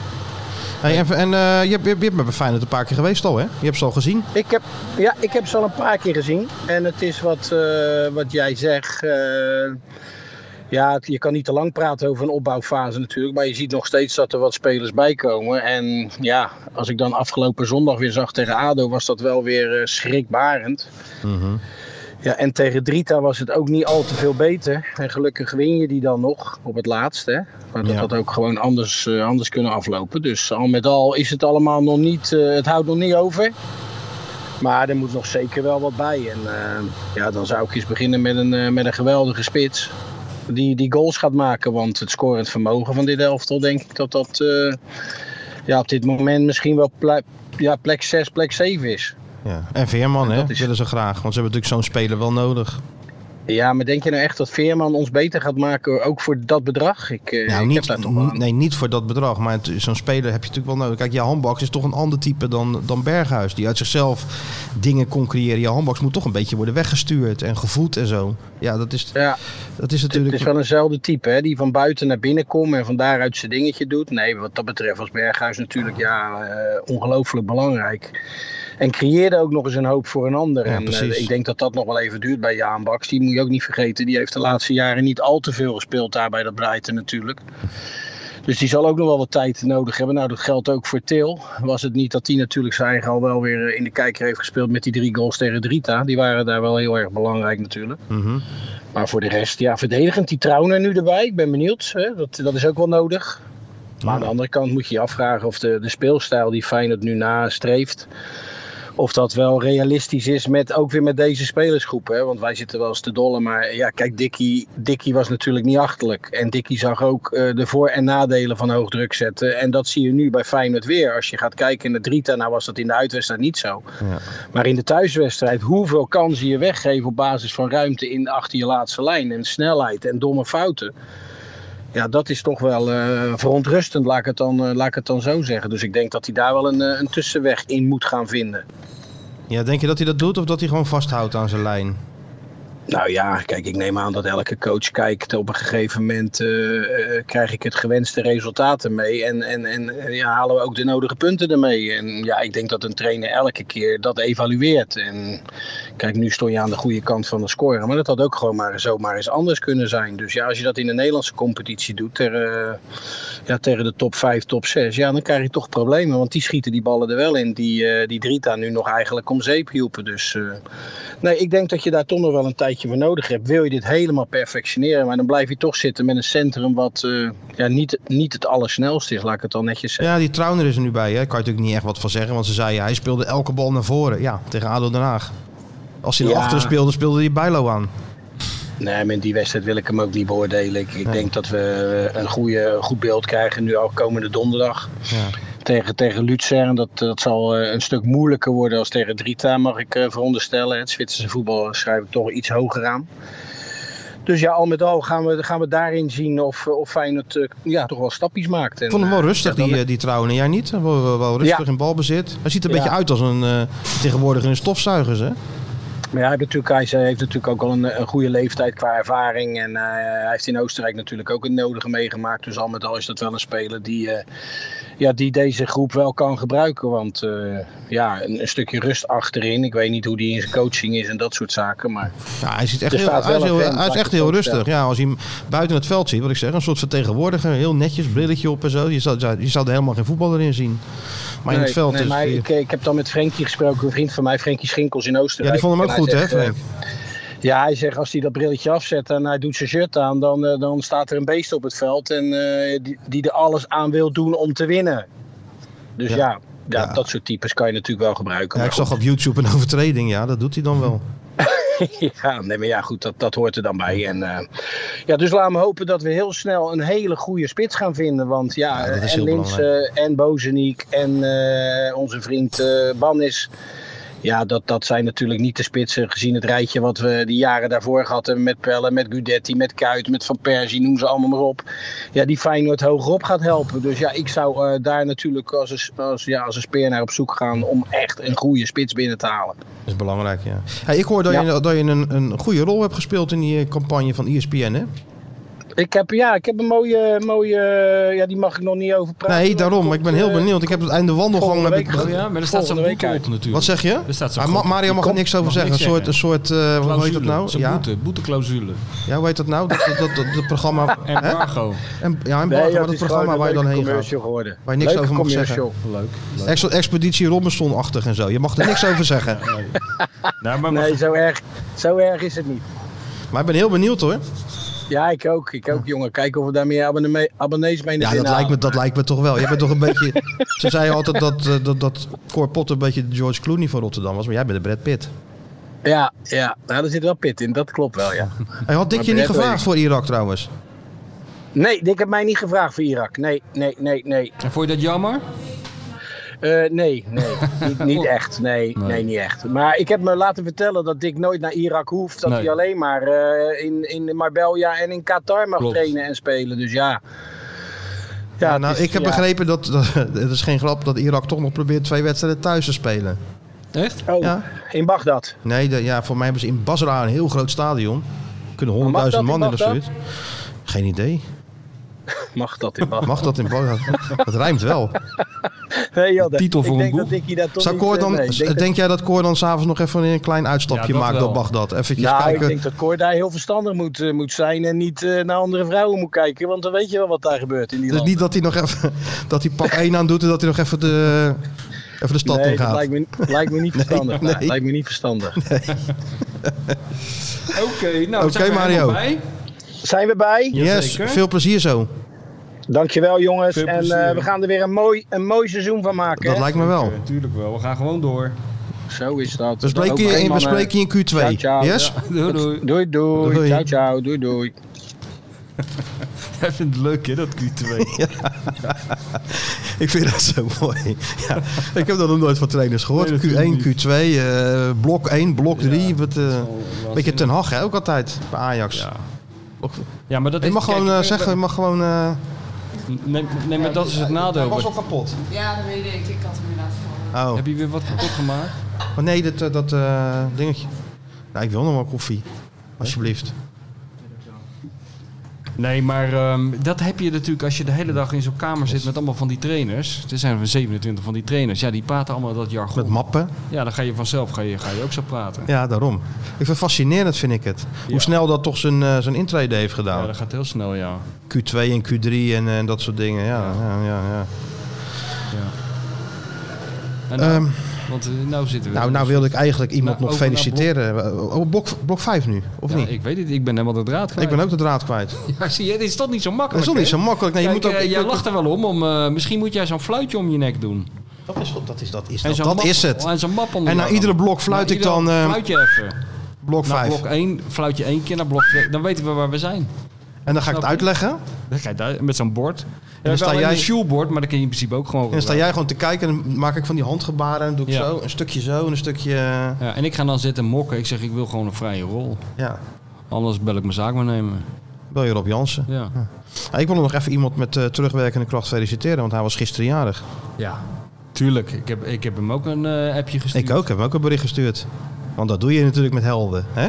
[SPEAKER 2] Hey, en en eh, je, hebt- je, hebt- je bent bij Feyenoord een paar keer geweest al, hè? Je hebt ze al gezien.
[SPEAKER 6] Ik heb, ja, ik heb ze al een paar keer gezien. En het is wat, eh, wat jij zegt. eh, Ja, het- je kan niet te lang praten over een opbouwfase natuurlijk. Maar je ziet nog steeds dat er wat spelers bij komen. En ja, als ik dan afgelopen zondag weer zag tegen ADO, was dat wel weer eh, schrikbarend. Ja, en tegen Drita was het ook niet al te veel beter. En gelukkig win je die dan nog op het laatst. Hè? Maar dat
[SPEAKER 2] Ja.
[SPEAKER 6] had ook gewoon anders, eh, anders kunnen aflopen. Dus al met al is het allemaal nog niet, eh, het houdt nog niet over. Maar er moet nog zeker wel wat bij. En eh, ja, dan zou ik eens beginnen met een, eh, met een geweldige spits. Die, die goals gaat maken. Want het scorend vermogen van dit elftal, denk ik dat dat eh, ja, op dit moment misschien wel plek, ja, plek 6, plek 7 is.
[SPEAKER 2] Ja. En Veerman, hè,
[SPEAKER 6] dat is-
[SPEAKER 2] willen ze graag. Want ze hebben natuurlijk zo'n speler wel nodig.
[SPEAKER 6] Ja, maar denk je nou echt dat Veerman ons beter gaat maken, ook voor dat bedrag? Ik, eh,
[SPEAKER 2] Nou,
[SPEAKER 6] ik
[SPEAKER 2] niet,
[SPEAKER 6] heb daar toch wel aan.
[SPEAKER 2] nee, niet voor dat bedrag. Maar het- zo'n speler heb je natuurlijk wel nodig. Kijk, je handbaks is toch een ander type dan, dan Berghuis. Die uit zichzelf dingen kon creëren. Je handbaks moet toch een beetje worden weggestuurd en gevoed en zo. Ja, dat is,
[SPEAKER 6] Ja,
[SPEAKER 2] dat is
[SPEAKER 6] het
[SPEAKER 2] natuurlijk...
[SPEAKER 6] is wel eenzelfde type, hè? die van buiten naar binnen komt en van daaruit zijn dingetje doet. Nee, wat dat betreft was Berghuis natuurlijk ja, eh, ongelooflijk belangrijk. En creëerde ook nog eens een hoop voor een ander.
[SPEAKER 2] Ja,
[SPEAKER 6] en eh,
[SPEAKER 2] precies.
[SPEAKER 6] ik denk dat dat nog wel even duurt bij Jaan Baks. Die moet je ook niet vergeten. Die heeft de laatste jaren niet al te veel gespeeld daar bij dat Breiten natuurlijk. Dus die zal ook nog wel wat tijd nodig hebben. Nou, dat geldt ook voor Til. Was het niet dat die natuurlijk zijn eigen al wel weer eh, in de kijker heeft gespeeld met die drie goals tegen Drita. Die waren daar wel heel erg belangrijk natuurlijk.
[SPEAKER 2] Mhm.
[SPEAKER 6] Maar voor de rest, ja, verdedigend. Die Trouwner nu erbij. Ik ben benieuwd. Hè? Dat, dat is ook wel nodig. Maar aan de andere kant moet je je afvragen of de, de speelstijl die Feyenoord nu nastreeft... of dat wel realistisch is, met, ook weer met deze spelersgroep. Hè? Want wij zitten wel eens te dolle. Maar ja, kijk, Dikkie, Dikkie was natuurlijk niet achterlijk. En Dikkie zag ook eh, de voor- en nadelen van hoog druk zetten. En dat zie je nu bij Feyenoord weer. Als je gaat kijken naar Drita, nou was dat in de uitwedstrijd niet zo. Maar in de thuiswedstrijd, hoeveel kansen je weggeven op basis van ruimte in, achter je laatste lijn en snelheid en domme fouten. Ja, dat is toch wel eh, verontrustend, laat ik, het dan, eh, laat ik het dan zo zeggen. Dus ik denk dat hij daar wel een, eh, een tussenweg in moet gaan vinden.
[SPEAKER 2] Ja, denk je dat hij dat doet of dat hij gewoon vasthoudt aan zijn lijn?
[SPEAKER 6] Nou ja, kijk, ik neem aan dat elke coach kijkt. Op een gegeven moment eh, eh, krijg ik het gewenste resultaat ermee. En, en, en eh, ja, halen we ook de nodige punten ermee. En ja, ik denk dat een trainer elke keer dat evalueert. En kijk, nu stond je aan de goede kant van de score. Maar dat had ook gewoon maar zomaar eens anders kunnen zijn. Dus ja, als je dat in de Nederlandse competitie doet, ter, eh, ja, tegen de top 5, top 6, ja, dan krijg je toch problemen. Want die schieten die ballen er wel in. Die, eh, die Drita nu nog eigenlijk om zeep hielpen. Dus. eh, Nee, ik denk dat je daar toch nog wel een tijdje voor nodig hebt. Wil je dit helemaal perfectioneren, maar dan blijf je toch zitten met een centrum wat eh, ja, niet, niet het allersnelste is, laat ik het dan netjes zeggen.
[SPEAKER 2] Ja, die Trauner is er nu bij. Hè? Daar kan je natuurlijk niet echt wat van zeggen. Want ze zeiden, hij speelde elke bal naar voren. Ja, tegen ADO Den Haag. Als hij naar
[SPEAKER 6] Ja.
[SPEAKER 2] achteren speelde, speelde hij Bijlo aan.
[SPEAKER 6] Nee, maar in die wedstrijd wil ik hem ook niet beoordelen. Ik, ik denk dat we eh, een goede, goed beeld krijgen nu al komende donderdag.
[SPEAKER 2] Ja.
[SPEAKER 6] Tegen, tegen Luzern, dat, dat zal eh, een stuk moeilijker worden als tegen Drita, mag ik eh, veronderstellen. Het Zwitserse voetbal schrijf ik toch iets hoger aan. Dus ja, al met al gaan we, gaan we daarin zien of, eh, of Feyenoord eh, ja, toch wel stapjes maakt. En,
[SPEAKER 2] Ik vond hem wel
[SPEAKER 6] eh,
[SPEAKER 2] rustig,
[SPEAKER 6] ja, dan-
[SPEAKER 2] die, eh, die Trauner. Jij niet? Wel, wel, wel rustig
[SPEAKER 6] Ja.
[SPEAKER 2] in balbezit. Hij ziet er een
[SPEAKER 6] Ja.
[SPEAKER 2] beetje uit als een eh tegenwoordig een stofzuiger. Hè?
[SPEAKER 6] Maar ja, hij, heeft natuurlijk, hij is- hij heeft natuurlijk ook al een, een goede leeftijd qua ervaring. En eh, hij heeft in Oostenrijk natuurlijk ook het nodige meegemaakt. Dus al met al is dat wel een speler die, eh, ja, die deze groep wel kan gebruiken. Want eh, ja, een, een stukje rust achterin. Ik weet niet hoe die in zijn coaching is en dat soort zaken. Maar
[SPEAKER 2] Ja, hij, ziet echt
[SPEAKER 6] Er
[SPEAKER 2] heel,
[SPEAKER 6] staat
[SPEAKER 2] hij is,
[SPEAKER 6] wel een
[SPEAKER 2] heel,
[SPEAKER 6] vent,
[SPEAKER 2] hij is
[SPEAKER 6] laat ik
[SPEAKER 2] echt
[SPEAKER 6] het
[SPEAKER 2] heel
[SPEAKER 6] zo
[SPEAKER 2] rustig.
[SPEAKER 6] stellen.
[SPEAKER 2] Ja, als hij hem buiten het veld ziet, wat ik zeg. Een soort vertegenwoordiger. Heel netjes, brilletje op en zo. Je zou, je zou er helemaal geen voetballer in zien. Maar in het
[SPEAKER 6] Nee,
[SPEAKER 2] veld dus,
[SPEAKER 6] nee,
[SPEAKER 2] is
[SPEAKER 6] maar
[SPEAKER 2] die-
[SPEAKER 6] ik, ik heb dan met Frenkie gesproken, een vriend van mij, Frenkie Schinkels in
[SPEAKER 2] Ja,
[SPEAKER 6] Oostenrijk.
[SPEAKER 2] die vond hem
[SPEAKER 6] En
[SPEAKER 2] ook
[SPEAKER 6] hij
[SPEAKER 2] goed, hè,
[SPEAKER 6] zegt, eh,
[SPEAKER 2] Frank?
[SPEAKER 6] Ja, hij zegt als hij dat brilletje afzet en hij doet zijn shirt aan, dan, eh, dan staat er een beest op het veld en, eh, die, die er alles aan wil doen om te winnen. Dus ja, ja,
[SPEAKER 2] Ja.
[SPEAKER 6] dat soort types kan je natuurlijk wel gebruiken.
[SPEAKER 2] Ja,
[SPEAKER 6] maar
[SPEAKER 2] ik zag op YouTube een overtreding. Ja, dat doet hij dan wel.
[SPEAKER 6] goed. ja, nee, maar ja, goed, dat, dat hoort er dan bij. En, eh, ja, dus laten we hopen dat we heel snel een hele goede spits gaan vinden. Want ja,
[SPEAKER 2] Ja, dat is
[SPEAKER 6] en
[SPEAKER 2] heel
[SPEAKER 6] Linse en Bozeniek en eh, onze vriend eh, Bannis. Ja, dat, dat zijn natuurlijk niet de spitsen gezien het rijtje wat we die jaren daarvoor gehad hebben met Pelle, met Gudetti, met Kuit, met Van Persie, noem ze allemaal maar op. Ja, die Feyenoord hogerop gaat helpen. Dus ja, ik zou eh, daar natuurlijk als een, s- als, ja, als een speer naar op zoek gaan om echt een goede spits binnen te halen.
[SPEAKER 2] Dat is belangrijk, ja. Hey, ik hoor dat
[SPEAKER 6] Ja.
[SPEAKER 2] E je, dat je een, een goede rol hebt gespeeld in die eh, campagne van ESPN, hè?
[SPEAKER 6] Ik heb, ja, ik heb een mooie, mooie, ja, die mag ik nog niet over praten.
[SPEAKER 2] Nee, daarom. maar Ik ben
[SPEAKER 6] eh,
[SPEAKER 2] heel benieuwd. Ik heb het einde wandelgang... Heb
[SPEAKER 6] volgende
[SPEAKER 2] ik...
[SPEAKER 6] week.
[SPEAKER 3] Oh ja, maar er staat zo'n
[SPEAKER 6] Volgende
[SPEAKER 3] boete
[SPEAKER 6] week
[SPEAKER 3] op natuurlijk.
[SPEAKER 2] Wat zeg je?
[SPEAKER 3] Er staat zo'n
[SPEAKER 2] Ah, Ma-
[SPEAKER 3] gro-
[SPEAKER 2] Mario mag er niks over
[SPEAKER 3] mag
[SPEAKER 2] zeggen. Een
[SPEAKER 3] niks
[SPEAKER 2] soort, een soort eh hoe heet dat
[SPEAKER 3] clausule.
[SPEAKER 2] nou?
[SPEAKER 3] Zo'n
[SPEAKER 2] Ja.
[SPEAKER 3] boete, boeteclausule.
[SPEAKER 2] ja, hoe heet dat nou? Dat, dat, dat, dat programma... Hè?
[SPEAKER 3] Embargo.
[SPEAKER 2] En, ja, en
[SPEAKER 6] Nee,
[SPEAKER 2] Bart, maar dat
[SPEAKER 6] dat is gewoon
[SPEAKER 2] programma
[SPEAKER 6] een
[SPEAKER 2] waar je dan
[SPEAKER 6] leuke
[SPEAKER 2] heen gaat.
[SPEAKER 6] commercial geworden.
[SPEAKER 2] Waar je niks
[SPEAKER 6] Leuke
[SPEAKER 2] over mag
[SPEAKER 6] commercial.
[SPEAKER 3] Leuk. leuk.
[SPEAKER 2] Ex- Expeditie Robinson-achtig en zo. Je mag er niks over zeggen.
[SPEAKER 3] Nou, maar mag-
[SPEAKER 6] Nee, zo erg, zo erg is het niet.
[SPEAKER 2] Maar ik ben heel benieuwd hoor.
[SPEAKER 6] Ja, ik ook. Ik ook, jongen. Kijken of we daar meer abonnee- abonnees mee naar
[SPEAKER 2] Ja, dat
[SPEAKER 6] binnen
[SPEAKER 2] lijkt, me,
[SPEAKER 6] halen.
[SPEAKER 2] dat lijkt me toch wel. Je bent toch een beetje... Ze zeiden altijd dat, eh, dat, dat Cor Potter een beetje de George Clooney van Rotterdam was. Maar jij bent de Brad Pitt.
[SPEAKER 6] Ja, ja. Nou, daar zit wel pit in. Dat klopt wel, ja.
[SPEAKER 2] Hij had Dick je niet
[SPEAKER 6] Brad weet
[SPEAKER 2] gevraagd
[SPEAKER 6] ik.
[SPEAKER 2] voor Irak trouwens.
[SPEAKER 6] Nee, Dick heeft mij niet gevraagd voor Irak. Nee, nee, nee, nee.
[SPEAKER 3] En vond je dat jammer?
[SPEAKER 6] Eh, nee, nee. niet, niet echt. Nee, nee. niet echt. Maar ik heb me laten vertellen dat Dick nooit naar Irak hoeft. Dat
[SPEAKER 3] Nee.
[SPEAKER 6] hij alleen maar eh, in, in Marbella en in Qatar mag
[SPEAKER 3] Klopt.
[SPEAKER 6] trainen en spelen. Dus ja.
[SPEAKER 2] Ja,
[SPEAKER 6] het
[SPEAKER 2] nou,
[SPEAKER 6] is-
[SPEAKER 2] ik heb
[SPEAKER 6] ja.
[SPEAKER 2] begrepen dat, dat... Het is geen grap dat Irak toch nog probeert twee wedstrijden thuis te spelen.
[SPEAKER 3] Echt?
[SPEAKER 6] Oh,
[SPEAKER 2] Ja.
[SPEAKER 6] in Bagdad.
[SPEAKER 2] Nee, de- ja, voor mij hebben ze in Basra een heel groot stadion. Er kunnen
[SPEAKER 6] mag dat
[SPEAKER 2] 100.000 man
[SPEAKER 6] in
[SPEAKER 2] in of
[SPEAKER 6] Bagdad?
[SPEAKER 2] zoiets. Geen idee.
[SPEAKER 6] Mag dat in Bagdad?
[SPEAKER 2] Mag dat in Bagdad? Dat rijmt wel.
[SPEAKER 6] Nee, joh, dat-
[SPEAKER 3] Titel voor
[SPEAKER 6] ik
[SPEAKER 3] een
[SPEAKER 6] denk
[SPEAKER 3] boek.
[SPEAKER 6] dat Dickie daar toch
[SPEAKER 2] Zou
[SPEAKER 6] niet,
[SPEAKER 2] Cor
[SPEAKER 6] eh,
[SPEAKER 2] dan,
[SPEAKER 6] nee, ik
[SPEAKER 2] denk,
[SPEAKER 6] dat-
[SPEAKER 2] jij dat Cor dan s'avonds nog even een klein uitstapje
[SPEAKER 3] Ja, dat
[SPEAKER 2] maakt
[SPEAKER 3] wel.
[SPEAKER 2] door Bagdad? Even
[SPEAKER 6] Nou, ik
[SPEAKER 2] kijken.
[SPEAKER 6] denk dat Cor daar heel verstandig moet, eh, moet zijn en niet eh, naar andere vrouwen moet kijken. Want dan weet je wel wat daar gebeurt in die
[SPEAKER 2] Dus
[SPEAKER 6] landen.
[SPEAKER 2] niet dat hij nog even dat hij pak 1 aan doet en dat hij nog even de, even de stad
[SPEAKER 6] nee,
[SPEAKER 2] in
[SPEAKER 6] dat
[SPEAKER 2] gaat.
[SPEAKER 6] lijkt me, lijkt me niet verstandig.
[SPEAKER 2] nee.
[SPEAKER 6] Nee, lijkt me niet verstandig.
[SPEAKER 3] Oké, nou
[SPEAKER 2] Oké,
[SPEAKER 3] zijn we
[SPEAKER 2] Mario.
[SPEAKER 3] helemaal bij.
[SPEAKER 6] Zijn we bij?
[SPEAKER 2] yes,
[SPEAKER 3] Jazeker.
[SPEAKER 2] veel plezier zo.
[SPEAKER 6] Dankjewel jongens.
[SPEAKER 3] Veel
[SPEAKER 6] En
[SPEAKER 3] plezier.
[SPEAKER 6] eh, we gaan er weer een mooi, een mooi seizoen van maken.
[SPEAKER 2] Dat
[SPEAKER 6] hè?
[SPEAKER 2] lijkt me wel.
[SPEAKER 3] Oké, tuurlijk wel, we gaan gewoon door.
[SPEAKER 6] Zo is dat.
[SPEAKER 2] We spreken
[SPEAKER 6] Ook
[SPEAKER 2] je in, we
[SPEAKER 6] mannen.
[SPEAKER 2] spreken je in Q2.
[SPEAKER 6] Ciao, ciao.
[SPEAKER 2] yes?
[SPEAKER 3] Doei, doei.
[SPEAKER 6] Doei, doei
[SPEAKER 2] Doei.
[SPEAKER 6] Ciao, ciao. Doei, doei.
[SPEAKER 3] Hij vindt het leuk hè, dat Q2.
[SPEAKER 2] Ik vind dat zo mooi. Ja, ik heb dat nog nooit van trainers gehoord.
[SPEAKER 3] Nee,
[SPEAKER 2] Q1,
[SPEAKER 3] natuurlijk
[SPEAKER 2] Q2, eh, blok 1, blok 3. wat, eh,
[SPEAKER 3] wel
[SPEAKER 2] beetje Ten Hag hè, ook altijd bij Ajax.
[SPEAKER 3] Ja. Ja, maar dat
[SPEAKER 2] Je
[SPEAKER 3] is-
[SPEAKER 2] mag
[SPEAKER 3] kijk,
[SPEAKER 2] gewoon eh,
[SPEAKER 3] ik-
[SPEAKER 2] zeggen, je mag gewoon... eh,
[SPEAKER 3] Nee, nee, maar dat is het nadeel.
[SPEAKER 2] kapot.
[SPEAKER 7] Ja, dat weet ik. Ik had hem inderdaad voor.
[SPEAKER 2] Oh,
[SPEAKER 3] Heb je weer wat kapot gemaakt?
[SPEAKER 2] oh nee, dat, eh, dat eh, dingetje. Nou, ik wil nog wel koffie. Alsjeblieft.
[SPEAKER 3] Nee, maar ehm, dat heb je natuurlijk als je de hele dag in zo'n kamer zit met allemaal van die trainers. Er zijn er 27 van die trainers. Ja, die praten allemaal dat jargon.
[SPEAKER 2] Met mappen.
[SPEAKER 3] Ja, dan ga je vanzelf ga je, ga je ook zo praten.
[SPEAKER 2] Ja, daarom. Ik vind het fascinerend, vind ik het. Hoe
[SPEAKER 3] Ja.
[SPEAKER 2] snel dat toch zijn, eh, zijn intrede heeft
[SPEAKER 3] Ja,
[SPEAKER 2] gedaan.
[SPEAKER 3] dat gaat heel snel, ja.
[SPEAKER 2] Q2 en Q3 en, eh, dat soort dingen. Ja, ja, ja. ja.
[SPEAKER 3] En nou,
[SPEAKER 2] Ehm,
[SPEAKER 3] want eh, nou zitten we...
[SPEAKER 2] Nou, nou wilde ik eigenlijk iemand
[SPEAKER 3] Nou,
[SPEAKER 2] nog
[SPEAKER 3] over naar
[SPEAKER 2] feliciteren. Oh, blok, blok 5 nu, of
[SPEAKER 3] Ja,
[SPEAKER 2] niet? Ik,
[SPEAKER 3] ik weet het, ik ben helemaal de draad kwijt.
[SPEAKER 2] ben ook de draad kwijt.
[SPEAKER 3] Ja, zie je, dit is toch niet zo
[SPEAKER 2] Dat
[SPEAKER 3] makkelijk,
[SPEAKER 2] is toch niet
[SPEAKER 3] hè?
[SPEAKER 2] zo makkelijk. Nee, je
[SPEAKER 3] Kijk,
[SPEAKER 2] moet ook,
[SPEAKER 3] eh,
[SPEAKER 2] ik-
[SPEAKER 3] jij lacht er wel om, om eh, misschien moet jij zo'n fluitje om je nek doen.
[SPEAKER 2] dat is dat is, dat is,
[SPEAKER 3] En
[SPEAKER 2] dat,
[SPEAKER 3] zo'n
[SPEAKER 2] Nou, dat
[SPEAKER 3] map-
[SPEAKER 2] is het.
[SPEAKER 3] Oh, En zo'n map onder
[SPEAKER 2] En na
[SPEAKER 3] je arm.
[SPEAKER 2] iedere blok fluit
[SPEAKER 3] Na
[SPEAKER 2] ik
[SPEAKER 3] iedere
[SPEAKER 2] dan, eh,
[SPEAKER 3] Fluit je even.
[SPEAKER 2] Blok
[SPEAKER 3] Na
[SPEAKER 2] 5.
[SPEAKER 3] blok 1 fluit je één keer, naar blok 2. Dan weten we waar we zijn.
[SPEAKER 2] En dan ga ik het
[SPEAKER 3] Snap je?
[SPEAKER 2] uitleggen. En
[SPEAKER 3] Dan ga je daar met zo'n bord.
[SPEAKER 2] dan
[SPEAKER 3] Ja,
[SPEAKER 2] sta
[SPEAKER 3] wel
[SPEAKER 2] jij-
[SPEAKER 3] een shoelbord, maar dat kun je in principe ook gewoon
[SPEAKER 2] dan sta
[SPEAKER 3] gebruiken.
[SPEAKER 2] jij gewoon te kijken en dan maak ik van die handgebaren. En doe ik
[SPEAKER 3] Ja.
[SPEAKER 2] zo, een stukje zo en een stukje... eh,
[SPEAKER 3] Ja, en ik ga dan zitten mokken. Ik zeg, ik wil gewoon een vrije rol.
[SPEAKER 2] Ja,
[SPEAKER 3] Anders bel ik mijn zaak maar nemen.
[SPEAKER 2] bel je Rob Jansen.
[SPEAKER 3] Ja.
[SPEAKER 2] Ah, Ik wil nog even iemand met eh, terugwerkende kracht feliciteren, want hij was gisteren jarig.
[SPEAKER 3] ja. Tuurlijk. Ik heb, ik heb hem ook een eh, appje gestuurd.
[SPEAKER 2] Ik ook, heb hem ook een bericht gestuurd. Want dat doe je natuurlijk met helden. Hè?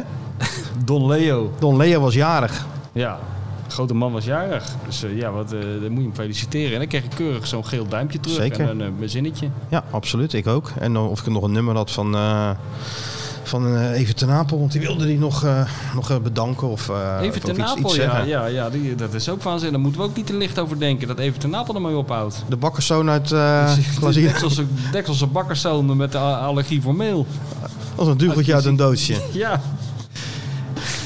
[SPEAKER 3] Don Leo.
[SPEAKER 2] Don Leo was jarig.
[SPEAKER 3] Ja. Grote man was jarig. Dus eh, ja, wat, eh, dan moet je hem feliciteren. En dan kreeg ik keurig zo'n geel duimpje terug.
[SPEAKER 2] Zeker.
[SPEAKER 3] En een eh, zinnetje.
[SPEAKER 2] Ja, absoluut. Ik ook. En dan of ik nog een nummer had van, eh, van eh, Even ten Apel, want die wilde die nog, eh, nog eh, bedanken of, eh,
[SPEAKER 3] Even
[SPEAKER 2] of
[SPEAKER 3] ten
[SPEAKER 2] iets, iets
[SPEAKER 3] Napel, ja.
[SPEAKER 2] zeggen.
[SPEAKER 3] Ja, ja die, dat is ook waanzin. Daar moeten we ook niet te licht over denken. Dat Even ten Napel ermee ophoudt. Dus,
[SPEAKER 2] De bakkerszoon uit eh Glazier.
[SPEAKER 3] Dekselse, Dekselse bakkerszomer met de a- allergie voor meel.
[SPEAKER 2] Dat was een dugeltje uit een doosje.
[SPEAKER 3] Ja.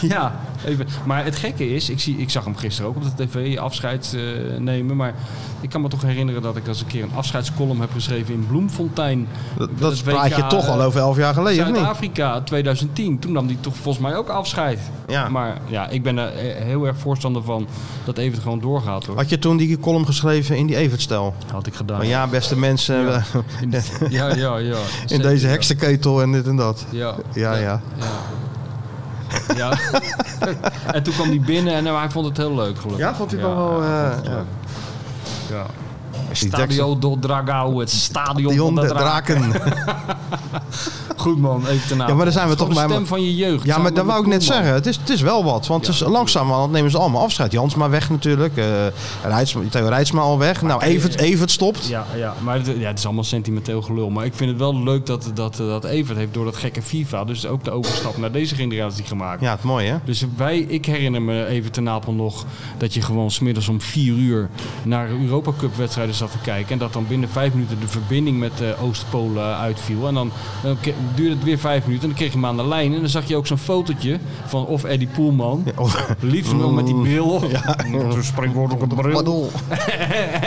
[SPEAKER 3] Ja, even. Maar het gekke is, ik, zie, ik zag hem gisteren ook op de tv afscheid eh, nemen. Maar ik kan me toch herinneren dat ik als een keer een afscheidscolumn heb geschreven in Bloemfontein.
[SPEAKER 2] Dat,
[SPEAKER 3] Dat
[SPEAKER 2] dat
[SPEAKER 3] is
[SPEAKER 2] praat je
[SPEAKER 3] WK, eh,
[SPEAKER 2] toch al over elf jaar geleden, of niet?
[SPEAKER 3] Zuid-Afrika 2010. Toen nam hij toch volgens mij ook afscheid.
[SPEAKER 2] Ja.
[SPEAKER 3] Maar ja, ik ben er eh, heel erg voorstander van dat even gewoon doorgaat hoor.
[SPEAKER 2] Had je toen die column geschreven in die Evertstijl?
[SPEAKER 3] Had ik
[SPEAKER 2] Van
[SPEAKER 3] gedaan.
[SPEAKER 2] ja, beste mensen,
[SPEAKER 3] Ja.
[SPEAKER 2] we-
[SPEAKER 3] In, ja, ja, ja.
[SPEAKER 2] in deze heksenketel en dit en dat.
[SPEAKER 3] Ja.
[SPEAKER 2] Ja, ja.
[SPEAKER 3] Ja. Ja. en toen kwam hij binnen en eh, hij vond het heel leuk gelukkig.
[SPEAKER 2] Ja, vond hij dan wel,
[SPEAKER 3] hij
[SPEAKER 2] eh,
[SPEAKER 3] vond het
[SPEAKER 2] ja.
[SPEAKER 3] leuk. Ja.
[SPEAKER 2] Die
[SPEAKER 3] Stadio
[SPEAKER 2] Jackson-
[SPEAKER 3] do Dragao, het stadion
[SPEAKER 2] Dion
[SPEAKER 3] van de
[SPEAKER 2] de
[SPEAKER 3] Draak.
[SPEAKER 2] Draken.
[SPEAKER 3] Goed man, even ten
[SPEAKER 2] Ja, maar daar zijn we
[SPEAKER 3] Het
[SPEAKER 2] toch
[SPEAKER 3] is gewoon
[SPEAKER 2] bij-
[SPEAKER 3] de stem van je jeugd.
[SPEAKER 2] Ja,
[SPEAKER 3] samen
[SPEAKER 2] maar dat
[SPEAKER 3] met
[SPEAKER 2] wou ik net
[SPEAKER 3] Koeman.
[SPEAKER 2] zeggen. Het is, het is wel wat. Want
[SPEAKER 3] Ja,
[SPEAKER 2] het is langzaam nemen ze allemaal afscheid. Jans maar weg natuurlijk. eh Rijtsma, Theo Rijtsma al weg. nou, Evert, Evert stopt.
[SPEAKER 3] Ja, ja, maar het, ja, het is allemaal sentimenteel gelul. Maar ik vind het wel leuk dat, dat, dat Evert heeft door dat gekke FIFA... dus ook de overstap naar deze generatie gemaakt.
[SPEAKER 2] Ja, het mooie hè.
[SPEAKER 3] Dus wij, ik herinner me even ten Napel nog dat je gewoon smiddags om vier uur naar Europa Cup wedstrijden zat te kijken. En dat dan binnen vijf minuten de verbinding met eh, Oost-Polen uitviel. En dan, dan ke- duurde het weer vijf minuten en dan kreeg je hem aan de lijn. En dan zag je ook zo'n fotootje van of Eddie Poelman.
[SPEAKER 2] Oh,
[SPEAKER 3] Liefst nog met die bril op. Ja. Toen springwoord op de bril.
[SPEAKER 2] pardon.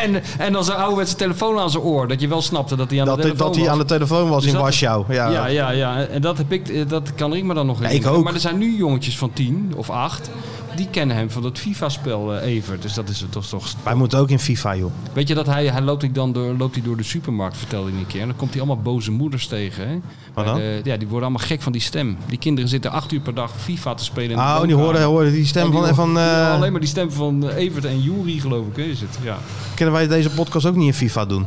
[SPEAKER 3] en, en dan zijn ouderwetse telefoon aan zijn oor. Dat je wel snapte dat hij aan
[SPEAKER 2] Dat,
[SPEAKER 3] de
[SPEAKER 2] hij-
[SPEAKER 3] telefoon
[SPEAKER 2] dat hij
[SPEAKER 3] was.
[SPEAKER 2] aan de telefoon was
[SPEAKER 3] Dus
[SPEAKER 2] in
[SPEAKER 3] dat-
[SPEAKER 2] Warschau. Ja.
[SPEAKER 3] Ja, ja, ja. En dat, heb ik, eh, dat kan ik me dan nog herinneren.
[SPEAKER 2] ik ook.
[SPEAKER 3] Maar er zijn nu jongetjes van tien of acht. Die kennen hem van dat FIFA-spel eh, Evert. Dus dat is, dat is toch...
[SPEAKER 2] Wij moeten ook in FIFA, joh.
[SPEAKER 3] Weet je dat hij, hij loopt, hij dan door, loopt hij door de supermarkt, vertelde hij een keer. En dan komt hij allemaal boze moeders tegen. Hè? Bij
[SPEAKER 2] dan?
[SPEAKER 3] de- ja, die worden allemaal gek van die stem. Die kinderen zitten acht uur per dag FIFA te spelen. in de
[SPEAKER 2] Ah, oh, die
[SPEAKER 3] woonkamer.
[SPEAKER 2] hoorden, hoorden die stem
[SPEAKER 3] En die
[SPEAKER 2] van...
[SPEAKER 3] horen-
[SPEAKER 2] van
[SPEAKER 3] die
[SPEAKER 2] eh,
[SPEAKER 3] horen alleen maar die stem van eh, Evert en Juri, geloof ik. Hè, is het? Ja.
[SPEAKER 2] Kunnen wij deze podcast ook niet in FIFA doen?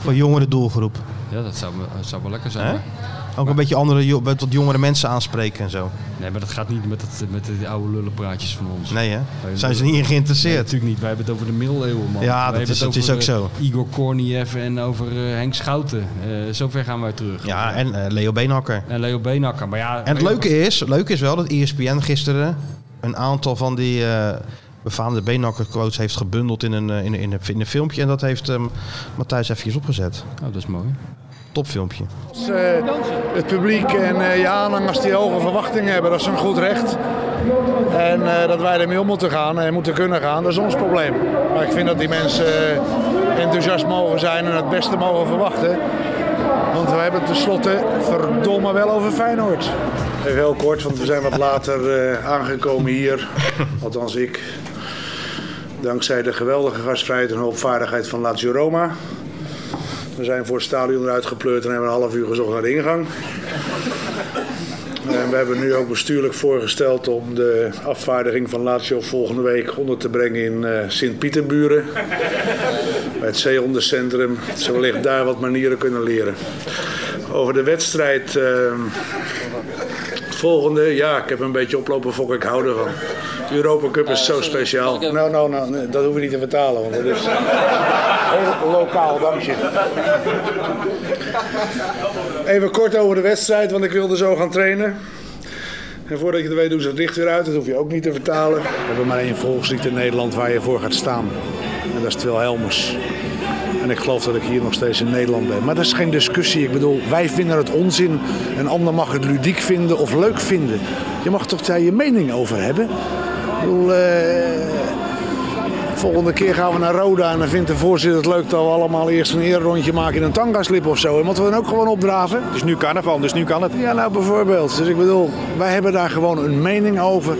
[SPEAKER 2] Voor jongere doelgroep.
[SPEAKER 3] ja, dat zou, me- zou wel lekker zijn.
[SPEAKER 2] Hè?
[SPEAKER 3] hè?
[SPEAKER 2] Ook een beetje andere, jo- wat jongere mensen aanspreken en zo.
[SPEAKER 3] Nee, maar dat gaat niet met, dat, met die oude lullenpraatjes van ons.
[SPEAKER 2] Nee, hè? Zijn ze niet in geïnteresseerd?
[SPEAKER 3] natuurlijk niet. Wij hebben het over de middeleeuwen, man.
[SPEAKER 2] Ja,
[SPEAKER 3] Wij
[SPEAKER 2] dat
[SPEAKER 3] hebben
[SPEAKER 2] is-
[SPEAKER 3] het
[SPEAKER 2] dat is
[SPEAKER 3] over,
[SPEAKER 2] ook
[SPEAKER 3] eh,
[SPEAKER 2] zo.
[SPEAKER 3] Igor Korniev en over eh, Henk Schouten. Eh, zover gaan wij terug.
[SPEAKER 2] Ja, en eh, Leo Beenhakker.
[SPEAKER 3] En Leo Beenakker. Maar ja,
[SPEAKER 2] En het leuke is, het leuke is wel dat E ESPN gisteren een aantal van die eh, befaamde beenhakkerquotes heeft gebundeld in een, eh, in, in, een, in een filmpje. En dat heeft ehm, Matthijs eventjes opgezet.
[SPEAKER 3] Oh, dat is mooi.
[SPEAKER 2] Topfilmpje.
[SPEAKER 8] eh, het publiek en eh, je aanhangers die hoge verwachtingen hebben. Dat is een goed recht. En eh, dat wij ermee om moeten gaan en moeten kunnen gaan, dat is ons probleem. Maar ik vind dat die mensen eh, enthousiast mogen zijn en het beste mogen verwachten. Want we hebben het tenslotte verdomme wel over Feyenoord. Even heel kort, want we zijn wat later eh, aangekomen hier. Althans ik. Dankzij de geweldige gastvrijheid en hulpvaardigheid van Lazio Roma. We zijn voor het stadion eruit gepleurd en hebben een half uur gezocht naar de ingang. En we hebben nu ook bestuurlijk voorgesteld om de afvaardiging van Lazio volgende week onder te brengen in eh, Sint-Pieterburen. Bij het zeehondencentrum. Dat ze wellicht daar wat manieren kunnen leren. Over de wedstrijd. eh, het volgende, ja, ik heb een beetje oplopen fokken, ik hou ervan. De Europa Cup is zo speciaal. Nou, nou, nou, nee, dat hoeven we niet te vertalen, want dat is heel lokaal, dank je. Even kort over de wedstrijd, want ik wilde zo gaan trainen. En voordat je het weet doen ze het licht weer uit, dat hoef je ook niet te vertalen. We hebben maar één volkslied in Nederland waar je voor gaat staan. En dat is Twil Helmers. En ik geloof dat ik hier nog steeds in Nederland ben. Maar dat is geen discussie. Ik bedoel, wij vinden het onzin. Een ander mag het ludiek vinden of leuk vinden. Je mag toch daar je mening over hebben? Ik bedoel, eh, Volgende keer gaan we naar Roda en dan vindt de voorzitter het leuk dat we allemaal eerst een eerrondje maken in een tangaslip of zo. En moeten we dan ook gewoon opdraven? Dus nu carnaval, dus nu kan het. Ja, nou bijvoorbeeld. Dus ik bedoel, wij hebben daar gewoon een mening over.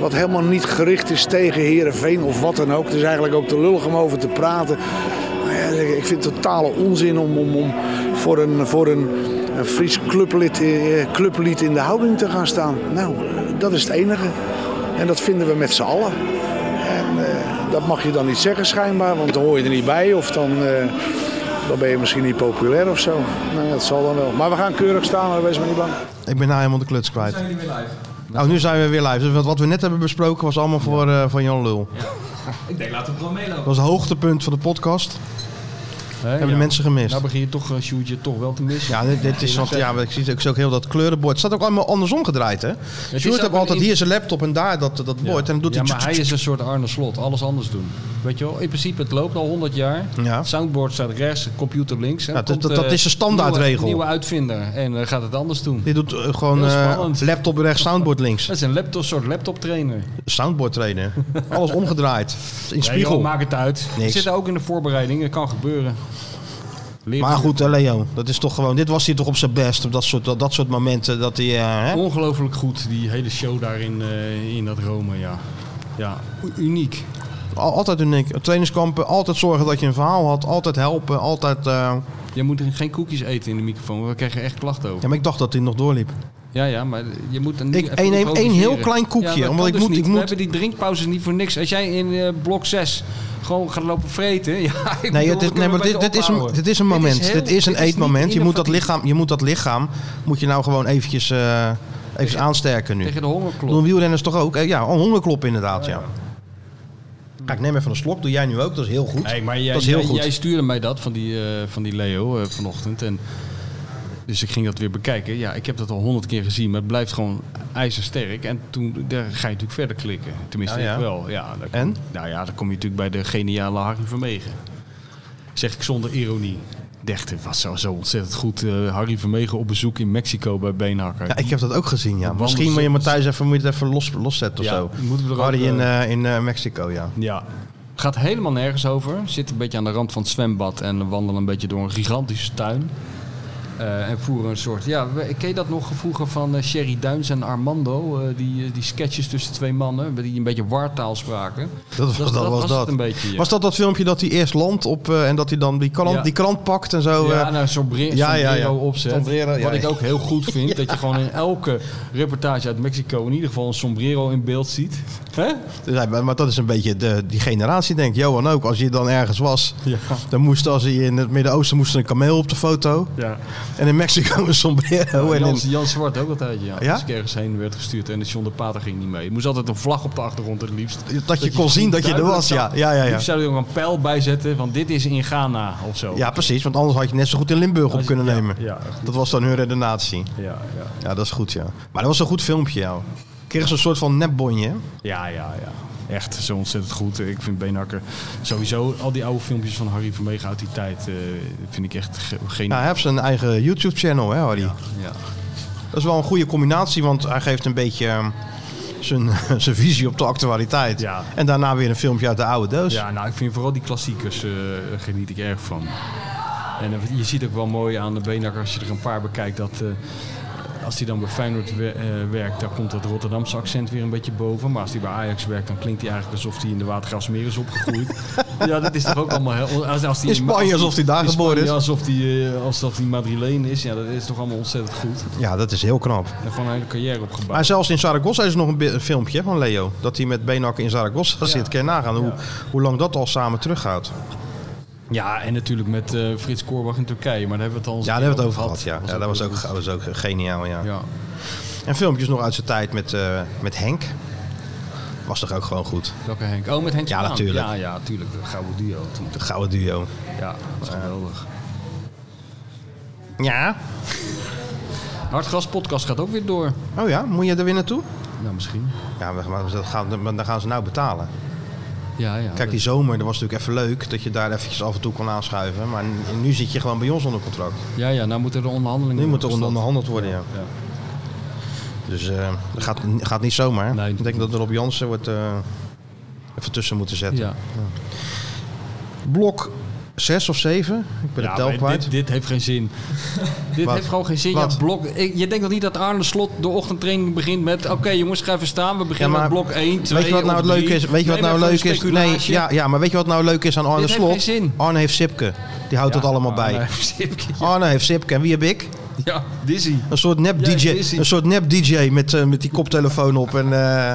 [SPEAKER 8] Wat helemaal niet gericht is tegen Herenveen of wat dan ook. Het is eigenlijk ook te lullig om over te praten. Maar ja, ik- Ik vind het totale onzin om, om, om voor een, voor een, een Fries clublid, eh, clublied in de houding te gaan staan. Nou, dat is het enige. En dat vinden we met z'n allen. En eh, dat mag je dan niet zeggen schijnbaar, want dan hoor je er niet bij of dan, eh, dan ben je misschien niet populair of zo. Nou, ja, dat zal dan wel. Maar we gaan keurig staan, maar wees maar niet bang.
[SPEAKER 2] Ik ben nou helemaal de kluts kwijt. Zijn jullie weer live? Nou, nu zijn we weer live. Dus wat- wat we net hebben besproken was allemaal voor, eh, van Jan Lul.
[SPEAKER 5] Ik denk, laten we gewoon meelopen.
[SPEAKER 2] Dat was het hoogtepunt van de podcast. Hebben de mensen gemist.
[SPEAKER 3] Nou begin je toch, eh, Sjoerdje, toch wel te missen.
[SPEAKER 2] Ja, dit, dit is wat, ja, maar ik zie het ook, ik zie ook heel dat kleurenbord. Het staat ook allemaal andersom gedraaid, hè?
[SPEAKER 3] ook
[SPEAKER 2] Sjoerd heeft
[SPEAKER 3] een
[SPEAKER 2] altijd
[SPEAKER 3] in-
[SPEAKER 2] hier zijn laptop en daar dat, dat bord. En dan doet
[SPEAKER 3] ja,
[SPEAKER 2] hij...
[SPEAKER 3] maar hij is een soort Arne Slot. Alles anders doen. Weet je wel? In principe, het loopt al 100 jaar.
[SPEAKER 2] Ja.
[SPEAKER 3] Het Soundboard staat rechts, de computer links. En
[SPEAKER 2] Ja,
[SPEAKER 3] dan
[SPEAKER 2] dat-
[SPEAKER 3] komt,
[SPEAKER 2] dat- dat
[SPEAKER 3] eh,
[SPEAKER 2] is de standaardregel.
[SPEAKER 3] Nieuwe, nieuwe uitvinder. En eh, gaat het anders doen.
[SPEAKER 2] Dit doet eh, gewoon
[SPEAKER 3] Heel
[SPEAKER 2] eh,
[SPEAKER 3] spannend.
[SPEAKER 2] laptop rechts, soundboard links.
[SPEAKER 3] Dat is een laptop, soort laptop trainer.
[SPEAKER 2] Soundboard trainen. Alles omgedraaid. In
[SPEAKER 3] Nee, joh,
[SPEAKER 2] spiegel.
[SPEAKER 3] maak het uit. We
[SPEAKER 2] Niks.
[SPEAKER 3] zitten ook in de voorbereiding. Dat kan gebeuren. Leer
[SPEAKER 2] Maar
[SPEAKER 3] van-
[SPEAKER 2] goed, eh, Leo, dat is toch gewoon. Dit was hij toch op zijn best. Op dat soort, dat, dat soort momenten dat hij. eh, hè?
[SPEAKER 3] Ongelooflijk goed, die hele show daar in, eh, in dat Rome, ja. Ja, u- uniek.
[SPEAKER 2] Al- altijd uniek. Trainingskampen, altijd zorgen dat je een verhaal had. Altijd helpen. Altijd. eh,
[SPEAKER 3] Je moet geen koekjes eten in de microfoon, want we krijgen echt klachten over.
[SPEAKER 2] Ja, maar ik dacht dat hij nog doorliep.
[SPEAKER 3] Ja, ja, maar je moet dan
[SPEAKER 2] Ik-
[SPEAKER 3] niet even
[SPEAKER 2] ik neem
[SPEAKER 3] improviseren.
[SPEAKER 2] één heel klein koekje,
[SPEAKER 3] Ja, dat
[SPEAKER 2] omdat
[SPEAKER 3] kan
[SPEAKER 2] ik
[SPEAKER 3] dus
[SPEAKER 2] moet-
[SPEAKER 3] niet.
[SPEAKER 2] ik moet-
[SPEAKER 3] We hebben die drinkpauzes niet voor niks. Als jij in eh, blok 6 gewoon gaat lopen vreten... Ja, ik
[SPEAKER 2] Nee,
[SPEAKER 3] bedoel,
[SPEAKER 2] het is,
[SPEAKER 3] we
[SPEAKER 2] nee
[SPEAKER 3] kunnen
[SPEAKER 2] maar
[SPEAKER 3] een
[SPEAKER 2] dit,
[SPEAKER 3] beetje
[SPEAKER 2] dit, is een,
[SPEAKER 3] ophouden.
[SPEAKER 2] dit is een moment. Dit is,
[SPEAKER 3] heel-
[SPEAKER 2] een
[SPEAKER 3] dit is
[SPEAKER 2] eetmoment.
[SPEAKER 3] niet
[SPEAKER 2] Je moet, dat
[SPEAKER 3] innovatief.
[SPEAKER 2] lichaam, je moet dat lichaam moet je nou gewoon eventjes, eh, eventjes aansterken nu.
[SPEAKER 3] Tegen de
[SPEAKER 2] Doen
[SPEAKER 3] hongerklop.
[SPEAKER 2] wielrenners toch ook? Eh, Ja, een hongerklop inderdaad, ja. Kijk, neem even een slok. Doe jij nu ook. Dat is heel goed.
[SPEAKER 3] Nee, maar jij,
[SPEAKER 2] dat is heel
[SPEAKER 3] jij,
[SPEAKER 2] goed.
[SPEAKER 3] jij stuurde mij dat van die, eh, van die Leo eh, vanochtend. En dus ik ging dat weer bekijken. Ja, ik heb dat al honderd keer gezien, maar het blijft gewoon ijzersterk. En toen daar ga je natuurlijk verder klikken. Tenminste,
[SPEAKER 2] Ja, ja.
[SPEAKER 3] ik wel. Ja, daar-
[SPEAKER 2] En?
[SPEAKER 3] Nou ja, dan kom je natuurlijk bij de geniale Harry Vermegen. Zeg ik zonder ironie. Dacht, het was zo, zo ontzettend goed. eh, Harry Vermegen op bezoek in Mexico bij Beenhakker.
[SPEAKER 2] Ja, ik heb dat ook gezien, ja.
[SPEAKER 3] Wandel-
[SPEAKER 2] Misschien moet je Matthijs even, moet je het even los, loszetten of
[SPEAKER 3] Ja,
[SPEAKER 2] zo.
[SPEAKER 3] moeten we er
[SPEAKER 2] Harry
[SPEAKER 3] ook,
[SPEAKER 2] in,
[SPEAKER 3] eh,
[SPEAKER 2] eh, in eh, Mexico, ja.
[SPEAKER 3] Ja. Gaat helemaal nergens over. Zit een beetje aan de rand van het zwembad en wandelen een beetje door een gigantische tuin. Eh, en voeren een soort. Ja, we- ken je dat nog vroeger van eh, Sherry Duins en Armando? Eh, die, eh, die sketches tussen twee mannen, die een beetje wartaal spraken.
[SPEAKER 2] Dat was, dat, was
[SPEAKER 3] het
[SPEAKER 2] dat.
[SPEAKER 3] een beetje. ja.
[SPEAKER 2] Was dat dat filmpje dat hij eerst landt op eh, en dat hij dan die krant,
[SPEAKER 3] Ja.
[SPEAKER 2] die krant pakt en zo?
[SPEAKER 3] ja,
[SPEAKER 2] eh,
[SPEAKER 3] nou, zo'n bre-
[SPEAKER 2] ja, ja,
[SPEAKER 3] zo'n
[SPEAKER 2] ja.
[SPEAKER 3] brero opzet.
[SPEAKER 2] Sombrero, ja,
[SPEAKER 3] Wat ik
[SPEAKER 2] ja.
[SPEAKER 3] ook heel goed vind, dat je gewoon in elke reportage uit Mexico in ieder geval een sombrero in beeld ziet. Hè?
[SPEAKER 2] Dus hij- maar dat is een beetje de, die generatie, denk ik. Johan ook. Als je dan ergens was, dan moest als hij in het Midden-Oosten moest er een kameel op de foto.
[SPEAKER 3] Ja.
[SPEAKER 2] En in Mexico een sombrero. en
[SPEAKER 3] Jan,
[SPEAKER 2] in,
[SPEAKER 3] Jan Zwart ook altijd, ja.
[SPEAKER 2] Ja?
[SPEAKER 3] Als ik ergens heen werd gestuurd en de John de Pater ging niet mee. Er moest altijd een vlag op de achtergrond het liefst.
[SPEAKER 2] dat je kon zien dat je er
[SPEAKER 3] duidelijk
[SPEAKER 2] was.
[SPEAKER 3] zag.
[SPEAKER 2] Ja, ja, ja,
[SPEAKER 3] Het
[SPEAKER 2] ja.
[SPEAKER 3] liefst zou je er ook een pijl bij zetten van dit is in Ghana of zo.
[SPEAKER 2] ja, precies. Want anders had je net zo goed in Limburg op
[SPEAKER 3] Als-
[SPEAKER 2] kunnen
[SPEAKER 3] ja,
[SPEAKER 2] nemen.
[SPEAKER 3] Ja, goed.
[SPEAKER 2] Dat was dan hun redenatie.
[SPEAKER 3] ja, ja.
[SPEAKER 2] Ja, dat is goed, ja. Maar dat was een goed filmpje, ja. Kreeg ze een soort van nepbonje. hè?
[SPEAKER 3] ja, ja, ja. Echt zo ontzettend goed. Ik vind Beenhakker sowieso al die oude filmpjes van Harry Vermegen uit die tijd eh, vind ik echt ge-
[SPEAKER 2] Nou,
[SPEAKER 3] geniaal.
[SPEAKER 2] hij heeft zijn eigen YouTube-channel, hè, Harry?
[SPEAKER 3] ja.
[SPEAKER 2] Dat is wel een goede combinatie, want hij geeft een beetje ehm, zijn, zijn visie op de actualiteit.
[SPEAKER 3] Ja.
[SPEAKER 2] En daarna weer een filmpje uit de oude doos.
[SPEAKER 3] Ja, nou, ik vind vooral die klassiekers eh, geniet ik erg van. En eh, je ziet ook wel mooi aan de Benakker, als je er een paar bekijkt, dat eh, als hij dan bij Feyenoord we- eh, werkt, dan komt dat Rotterdamse accent weer een beetje boven. Maar als hij bij Ajax werkt, dan klinkt hij eigenlijk alsof hij in de Watergraafsmeer is opgegroeid. ja, dat is toch ook allemaal... Heel, als, als hij
[SPEAKER 2] In Spanje, alsof hij daar
[SPEAKER 3] in
[SPEAKER 2] geboren
[SPEAKER 3] Spanje
[SPEAKER 2] is.
[SPEAKER 3] Alsof hij, eh, alsof hij Madrileen is. Ja, dat is toch allemaal ontzettend goed.
[SPEAKER 2] Ja, dat is heel knap.
[SPEAKER 3] En gewoon een hele carrière opgebouwd.
[SPEAKER 2] Maar zelfs in Zaragoza is er nog een, bi- een filmpje van Leo. Dat hij met Beenhakker in Zaragoza zit. Kan je nagaan hoe, hoe lang dat al samen teruggaat.
[SPEAKER 3] Ja, en natuurlijk met eh, Frits Korbach in Turkije. Maar daar hebben we het al eens
[SPEAKER 2] Ja,
[SPEAKER 3] een
[SPEAKER 2] daar hebben we
[SPEAKER 3] keer
[SPEAKER 2] het over gehad. Ja, ja dat was ook, dat was ook geniaal, ja.
[SPEAKER 3] Ja.
[SPEAKER 2] En filmpjes nog uit zijn tijd met, eh, met Henk. Was toch ook gewoon goed.
[SPEAKER 3] Welke Henk? Oh, met Henk
[SPEAKER 2] Ja,
[SPEAKER 3] Spaan.
[SPEAKER 2] natuurlijk.
[SPEAKER 3] Ja, ja, natuurlijk. De gouden duo. Toen-
[SPEAKER 2] De gouden duo.
[SPEAKER 3] Ja, dat is geweldig.
[SPEAKER 2] Ja.
[SPEAKER 3] Hartgras podcast gaat ook weer door.
[SPEAKER 2] Oh ja, moet je er weer naartoe?
[SPEAKER 3] Nou, misschien.
[SPEAKER 2] Ja, maar- maar dat gaan, maar dan gaan ze nou betalen.
[SPEAKER 3] Ja, ja.
[SPEAKER 2] Kijk, die zomer, dat was natuurlijk even leuk dat je daar eventjes af en toe kon aanschuiven. Maar n- nu zit je gewoon bij ons onder contract.
[SPEAKER 3] Ja, ja, nou moeten de onderhandelingen...
[SPEAKER 2] Nu moet er
[SPEAKER 3] gestart.
[SPEAKER 2] onderhandeld worden, ja.
[SPEAKER 3] Ja.
[SPEAKER 2] Dus eh, dat gaat, gaat niet zomaar. hè?
[SPEAKER 3] Nee.
[SPEAKER 2] Ik denk dat Rob Jansen wordt eh, even tussen moeten zetten.
[SPEAKER 3] Ja,
[SPEAKER 2] Blok 6 of 7. Ik ben
[SPEAKER 3] ja
[SPEAKER 2] de tel
[SPEAKER 3] maar
[SPEAKER 2] kwijt.
[SPEAKER 3] dit, dit heeft geen zin. dit
[SPEAKER 2] Wat?
[SPEAKER 3] heeft gewoon geen zin.
[SPEAKER 2] Wat?
[SPEAKER 3] Ja, blok, ik- je denkt nog niet dat Arne Slot de ochtendtraining begint met... Oké jongens, ga even staan. We beginnen
[SPEAKER 2] Ja, maar-
[SPEAKER 3] met blok 1, 2
[SPEAKER 2] weet je wat nou het leuk is? Weet je wat nou leuk is? Nee, ja, ja, maar weet je wat nou leuk is aan Arne
[SPEAKER 3] Dit heeft
[SPEAKER 2] Slot?
[SPEAKER 3] geen zin.
[SPEAKER 2] Arne heeft Sipke. Die houdt dat allemaal bij. Arne heeft Sipke. En wie heb ik?
[SPEAKER 3] Ja, Dizzy.
[SPEAKER 2] Een soort nep
[SPEAKER 3] Ja,
[SPEAKER 2] DJ.
[SPEAKER 3] is hij.
[SPEAKER 2] Een soort nep DJ met, eh, met die koptelefoon op. En, eh,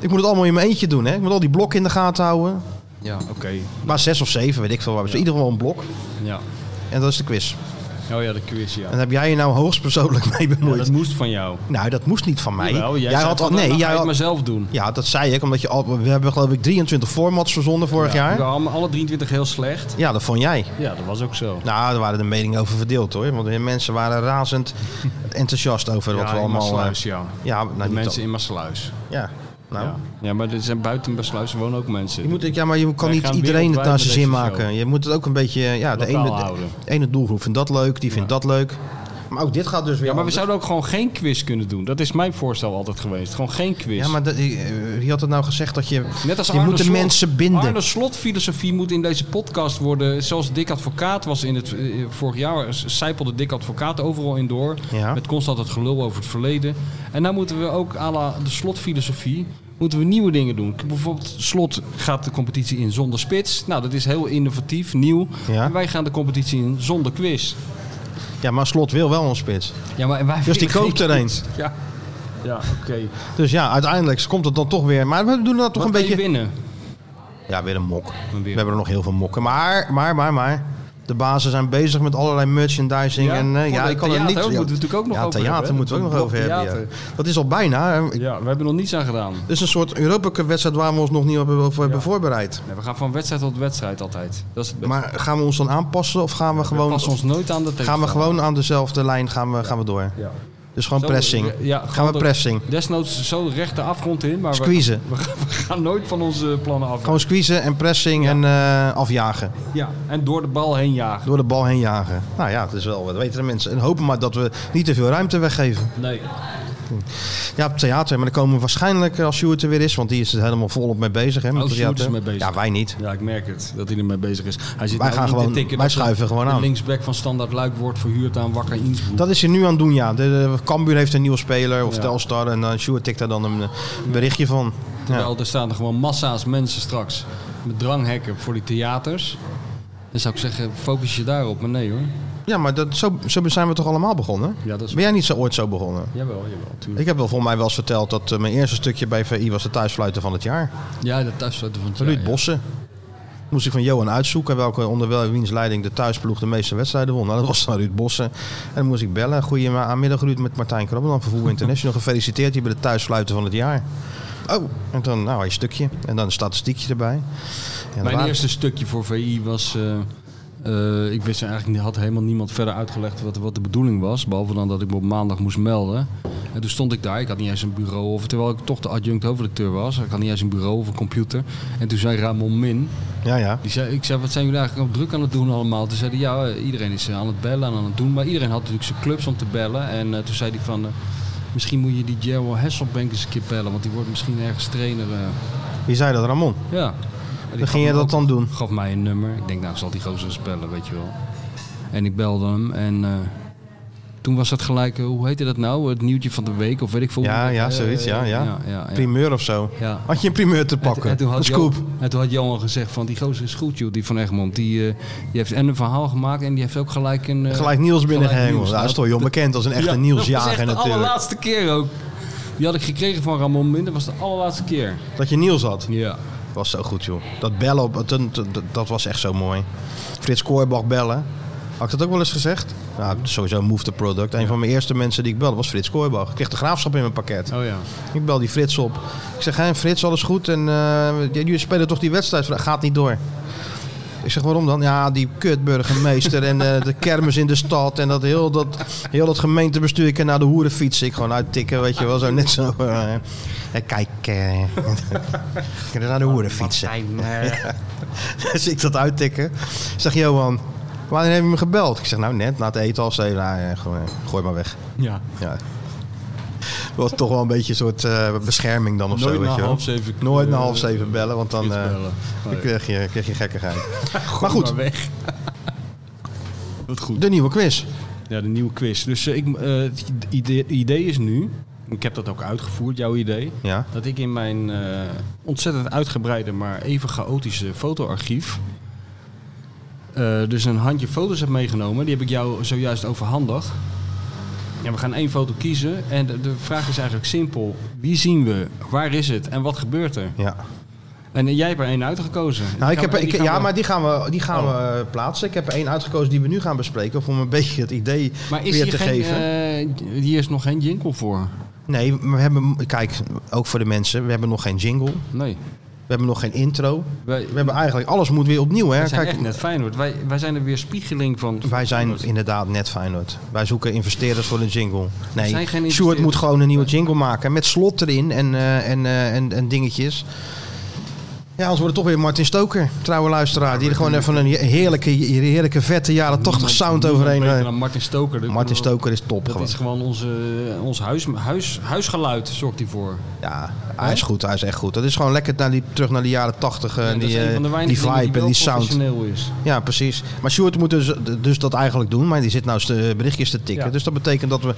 [SPEAKER 2] Ik moet het allemaal in mijn eentje doen. Hè? Ik moet al die blokken in de gaten houden.
[SPEAKER 3] Ja, oké.
[SPEAKER 2] Maar zes of zeven, weet ik veel waar. we zijn. In ieder geval een blok.
[SPEAKER 3] Ja.
[SPEAKER 2] En dat is de quiz.
[SPEAKER 3] Oh ja, de quiz, ja.
[SPEAKER 2] En daar heb jij je nou hoogstpersoonlijk mee
[SPEAKER 3] Ja,
[SPEAKER 2] bemoeid.
[SPEAKER 3] dat moest van jou.
[SPEAKER 2] Nou, dat moest niet van mij.
[SPEAKER 3] Jawel, jij, had al,
[SPEAKER 2] al, nee, jij
[SPEAKER 3] ga ik
[SPEAKER 2] had,
[SPEAKER 3] maar zelf doen.
[SPEAKER 2] ja, dat zei ik. Omdat je al, we hebben geloof ik 23 formats verzonden vorig
[SPEAKER 3] We
[SPEAKER 2] jaar.
[SPEAKER 3] waren alle 23 heel slecht.
[SPEAKER 2] Ja, dat vond jij.
[SPEAKER 3] Ja, dat was ook zo.
[SPEAKER 2] Nou, daar waren de meningen over verdeeld hoor. Want de mensen waren razend enthousiast over wat
[SPEAKER 3] ja,
[SPEAKER 2] we
[SPEAKER 3] in
[SPEAKER 2] allemaal. eh,
[SPEAKER 3] Maassluis, ja.
[SPEAKER 2] ja, nou,
[SPEAKER 3] de
[SPEAKER 2] niet
[SPEAKER 3] mensen in Maassluis.
[SPEAKER 2] al- Ja, nou.
[SPEAKER 3] Ja. ja, maar er zijn buiten Maassluis wonen ook mensen.
[SPEAKER 2] Je moet, ja, maar je kan
[SPEAKER 3] Wij
[SPEAKER 2] niet
[SPEAKER 3] gaan
[SPEAKER 2] iedereen het
[SPEAKER 3] wereldwijd
[SPEAKER 2] naar zijn
[SPEAKER 3] met
[SPEAKER 2] zin
[SPEAKER 3] deze
[SPEAKER 2] maken. Je moet het ook een beetje. Ja, de
[SPEAKER 3] Lokaal
[SPEAKER 2] ene, de,
[SPEAKER 3] houden.
[SPEAKER 2] ene doelgroep vindt dat leuk, die vindt dat leuk. Maar ook dit gaat dus weer.
[SPEAKER 3] ja, maar we
[SPEAKER 2] anders.
[SPEAKER 3] zouden ook gewoon geen quiz kunnen doen. Dat is mijn voorstel altijd geweest. Gewoon geen quiz.
[SPEAKER 2] Ja, maar dat, eh, wie had het nou gezegd dat je.
[SPEAKER 3] dus- Net als
[SPEAKER 2] je
[SPEAKER 3] Arne
[SPEAKER 2] moet de
[SPEAKER 3] Slot.
[SPEAKER 2] mensen binden.
[SPEAKER 3] Arne Slot filosofie moet in deze podcast worden. Zoals Dick Advocaat was in het eh, vorig jaar. Sijpelde Dick Advocaat overal in door.
[SPEAKER 2] Ja.
[SPEAKER 3] Met constant het gelul over het verleden. En nou moeten we ook à la de slotfilosofie. Moeten we nieuwe dingen doen? Bijvoorbeeld, slot gaat de competitie in zonder spits. Nou, dat is heel innovatief, nieuw.
[SPEAKER 2] Ja.
[SPEAKER 3] En wij gaan de competitie in zonder quiz.
[SPEAKER 2] Ja, maar Slot wil wel een spits.
[SPEAKER 3] Ja, maar wij
[SPEAKER 2] Dus die koopt er een.
[SPEAKER 3] Ja, ja oké.
[SPEAKER 2] Dus ja, uiteindelijk komt het dan toch weer. Maar we doen dat toch
[SPEAKER 3] Wat
[SPEAKER 2] een beetje...
[SPEAKER 3] winnen?
[SPEAKER 2] Ja, weer een mok.
[SPEAKER 3] Weer.
[SPEAKER 2] We hebben er nog heel veel mokken. Maar, maar, maar, maar. De bazen zijn bezig met allerlei merchandising.
[SPEAKER 3] Ja,
[SPEAKER 2] en, eh,
[SPEAKER 3] voor
[SPEAKER 2] ja,
[SPEAKER 3] het
[SPEAKER 2] ik kan er
[SPEAKER 3] theater
[SPEAKER 2] niet...
[SPEAKER 3] ook,
[SPEAKER 2] ja,
[SPEAKER 3] moeten we natuurlijk ook nog
[SPEAKER 2] ja,
[SPEAKER 3] over
[SPEAKER 2] theater
[SPEAKER 3] hebben, hè?
[SPEAKER 2] moeten we ook nog
[SPEAKER 3] Dat
[SPEAKER 2] over hebben. ja.
[SPEAKER 3] theater.
[SPEAKER 2] Dat is al bijna. hè. Ik-
[SPEAKER 3] Ja, we hebben er nog niets aan gedaan.
[SPEAKER 2] Dit is een soort Europa-wedstrijd waar we ons nog niet op hebben, op hebben voorbereid.
[SPEAKER 3] Nee, we gaan van wedstrijd tot wedstrijd altijd. Dat is het beste.
[SPEAKER 2] Maar gaan we ons dan aanpassen of gaan we
[SPEAKER 3] we
[SPEAKER 2] gewoon,
[SPEAKER 3] passen ons nooit
[SPEAKER 2] gaan
[SPEAKER 3] aan de
[SPEAKER 2] we
[SPEAKER 3] tegenstander.
[SPEAKER 2] gewoon aan dezelfde lijn gaan we, gaan we door?
[SPEAKER 3] Ja.
[SPEAKER 2] Dus gewoon
[SPEAKER 3] Zo-
[SPEAKER 2] pressing.
[SPEAKER 3] Ja,
[SPEAKER 2] gaan
[SPEAKER 3] gewoon
[SPEAKER 2] we
[SPEAKER 3] de-
[SPEAKER 2] pressing.
[SPEAKER 3] Desnoods zo recht de afgrond in, maar we,
[SPEAKER 2] Squeezen.
[SPEAKER 3] we gaan- we gaan nooit van onze plannen af.
[SPEAKER 2] Gewoon squeezen en pressing en eh, afjagen.
[SPEAKER 3] Ja, en door de bal heen jagen.
[SPEAKER 2] Door de bal heen jagen. Nou ja, het is wel, dat weten de mensen. En hopen maar dat we niet te veel ruimte weggeven.
[SPEAKER 3] Nee.
[SPEAKER 2] Ja, op het theater. Maar dan komen we waarschijnlijk eh, als Sjoerd er weer is. Want die is er helemaal volop mee bezig. Hè, met
[SPEAKER 3] Oh,
[SPEAKER 2] het
[SPEAKER 3] Sjoerd is
[SPEAKER 2] theater.
[SPEAKER 3] mee bezig.
[SPEAKER 2] Ja, wij niet.
[SPEAKER 3] Ja, ik merk het, dat hij ermee bezig is. Hij zit
[SPEAKER 2] Wij
[SPEAKER 3] nou
[SPEAKER 2] gaan
[SPEAKER 3] niet te
[SPEAKER 2] gewoon-
[SPEAKER 3] tikken
[SPEAKER 2] wij
[SPEAKER 3] dat de-
[SPEAKER 2] schuiven gewoon
[SPEAKER 3] de
[SPEAKER 2] aan.
[SPEAKER 3] linksback van Standaard Luik wordt verhuurd aan Wakker Innsbruck.
[SPEAKER 2] Dat is hij nu aan het doen, ja. De, de Cambuur heeft een nieuwe speler of
[SPEAKER 3] Ja.
[SPEAKER 2] Telstar. En dan Sjoerd tikt daar dan een eh, berichtje van. Ja.
[SPEAKER 3] Terwijl er staan er gewoon massa's mensen straks met dranghekken voor die theaters. Dan zou ik zeggen, focus je daarop. Maar nee hoor.
[SPEAKER 2] Ja, maar dat, zo, zo zijn we toch allemaal begonnen?
[SPEAKER 3] Ja, dat is...
[SPEAKER 2] Ben jij niet zo ooit zo begonnen?
[SPEAKER 3] Jawel, jawel, tuurlijk.
[SPEAKER 2] Ik heb wel volgens mij wel eens verteld dat eh, mijn eerste stukje bij VI was de thuisfluiten van het jaar.
[SPEAKER 3] Ja, dat thuisstoten van het
[SPEAKER 2] Ruud
[SPEAKER 3] jaar, ja.
[SPEAKER 2] Bossen. Moest ik van Johan uitzoeken welke onder welke wiens leiding de thuisploeg de meeste wedstrijden won. Nou, dat was dan Ruud Bossen. En dan moest ik bellen. Goedemiddag Ruud met Martijn Krabbelan van Voetbal International. Gefeliciteerd je bij de thuisfluiten van het jaar. Oh, en dan nou, een stukje. En dan een statistiekje erbij. Ja,
[SPEAKER 3] Mijn
[SPEAKER 2] waar-
[SPEAKER 3] eerste stukje voor VI was. eh, eh, ik wist eigenlijk niet- had helemaal niemand verder uitgelegd wat, wat de bedoeling was. Behalve dan dat ik me op maandag moest melden. En toen stond ik daar. Ik had niet eens een bureau. Of, terwijl ik toch de adjunct hoofdredacteur was. Ik had niet eens een bureau of een computer. En toen zei Ramon Min.
[SPEAKER 2] Ja, ja.
[SPEAKER 3] Die zei, ik zei, wat zijn jullie eigenlijk op druk aan het doen allemaal? Toen zei hij, ja, eh, iedereen is eh, aan het bellen en aan het doen. Maar iedereen had natuurlijk zijn clubs om te bellen. En eh, toen zei hij van, eh, misschien moet je die Gerald Hasselbank eens een keer bellen. Want die wordt misschien ergens trainer. eh.
[SPEAKER 2] Wie zei dat? Ramon.
[SPEAKER 3] ja.
[SPEAKER 2] Dan ging je dat dan doen.
[SPEAKER 3] gaf mij een nummer. Ik denk, nou, zal die gozer eens bellen, weet je wel. En ik belde hem en eh, toen was dat gelijk, eh, hoe heette dat nou? Het nieuwtje van de week of weet ik veel.
[SPEAKER 2] Ja,
[SPEAKER 3] Eh,
[SPEAKER 2] ja, zoiets, ja, ja.
[SPEAKER 3] ja, ja.
[SPEAKER 2] Primeur of zo.
[SPEAKER 3] Ja.
[SPEAKER 2] Had je een primeur te
[SPEAKER 3] En-
[SPEAKER 2] pakken?
[SPEAKER 3] En, toen
[SPEAKER 2] een
[SPEAKER 3] had
[SPEAKER 2] scoop.
[SPEAKER 3] Johan, en toen had Johan gezegd van die gozer is goed joh, die van Egmond. Die, eh, die heeft en een verhaal gemaakt en die heeft ook gelijk een... eh,
[SPEAKER 2] Gelijk Niels binnengehengeld.
[SPEAKER 3] nieuws.
[SPEAKER 2] Ja, dat is toch jong bekend als een echte
[SPEAKER 3] dat was
[SPEAKER 2] Nielsjager
[SPEAKER 3] echt de
[SPEAKER 2] natuurlijk.
[SPEAKER 3] allerlaatste keer ook. Die had ik gekregen van Ramon Minder, was de allerlaatste keer.
[SPEAKER 2] Dat je Niels had.
[SPEAKER 3] Ja.
[SPEAKER 2] was zo goed, joh. Dat bellen, op, dat, dat, dat was echt zo mooi. Frits Kooijbach bellen. Had ik dat ook wel eens gezegd? Nou, sowieso Move the Product. Een van mijn eerste mensen die ik belde was Frits Kooijbach. Ik kreeg de graafschap in mijn pakket.
[SPEAKER 3] Oh ja.
[SPEAKER 2] Ik bel die Frits op. Ik zeg, hé Frits, alles goed? En eh, ja, jullie spelen toch die wedstrijd? vandaag? Gaat niet door. Ik zeg, waarom dan? Ja, die kutburgemeester en eh, de kermis in de stad. En dat heel dat, heel dat gemeentebestuur. Ik kan naar de hoeren fietsen. Ik gewoon uittikken, weet je wel. Zo net zo. eh, eh, kijk. eh, ik kan naar de hoeren fietsen. Dus ik dat uittikken. Zeg, Johan, wanneer heb je me gebeld? Ik zeg, nou net, na het eten al. Zei, nou, eh, gooi, gooi maar weg.
[SPEAKER 3] Ja.
[SPEAKER 2] Ja. Was toch wel een beetje een soort eh, bescherming dan of
[SPEAKER 3] Nooit
[SPEAKER 2] zo. weet
[SPEAKER 3] na
[SPEAKER 2] je wel.
[SPEAKER 3] half zeven,
[SPEAKER 2] Nooit na
[SPEAKER 3] eh,
[SPEAKER 2] half zeven bellen, want dan
[SPEAKER 3] Iets
[SPEAKER 2] eh,
[SPEAKER 3] bellen.
[SPEAKER 2] dan kreeg, je, kreeg je gekkigheid. maar
[SPEAKER 3] Gooi
[SPEAKER 2] goed,
[SPEAKER 3] weg. Wat goed.
[SPEAKER 2] de nieuwe quiz.
[SPEAKER 3] Ja, de nieuwe quiz. Dus eh, ik, eh, het idee, idee is nu, ik heb dat ook uitgevoerd, jouw idee,
[SPEAKER 2] Ja.
[SPEAKER 3] dat ik in mijn eh, ontzettend uitgebreide, maar even chaotische fotoarchief, eh, dus een handje foto's heb meegenomen. Die heb ik jou zojuist overhandig. Ja, we gaan één foto kiezen en de, de vraag is eigenlijk simpel. Wie zien we? Waar is het? En wat gebeurt er?
[SPEAKER 2] Ja,
[SPEAKER 3] En eh, jij hebt er één uitgekozen.
[SPEAKER 2] nou, ik
[SPEAKER 3] Die
[SPEAKER 2] heb,
[SPEAKER 3] gaan we-
[SPEAKER 2] ik,
[SPEAKER 3] die gaan
[SPEAKER 2] ja
[SPEAKER 3] we- Oh.
[SPEAKER 2] maar die gaan, we, die gaan we eh, plaatsen. Ik heb er één uitgekozen die we nu gaan bespreken. Om een beetje het idee
[SPEAKER 3] Maar is
[SPEAKER 2] weer
[SPEAKER 3] hier,
[SPEAKER 2] te
[SPEAKER 3] geen,
[SPEAKER 2] geven.
[SPEAKER 3] eh, hier is nog geen jingle voor.
[SPEAKER 2] Nee, we hebben, kijk, ook voor de mensen. We hebben nog geen jingle.
[SPEAKER 3] Nee.
[SPEAKER 2] We hebben nog geen intro.
[SPEAKER 3] Wij,
[SPEAKER 2] We hebben eigenlijk, alles moet weer opnieuw. Hè?
[SPEAKER 3] wij zijn
[SPEAKER 2] Kijk,
[SPEAKER 3] echt net Feyenoord. Wij, wij zijn er weer spiegeling van.
[SPEAKER 2] Wij zijn inderdaad net Feyenoord. Wij zoeken investeerders voor een jingle.
[SPEAKER 3] zijn geen
[SPEAKER 2] Nee, Stuart
[SPEAKER 3] investeerders.
[SPEAKER 2] moet gewoon een nieuwe jingle maken. Met slot erin en, eh, en, eh, en, en dingetjes. Ja, anders wordt het toch weer Martin Stoker, trouwe luisteraar. Die er gewoon even een heerlijke, heerlijke vette jaren 80 sound
[SPEAKER 3] Niemand
[SPEAKER 2] overheen.
[SPEAKER 3] beter
[SPEAKER 2] eh.
[SPEAKER 3] dan Martin Stoker. Dat
[SPEAKER 2] Martin
[SPEAKER 3] kunnen we-
[SPEAKER 2] Stoker is top
[SPEAKER 3] Dat
[SPEAKER 2] gewoon.
[SPEAKER 3] is gewoon onze, eh, ons huis, huis, huisgeluid, zorgt hij voor.
[SPEAKER 2] Ja, hij is goed, hij is echt goed. Dat is gewoon lekker naar die, terug naar de jaren 80. eh,
[SPEAKER 3] Ja, dat
[SPEAKER 2] die,
[SPEAKER 3] is een
[SPEAKER 2] eh,
[SPEAKER 3] van de
[SPEAKER 2] die
[SPEAKER 3] weinige dingen
[SPEAKER 2] vibe en
[SPEAKER 3] wel
[SPEAKER 2] die sound.
[SPEAKER 3] professioneel is.
[SPEAKER 2] Ja, precies. Maar Sjoerd moet dus, dus dat eigenlijk doen. Maar die zit nou de berichtjes te tikken.
[SPEAKER 3] Ja.
[SPEAKER 2] Dus dat betekent dat we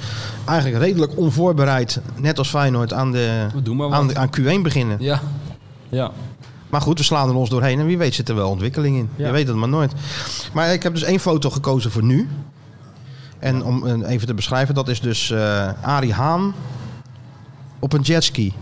[SPEAKER 2] eigenlijk redelijk onvoorbereid, net als Feyenoord, aan, de,
[SPEAKER 3] We doen maar wat.
[SPEAKER 2] aan, de- aan Q1 beginnen.
[SPEAKER 3] Ja. Ja.
[SPEAKER 2] Maar goed, we slaan er ons doorheen. En wie weet zit er wel ontwikkeling in.
[SPEAKER 3] Ja.
[SPEAKER 2] Je weet het maar nooit. Maar ik heb dus één foto gekozen voor nu. En om een- even te beschrijven, dat is dus eh Arie Haan op een jetski.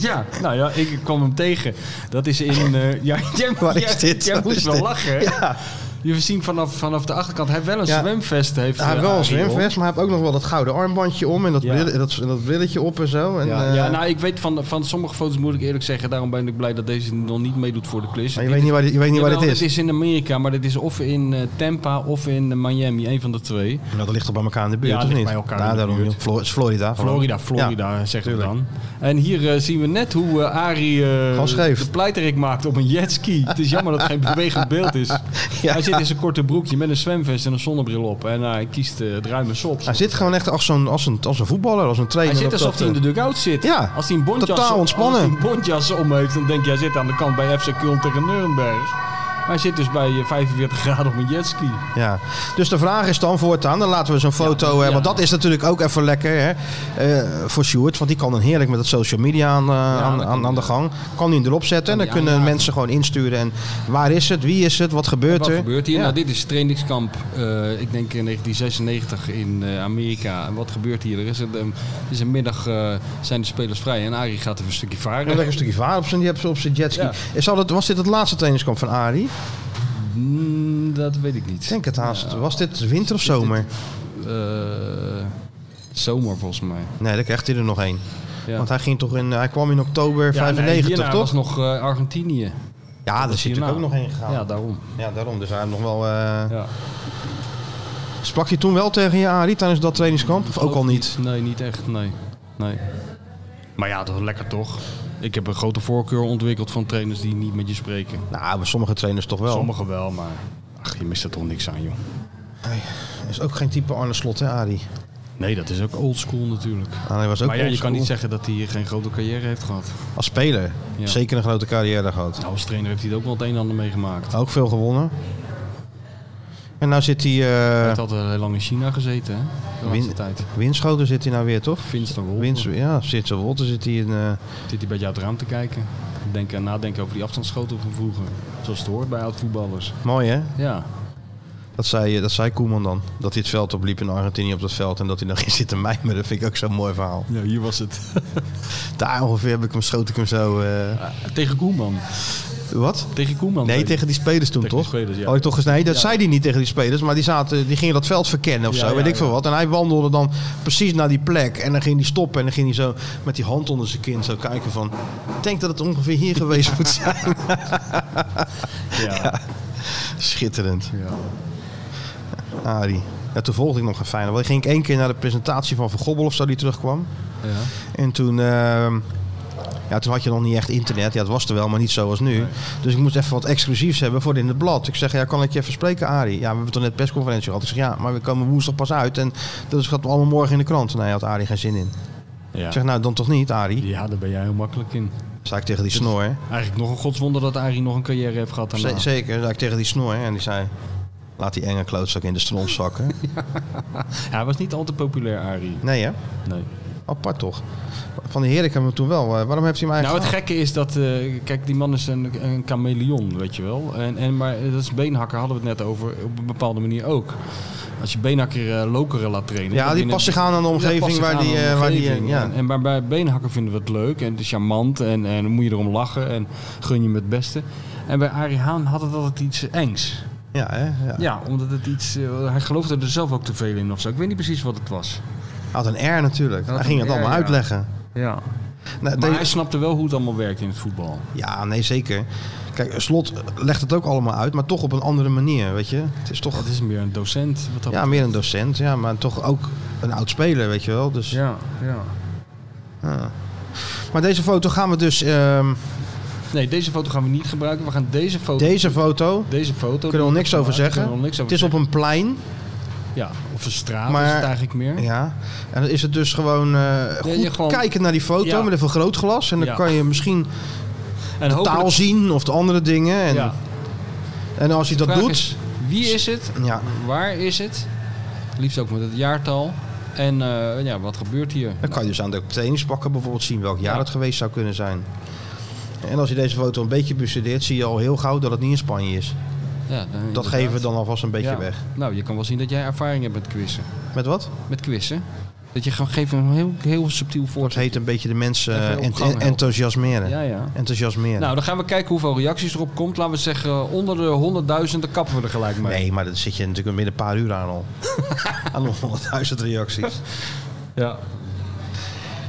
[SPEAKER 3] Ja, nou ja, ik kwam hem tegen. Dat is in... eh, ja, jij,
[SPEAKER 2] Waar is
[SPEAKER 3] jij-
[SPEAKER 2] dit?
[SPEAKER 3] Jij
[SPEAKER 2] Wat
[SPEAKER 3] moest
[SPEAKER 2] is
[SPEAKER 3] wel
[SPEAKER 2] dit?
[SPEAKER 3] lachen.
[SPEAKER 2] Ja,
[SPEAKER 3] Je zien vanaf, vanaf de achterkant, hij heeft wel een
[SPEAKER 2] Ja.
[SPEAKER 3] zwemvest. Heeft,
[SPEAKER 2] hij heeft
[SPEAKER 3] eh,
[SPEAKER 2] wel een
[SPEAKER 3] Ariel.
[SPEAKER 2] zwemvest, maar hij heeft ook nog wel dat gouden armbandje om en dat,
[SPEAKER 3] Ja.
[SPEAKER 2] bril- dat, dat brilletje op en zo. En,
[SPEAKER 3] Ja,
[SPEAKER 2] eh,
[SPEAKER 3] ja, nou ik weet van, van sommige foto's moet ik eerlijk zeggen, daarom ben ik blij dat deze nog niet meedoet voor de klus.
[SPEAKER 2] maar je weet niet waar, dit- je weet niet waar
[SPEAKER 3] Jawel,
[SPEAKER 2] dit is.
[SPEAKER 3] Het is in Amerika, maar dit is of in eh, Tampa of in eh, Miami, een van de twee.
[SPEAKER 2] Nou, dat ligt toch bij elkaar in de buurt,
[SPEAKER 3] Ja,
[SPEAKER 2] of
[SPEAKER 3] dat ligt
[SPEAKER 2] niet?
[SPEAKER 3] bij elkaar
[SPEAKER 2] Ja,
[SPEAKER 3] in de
[SPEAKER 2] daarom,
[SPEAKER 3] buurt.
[SPEAKER 2] joh. Flo- het is Florida. gewoon.
[SPEAKER 3] Florida, Florida, zeggen we dan. En hier eh, zien we net hoe eh, Arie eh,
[SPEAKER 2] Gewoon scheef.
[SPEAKER 3] de pleiterik maakt op een jetski. Het is jammer dat het geen bewegend beeld is.
[SPEAKER 2] Ja.
[SPEAKER 3] Hij zit in zijn korte broekje met een zwemvest en een zonnebril op. En hij kiest eh, het ruime sop.
[SPEAKER 2] Hij zit gewoon echt als, zo'n, als, een, als een voetballer, als een trainer.
[SPEAKER 3] Hij zit
[SPEAKER 2] op
[SPEAKER 3] alsof
[SPEAKER 2] dat,
[SPEAKER 3] hij in de
[SPEAKER 2] eh,
[SPEAKER 3] dugout zit.
[SPEAKER 2] Ja,
[SPEAKER 3] als hij een bondjas,
[SPEAKER 2] totaal ontspannen.
[SPEAKER 3] Als hij een bondjas om heeft, dan denk je, hij zit aan de kant bij FC Köln tegen Nuremberg. Maar hij zit dus bij eh, 45 graden op een jetski.
[SPEAKER 2] Ja. Dus de vraag is dan voortaan, dan laten we zo'n foto... eh,
[SPEAKER 3] ja.
[SPEAKER 2] Want dat is natuurlijk ook even lekker hè, eh, voor Sjoerd. Want die kan dan heerlijk met het social media aan, eh, aan,
[SPEAKER 3] dat
[SPEAKER 2] aan, aan de gang. Kan die erop zetten en dan
[SPEAKER 3] die
[SPEAKER 2] kunnen
[SPEAKER 3] aanraken.
[SPEAKER 2] mensen gewoon insturen. En waar is het, wie is het, wat gebeurt
[SPEAKER 3] Wat
[SPEAKER 2] er?
[SPEAKER 3] gebeurt hier?
[SPEAKER 2] eh, Ja.
[SPEAKER 3] Nou, dit is trainingskamp, eh, ik denk in 1996 in eh, Amerika. En wat gebeurt hier? Er is een, ehm, het is een middag, eh, zijn de spelers vrij en Arie gaat even een stukje
[SPEAKER 2] En
[SPEAKER 3] varen.
[SPEAKER 2] lekker een stukje vaar op zijn, die hebt ze op zijn jetski.
[SPEAKER 3] Ja.
[SPEAKER 2] Is dat het- was dit het laatste trainingskamp van Arie?
[SPEAKER 3] Mm, dat weet ik niet.
[SPEAKER 2] Ik denk het haast. Was dit winter of
[SPEAKER 3] dit-
[SPEAKER 2] zomer?
[SPEAKER 3] Eh, zomer volgens mij.
[SPEAKER 2] Nee, dan krijgt hij er nog één.
[SPEAKER 3] Ja.
[SPEAKER 2] Want hij, ging toch in, eh, hij kwam in oktober
[SPEAKER 3] Ja, nee,
[SPEAKER 2] 95,
[SPEAKER 3] hierna
[SPEAKER 2] toch?
[SPEAKER 3] was nog eh, Argentinië.
[SPEAKER 2] Ja, daar is hij natuurlijk
[SPEAKER 3] hierna.
[SPEAKER 2] ook nog heen gegaan.
[SPEAKER 3] Ja,
[SPEAKER 2] Ja,
[SPEAKER 3] daarom.
[SPEAKER 2] daarom. Dus hij heeft nog wel... eh,
[SPEAKER 3] Ja.
[SPEAKER 2] Sprak je toen wel tegen je Arie tijdens dat trainingskamp? Of ook al niet?
[SPEAKER 3] Nee, niet echt. Nee. nee. Maar ja, dat is lekker toch? Ik heb een grote voorkeur ontwikkeld van trainers die niet met je spreken.
[SPEAKER 2] Nou, bij sommige trainers toch wel.
[SPEAKER 3] Sommigen wel, maar ach, je mist er toch niks aan, joh.
[SPEAKER 2] Is ook geen type Arne Slot, hè, Arie?
[SPEAKER 3] Nee, dat is ook oldschool natuurlijk.
[SPEAKER 2] Ah, hij was ook
[SPEAKER 3] maar ja, je
[SPEAKER 2] oldschool.
[SPEAKER 3] kan niet zeggen dat hij geen grote carrière heeft gehad.
[SPEAKER 2] Als speler.
[SPEAKER 3] Ja.
[SPEAKER 2] Zeker een grote carrière gehad.
[SPEAKER 3] Nou, als trainer heeft hij er ook wel het een en ander meegemaakt.
[SPEAKER 2] Ook veel gewonnen. En nou zit hij...
[SPEAKER 3] Hij
[SPEAKER 2] eh
[SPEAKER 3] heeft altijd heel lang in China gezeten, hè? De laatste
[SPEAKER 2] Win-
[SPEAKER 3] tijd.
[SPEAKER 2] Winschoten zit hij nou weer, toch?
[SPEAKER 3] Vincent Wolf.
[SPEAKER 2] Wins, ja, zit zo Wolter zit hij in... eh,
[SPEAKER 3] Zit hij bij jou het raam te kijken? Denken en nadenken over die afstandsschoten van vroeger. Zoals het hoort bij oud-voetballers.
[SPEAKER 2] mooi, hè?
[SPEAKER 3] Ja.
[SPEAKER 2] Dat zei, eh, dat zei Koeman dan. Dat hij het veld opliep in Argentinië op dat veld. En dat hij dan ging zitten mijmeren. Dat vind ik ook zo'n mooi verhaal.
[SPEAKER 3] ja, hier was het.
[SPEAKER 2] Daar ongeveer heb ik hem, schoot ik hem zo... eh,
[SPEAKER 3] Tegen Koeman.
[SPEAKER 2] wat?
[SPEAKER 3] Tegen Koeman.
[SPEAKER 2] Nee, tegen die spelers toen
[SPEAKER 3] Tegen die
[SPEAKER 2] toch?
[SPEAKER 3] spelers, ja.
[SPEAKER 2] Had ik toch eens, nee, dat
[SPEAKER 3] Ja.
[SPEAKER 2] zei hij niet tegen die spelers, maar die, zaten, die gingen dat veld verkennen of
[SPEAKER 3] Ja,
[SPEAKER 2] zo,
[SPEAKER 3] ja,
[SPEAKER 2] weet ik
[SPEAKER 3] ja.
[SPEAKER 2] veel wat. En hij wandelde dan precies naar die plek en dan ging hij stoppen en dan ging hij zo met die hand onder zijn kin zo kijken van, ik denk dat het ongeveer hier geweest moet zijn.
[SPEAKER 3] Ja.
[SPEAKER 2] Schitterend,
[SPEAKER 3] Ja.
[SPEAKER 2] Arie. Ja, toen volgde ik nog een fijne. Want ik ging één keer naar de presentatie van Van Gobbel of zo die terugkwam.
[SPEAKER 3] Ja.
[SPEAKER 2] En toen, ehm, ja, toen had je nog niet echt internet. Ja, het was er wel, maar niet zoals nu. Dus ik moest even wat exclusiefs hebben voor in het blad. Ik zeg, ja, kan ik je even spreken, Arie? Ja, we hebben toch net persconferentie gehad. Ik zeg, ja, maar we komen woensdag pas uit. En dat gaat allemaal morgen in de krant. Nee, had Arie geen zin in.
[SPEAKER 3] Ja.
[SPEAKER 2] Ik zeg, nou, dan toch niet, Arie?
[SPEAKER 3] ja, daar ben jij heel makkelijk in.
[SPEAKER 2] Zei ik tegen die snor. hè.
[SPEAKER 3] Eigenlijk nog een godswonder dat Arie nog een carrière heeft gehad daarna.
[SPEAKER 2] Z- zeker, zei ik tegen die snor. hè. En die zei, laat die enge klootzak in de stront zakken.
[SPEAKER 3] Ja, Hij was niet al te populair, Arie.
[SPEAKER 2] nee, hè?
[SPEAKER 3] Nee.
[SPEAKER 2] Apart toch? Van die Herik hebben we toen wel. eh, Waarom heeft hij mij
[SPEAKER 3] Nou,
[SPEAKER 2] eigenlijk
[SPEAKER 3] het gekke is dat... eh, kijk, die man is een, een chameleon, weet je wel. En, en, maar dat is beenhakker, hadden we het net over. Op een bepaalde manier ook. Als je beenhakker eh, lokeren laat trainen...
[SPEAKER 2] Ja,
[SPEAKER 3] dan
[SPEAKER 2] die
[SPEAKER 3] binnen-
[SPEAKER 2] past zich aan aan de
[SPEAKER 3] Ja, past
[SPEAKER 2] omgeving
[SPEAKER 3] zich
[SPEAKER 2] waar
[SPEAKER 3] aan
[SPEAKER 2] die...
[SPEAKER 3] aan de
[SPEAKER 2] eh, waar die eh,
[SPEAKER 3] omgeving.
[SPEAKER 2] ja.
[SPEAKER 3] En, en maar bij beenhakker vinden we het leuk en charmant. En, en dan moet je erom lachen en gun je hem het beste. En bij Arie Haan had het altijd iets engs.
[SPEAKER 2] Ja, hè? Ja.
[SPEAKER 3] Ja, omdat het iets... eh, hij geloofde er zelf ook te veel in of zo. Ik weet niet precies wat het was.
[SPEAKER 2] Hij had een R natuurlijk.
[SPEAKER 3] Hij had
[SPEAKER 2] Hij ging
[SPEAKER 3] een
[SPEAKER 2] het
[SPEAKER 3] R,
[SPEAKER 2] allemaal
[SPEAKER 3] ja.
[SPEAKER 2] uitleggen.
[SPEAKER 3] Ja.
[SPEAKER 2] Nou,
[SPEAKER 3] Maar
[SPEAKER 2] de-
[SPEAKER 3] hij snapte wel hoe het allemaal werkt in het voetbal.
[SPEAKER 2] Ja, nee, zeker. Kijk, Slot legt het ook allemaal uit, maar toch op een andere manier, weet je. Het is toch
[SPEAKER 3] Het is meer een docent. Wat dat
[SPEAKER 2] ja, meer een docent, ja, maar toch ook een oud-speler, weet je wel. Dus,
[SPEAKER 3] Ja, ja.
[SPEAKER 2] Maar deze foto gaan we dus... ehm,
[SPEAKER 3] Nee, deze foto gaan we niet gebruiken. We gaan deze foto.
[SPEAKER 2] deze foto,
[SPEAKER 3] Deze foto.
[SPEAKER 2] kunnen we
[SPEAKER 3] die
[SPEAKER 2] er niks over
[SPEAKER 3] gebruiken,
[SPEAKER 2] zeggen.
[SPEAKER 3] kunnen we er niks
[SPEAKER 2] Het
[SPEAKER 3] over
[SPEAKER 2] is op een plein,
[SPEAKER 3] zeggen. Ja, of een straat
[SPEAKER 2] Maar-
[SPEAKER 3] is het eigenlijk meer.
[SPEAKER 2] ja. En dan is het dus gewoon eh, goed
[SPEAKER 3] je gewoon-
[SPEAKER 2] kijken naar die foto
[SPEAKER 3] Ja.
[SPEAKER 2] met een vergrootglas. En dan
[SPEAKER 3] Ja.
[SPEAKER 2] kan je misschien
[SPEAKER 3] en
[SPEAKER 2] taal zien of de andere dingen. En,
[SPEAKER 3] Ja,
[SPEAKER 2] en als je dat
[SPEAKER 3] vraag
[SPEAKER 2] doet...
[SPEAKER 3] is, wie is het?
[SPEAKER 2] ja,
[SPEAKER 3] Waar is het? Liefst ook met het jaartal. En eh, ja, wat gebeurt hier?
[SPEAKER 2] Dan kan je dus aan de trainingspakken bijvoorbeeld zien welk jaar het geweest zou kunnen zijn. En als je deze foto een beetje bestudeert, zie je al heel gauw dat het niet in Spanje is.
[SPEAKER 3] Ja, dan-
[SPEAKER 2] Dat geven we dan alvast een beetje
[SPEAKER 3] Ja.
[SPEAKER 2] weg.
[SPEAKER 3] Nou, je kan wel zien dat jij ervaring hebt met quizzen.
[SPEAKER 2] Met wat?
[SPEAKER 3] Met quizzen. Dat je gewoon geeft een heel, heel subtiel
[SPEAKER 2] Het
[SPEAKER 3] voorzet.
[SPEAKER 2] heet een beetje de mensen
[SPEAKER 3] Even
[SPEAKER 2] eh,
[SPEAKER 3] op
[SPEAKER 2] ent-
[SPEAKER 3] gang helpen.
[SPEAKER 2] enthousiasmeren.
[SPEAKER 3] Ja, ja.
[SPEAKER 2] Enthousiasmeren.
[SPEAKER 3] Nou, dan gaan we kijken hoeveel reacties erop komt. Laten we zeggen, onder de 100.000, dan kappen we er gelijk mee.
[SPEAKER 2] nee, maar dat zit je natuurlijk binnen een paar uur aan al. aan nog 100.000 reacties.
[SPEAKER 3] Ja.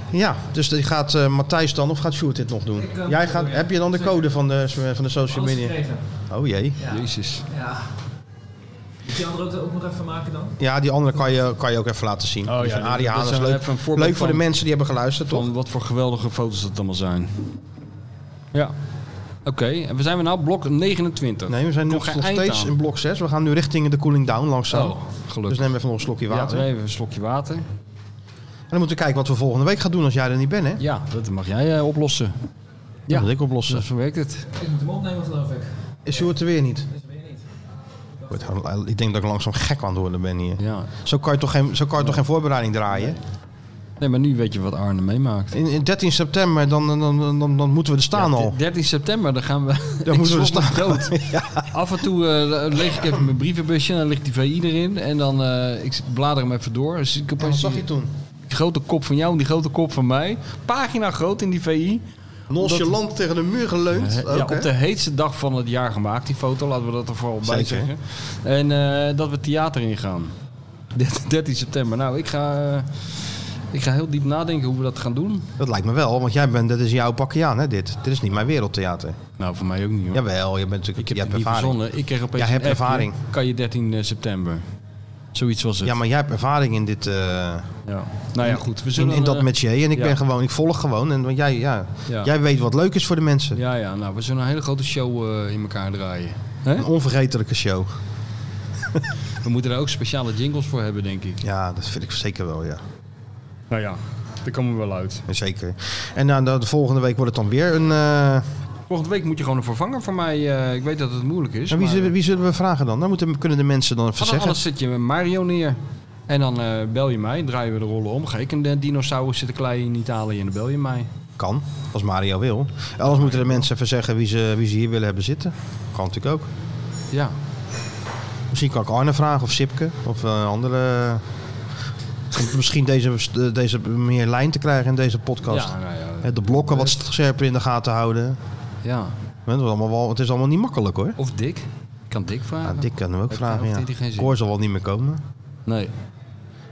[SPEAKER 2] Ja, dus die gaat eh, Matthijs dan of gaat Sjoerd dit nog doen?
[SPEAKER 5] Ik, eh,
[SPEAKER 2] Jij
[SPEAKER 5] moet
[SPEAKER 2] gaat,
[SPEAKER 5] doen, ja.
[SPEAKER 2] heb je dan de code van de, van de social
[SPEAKER 5] Alles
[SPEAKER 2] media?
[SPEAKER 5] gekregen.
[SPEAKER 2] Oh jee.
[SPEAKER 5] Ja.
[SPEAKER 3] Jezus.
[SPEAKER 5] Ja. Moet je andere ook, ook nog even maken dan?
[SPEAKER 2] Ja, die andere kan je, kan je ook even laten zien.
[SPEAKER 3] Oh ja,
[SPEAKER 2] Dus van
[SPEAKER 3] dat-
[SPEAKER 2] Arie
[SPEAKER 3] dat
[SPEAKER 2] Haan
[SPEAKER 3] is
[SPEAKER 2] is
[SPEAKER 3] wel
[SPEAKER 2] leuk.
[SPEAKER 3] even een voorbeeld
[SPEAKER 2] Leuk voor de
[SPEAKER 3] van-
[SPEAKER 2] mensen die hebben geluisterd, toch?
[SPEAKER 3] Van wat voor geweldige foto's dat allemaal zijn. Ja. Oké, en we zijn we nou? Blok 29.
[SPEAKER 2] Nee, we zijn
[SPEAKER 3] Komt
[SPEAKER 2] nog,
[SPEAKER 3] geen
[SPEAKER 2] nog
[SPEAKER 3] eind
[SPEAKER 2] steeds
[SPEAKER 3] aan.
[SPEAKER 2] in blok 6. We gaan nu richting de cooling down langzaam.
[SPEAKER 3] Oh,
[SPEAKER 2] Dus
[SPEAKER 3] gelukkig.
[SPEAKER 2] neem even nog een slokje water.
[SPEAKER 3] Ja, even een slokje water.
[SPEAKER 2] En dan moeten we kijken wat we volgende week gaan doen als jij er niet bent, hè?
[SPEAKER 3] Ja, dat mag jij eh, oplossen. Ja.
[SPEAKER 2] Dat moet ik oplossen.
[SPEAKER 3] Dus zo werkt het.
[SPEAKER 5] Ik moet hem opnemen geloof ik.
[SPEAKER 2] Is Sjoerd er weer niet?
[SPEAKER 5] Dus weet je niet.
[SPEAKER 2] Wordt gewoon- eh, Ik denk dat ik langzaam gek aan het worden ben hier.
[SPEAKER 3] Ja.
[SPEAKER 2] Zo kan je toch geen, zo kan je toch geen voorbereiding draaien?
[SPEAKER 3] Nee, maar nu weet je wat Arne meemaakt.
[SPEAKER 2] In, in 13 september, dan, dan, dan, dan, dan moeten we er staan
[SPEAKER 3] Ja,
[SPEAKER 2] al.
[SPEAKER 3] d- 13 september, dan gaan we.
[SPEAKER 2] Dan
[SPEAKER 3] Ik
[SPEAKER 2] moeten we
[SPEAKER 3] schrok
[SPEAKER 2] staan.
[SPEAKER 3] me dood. Af en toe eh, leeg ik even mijn brievenbusje en dan ligt die VI erin. En dan eh ik blader hem even door. Dus ik
[SPEAKER 2] En
[SPEAKER 3] opeens
[SPEAKER 2] wat zag je toen?
[SPEAKER 3] die grote kop van jou en die grote kop van mij. Pagina groot in die VI.
[SPEAKER 2] Nonchalant tegen de muur geleund.
[SPEAKER 3] Eh, ja,
[SPEAKER 2] Ook, hè?
[SPEAKER 3] op de heetste dag van het jaar gemaakt, die foto, laten we dat er vooral bij
[SPEAKER 2] Zeker.
[SPEAKER 3] zeggen. En eh, dat we theater ingaan. 13 september. Nou, ik ga, eh, ik ga heel diep nadenken hoe we dat gaan doen.
[SPEAKER 2] Dat lijkt me wel, want jij bent, dat is jouw pakje aan, hè, dit. Dit is niet mijn wereldtheater.
[SPEAKER 3] Nou, voor mij ook niet hoor.
[SPEAKER 2] Jawel, je bent natuurlijk,
[SPEAKER 3] ik heb
[SPEAKER 2] je
[SPEAKER 3] het
[SPEAKER 2] hebt
[SPEAKER 3] niet
[SPEAKER 2] ervaring.
[SPEAKER 3] verzonnen. Ik kreeg opeens
[SPEAKER 2] Jij hebt
[SPEAKER 3] een appje.
[SPEAKER 2] ervaring.
[SPEAKER 3] Kan je 13 september. Zoiets was het.
[SPEAKER 2] Ja, maar jij hebt ervaring in dit, eh,
[SPEAKER 3] Ja. dus- Nou ja, goed. We
[SPEAKER 2] in,
[SPEAKER 3] zullen,
[SPEAKER 2] in dat
[SPEAKER 3] eh,
[SPEAKER 2] métier. En ik
[SPEAKER 3] ja.
[SPEAKER 2] ben gewoon, ik volg gewoon. En want jij, ja,
[SPEAKER 3] Ja.
[SPEAKER 2] jij weet wat leuk is voor de mensen.
[SPEAKER 3] Ja, ja. Nou, we zullen een hele grote show eh, in elkaar draaien. Hè?
[SPEAKER 2] Een onvergetelijke show.
[SPEAKER 3] We moeten daar ook speciale jingles voor hebben, denk ik.
[SPEAKER 2] Ja, dat vind ik zeker wel, ja.
[SPEAKER 3] Nou ja, daar komen we wel uit.
[SPEAKER 2] Zeker. En eh, dan, de, de volgende week wordt het dan weer een... eh,
[SPEAKER 3] Volgende week moet je gewoon een vervanger voor mij. eh, ik weet dat het moeilijk is.
[SPEAKER 2] en wie,
[SPEAKER 3] maar-
[SPEAKER 2] zullen, wie zullen we vragen dan? Dan moeten, kunnen de mensen dan even
[SPEAKER 3] Van
[SPEAKER 2] zeggen.
[SPEAKER 3] alles zit je met Mario neer. En dan eh, bel je mij, draaien we de rollen om. Ga ik een dinosaurus zitten kleien in Italië en dan bel je mij.
[SPEAKER 2] Kan, als Mario wil. Anders moeten de mensen even zeggen wie ze, wie ze hier willen hebben zitten. Kan natuurlijk ook.
[SPEAKER 3] Ja.
[SPEAKER 2] Misschien kan ik Arne vragen of Sipke of eh, andere. Om misschien deze, deze meer lijn te krijgen in deze podcast.
[SPEAKER 3] Ja, nou ja. eh,
[SPEAKER 2] Hè, De blokken wat scherper in de gaten houden.
[SPEAKER 3] ja.
[SPEAKER 2] Het is allemaal, wel, het is allemaal niet makkelijk hoor.
[SPEAKER 3] Of Dick. Ik kan Dick vragen.
[SPEAKER 2] Ja, Dick kan hem ook
[SPEAKER 3] Heeft-
[SPEAKER 2] vragen.
[SPEAKER 3] heeft
[SPEAKER 2] Ja.
[SPEAKER 3] hij geen zin?
[SPEAKER 2] Koor zal wel niet meer komen.
[SPEAKER 3] Nee.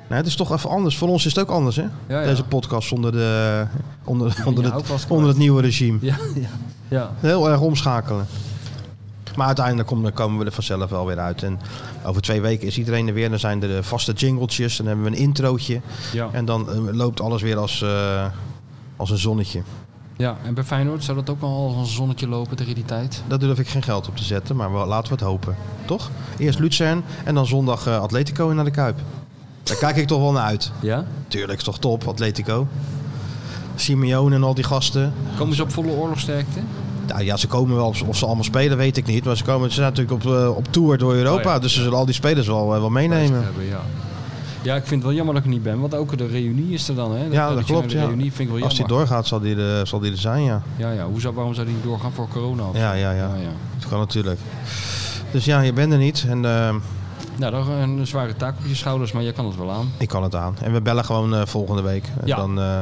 [SPEAKER 2] Nee, het is toch even anders. Voor ons is het ook anders hè?
[SPEAKER 3] ja.
[SPEAKER 2] Deze podcast zonder, de, onder, onder,
[SPEAKER 3] je
[SPEAKER 2] het,
[SPEAKER 3] houvast kwijt.
[SPEAKER 2] onder het nieuwe regime.
[SPEAKER 3] Ja, ja. ja.
[SPEAKER 2] Heel erg omschakelen. Maar uiteindelijk komen, komen we er vanzelf wel weer uit. En over twee weken is iedereen er weer. Dan zijn er de vaste jingletjes. Dan hebben we een introotje.
[SPEAKER 3] Ja.
[SPEAKER 2] En dan eh, loopt alles weer als, eh, als een zonnetje.
[SPEAKER 3] ja. En bij Feyenoord zou dat ook al als een zonnetje lopen tegen die tijd.
[SPEAKER 2] Daar durf ik geen geld op te zetten. Maar wel, laten we het hopen. Toch? Eerst Lucern en dan zondag eh, Atletico in naar de Kuip. Daar kijk ik toch wel naar uit.
[SPEAKER 3] Ja?
[SPEAKER 2] Tuurlijk, is toch top, Atletico. Simeone en al die gasten.
[SPEAKER 3] Komen ze op volle oorlogsterkte?
[SPEAKER 2] Nou ja, ze komen wel. Of ze allemaal spelen, weet ik niet. Maar ze, komen, ze zijn natuurlijk op, eh, op tour door Europa.
[SPEAKER 3] Oh ja.
[SPEAKER 2] Dus ze zullen al die spelers wel, eh, wel meenemen.
[SPEAKER 3] Hebben, ja. ja, ik vind het wel jammer dat ik er niet ben. Want ook de reunie is er dan, hè?
[SPEAKER 2] Ja, dat
[SPEAKER 3] je naar
[SPEAKER 2] klopt.
[SPEAKER 3] De
[SPEAKER 2] Ja.
[SPEAKER 3] reunie vind ik wel
[SPEAKER 2] Als die
[SPEAKER 3] jammer.
[SPEAKER 2] doorgaat, zal die, er, zal die er zijn, ja.
[SPEAKER 3] Ja, ja. Hoe zou, waarom zou die niet doorgaan voor corona? of
[SPEAKER 2] Ja,
[SPEAKER 3] zo?
[SPEAKER 2] ja, ja.
[SPEAKER 3] Nou, ja.
[SPEAKER 2] Dat kan natuurlijk. Dus ja, je bent er niet. En eh,
[SPEAKER 3] Nou, dat is een zware taak op je schouders, maar jij kan het wel aan.
[SPEAKER 2] ik kan het aan. En we bellen gewoon eh, volgende week. En
[SPEAKER 3] Ja.
[SPEAKER 2] dan, eh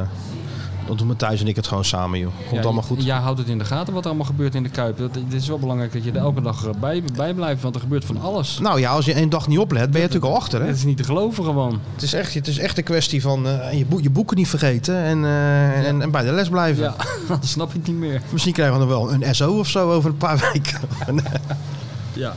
[SPEAKER 2] dan doen Matthijs en ik het gewoon samen, joh. Komt
[SPEAKER 3] Ja,
[SPEAKER 2] allemaal goed.
[SPEAKER 3] j- Jij houdt het in de gaten wat er allemaal gebeurt in de Kuip. Dat, het is wel belangrijk dat je er elke dag eh, bij, bij blijft, want er gebeurt van alles.
[SPEAKER 2] Nou ja, als je één dag niet oplet, ben je natuurlijk al achter, hè?
[SPEAKER 3] Het is niet te geloven gewoon.
[SPEAKER 2] Het is echt, het is echt een kwestie van eh, je, boek, je boeken niet vergeten en, eh, en, en bij de les blijven.
[SPEAKER 3] Ja, dan snap je het niet meer.
[SPEAKER 2] Misschien krijgen we nog wel een SO of zo over een paar weken.
[SPEAKER 3] Ja.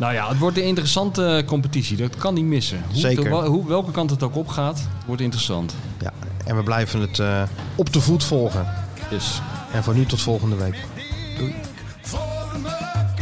[SPEAKER 3] Nou ja, het wordt een interessante competitie. Dat kan niet missen. Hoe,
[SPEAKER 2] Zeker.
[SPEAKER 3] wel- hoe, welke kant het ook opgaat, wordt interessant.
[SPEAKER 2] ja, en we blijven het eh, op de voet volgen.
[SPEAKER 3] Dus.
[SPEAKER 2] En voor nu tot volgende week.
[SPEAKER 1] voor elkaar.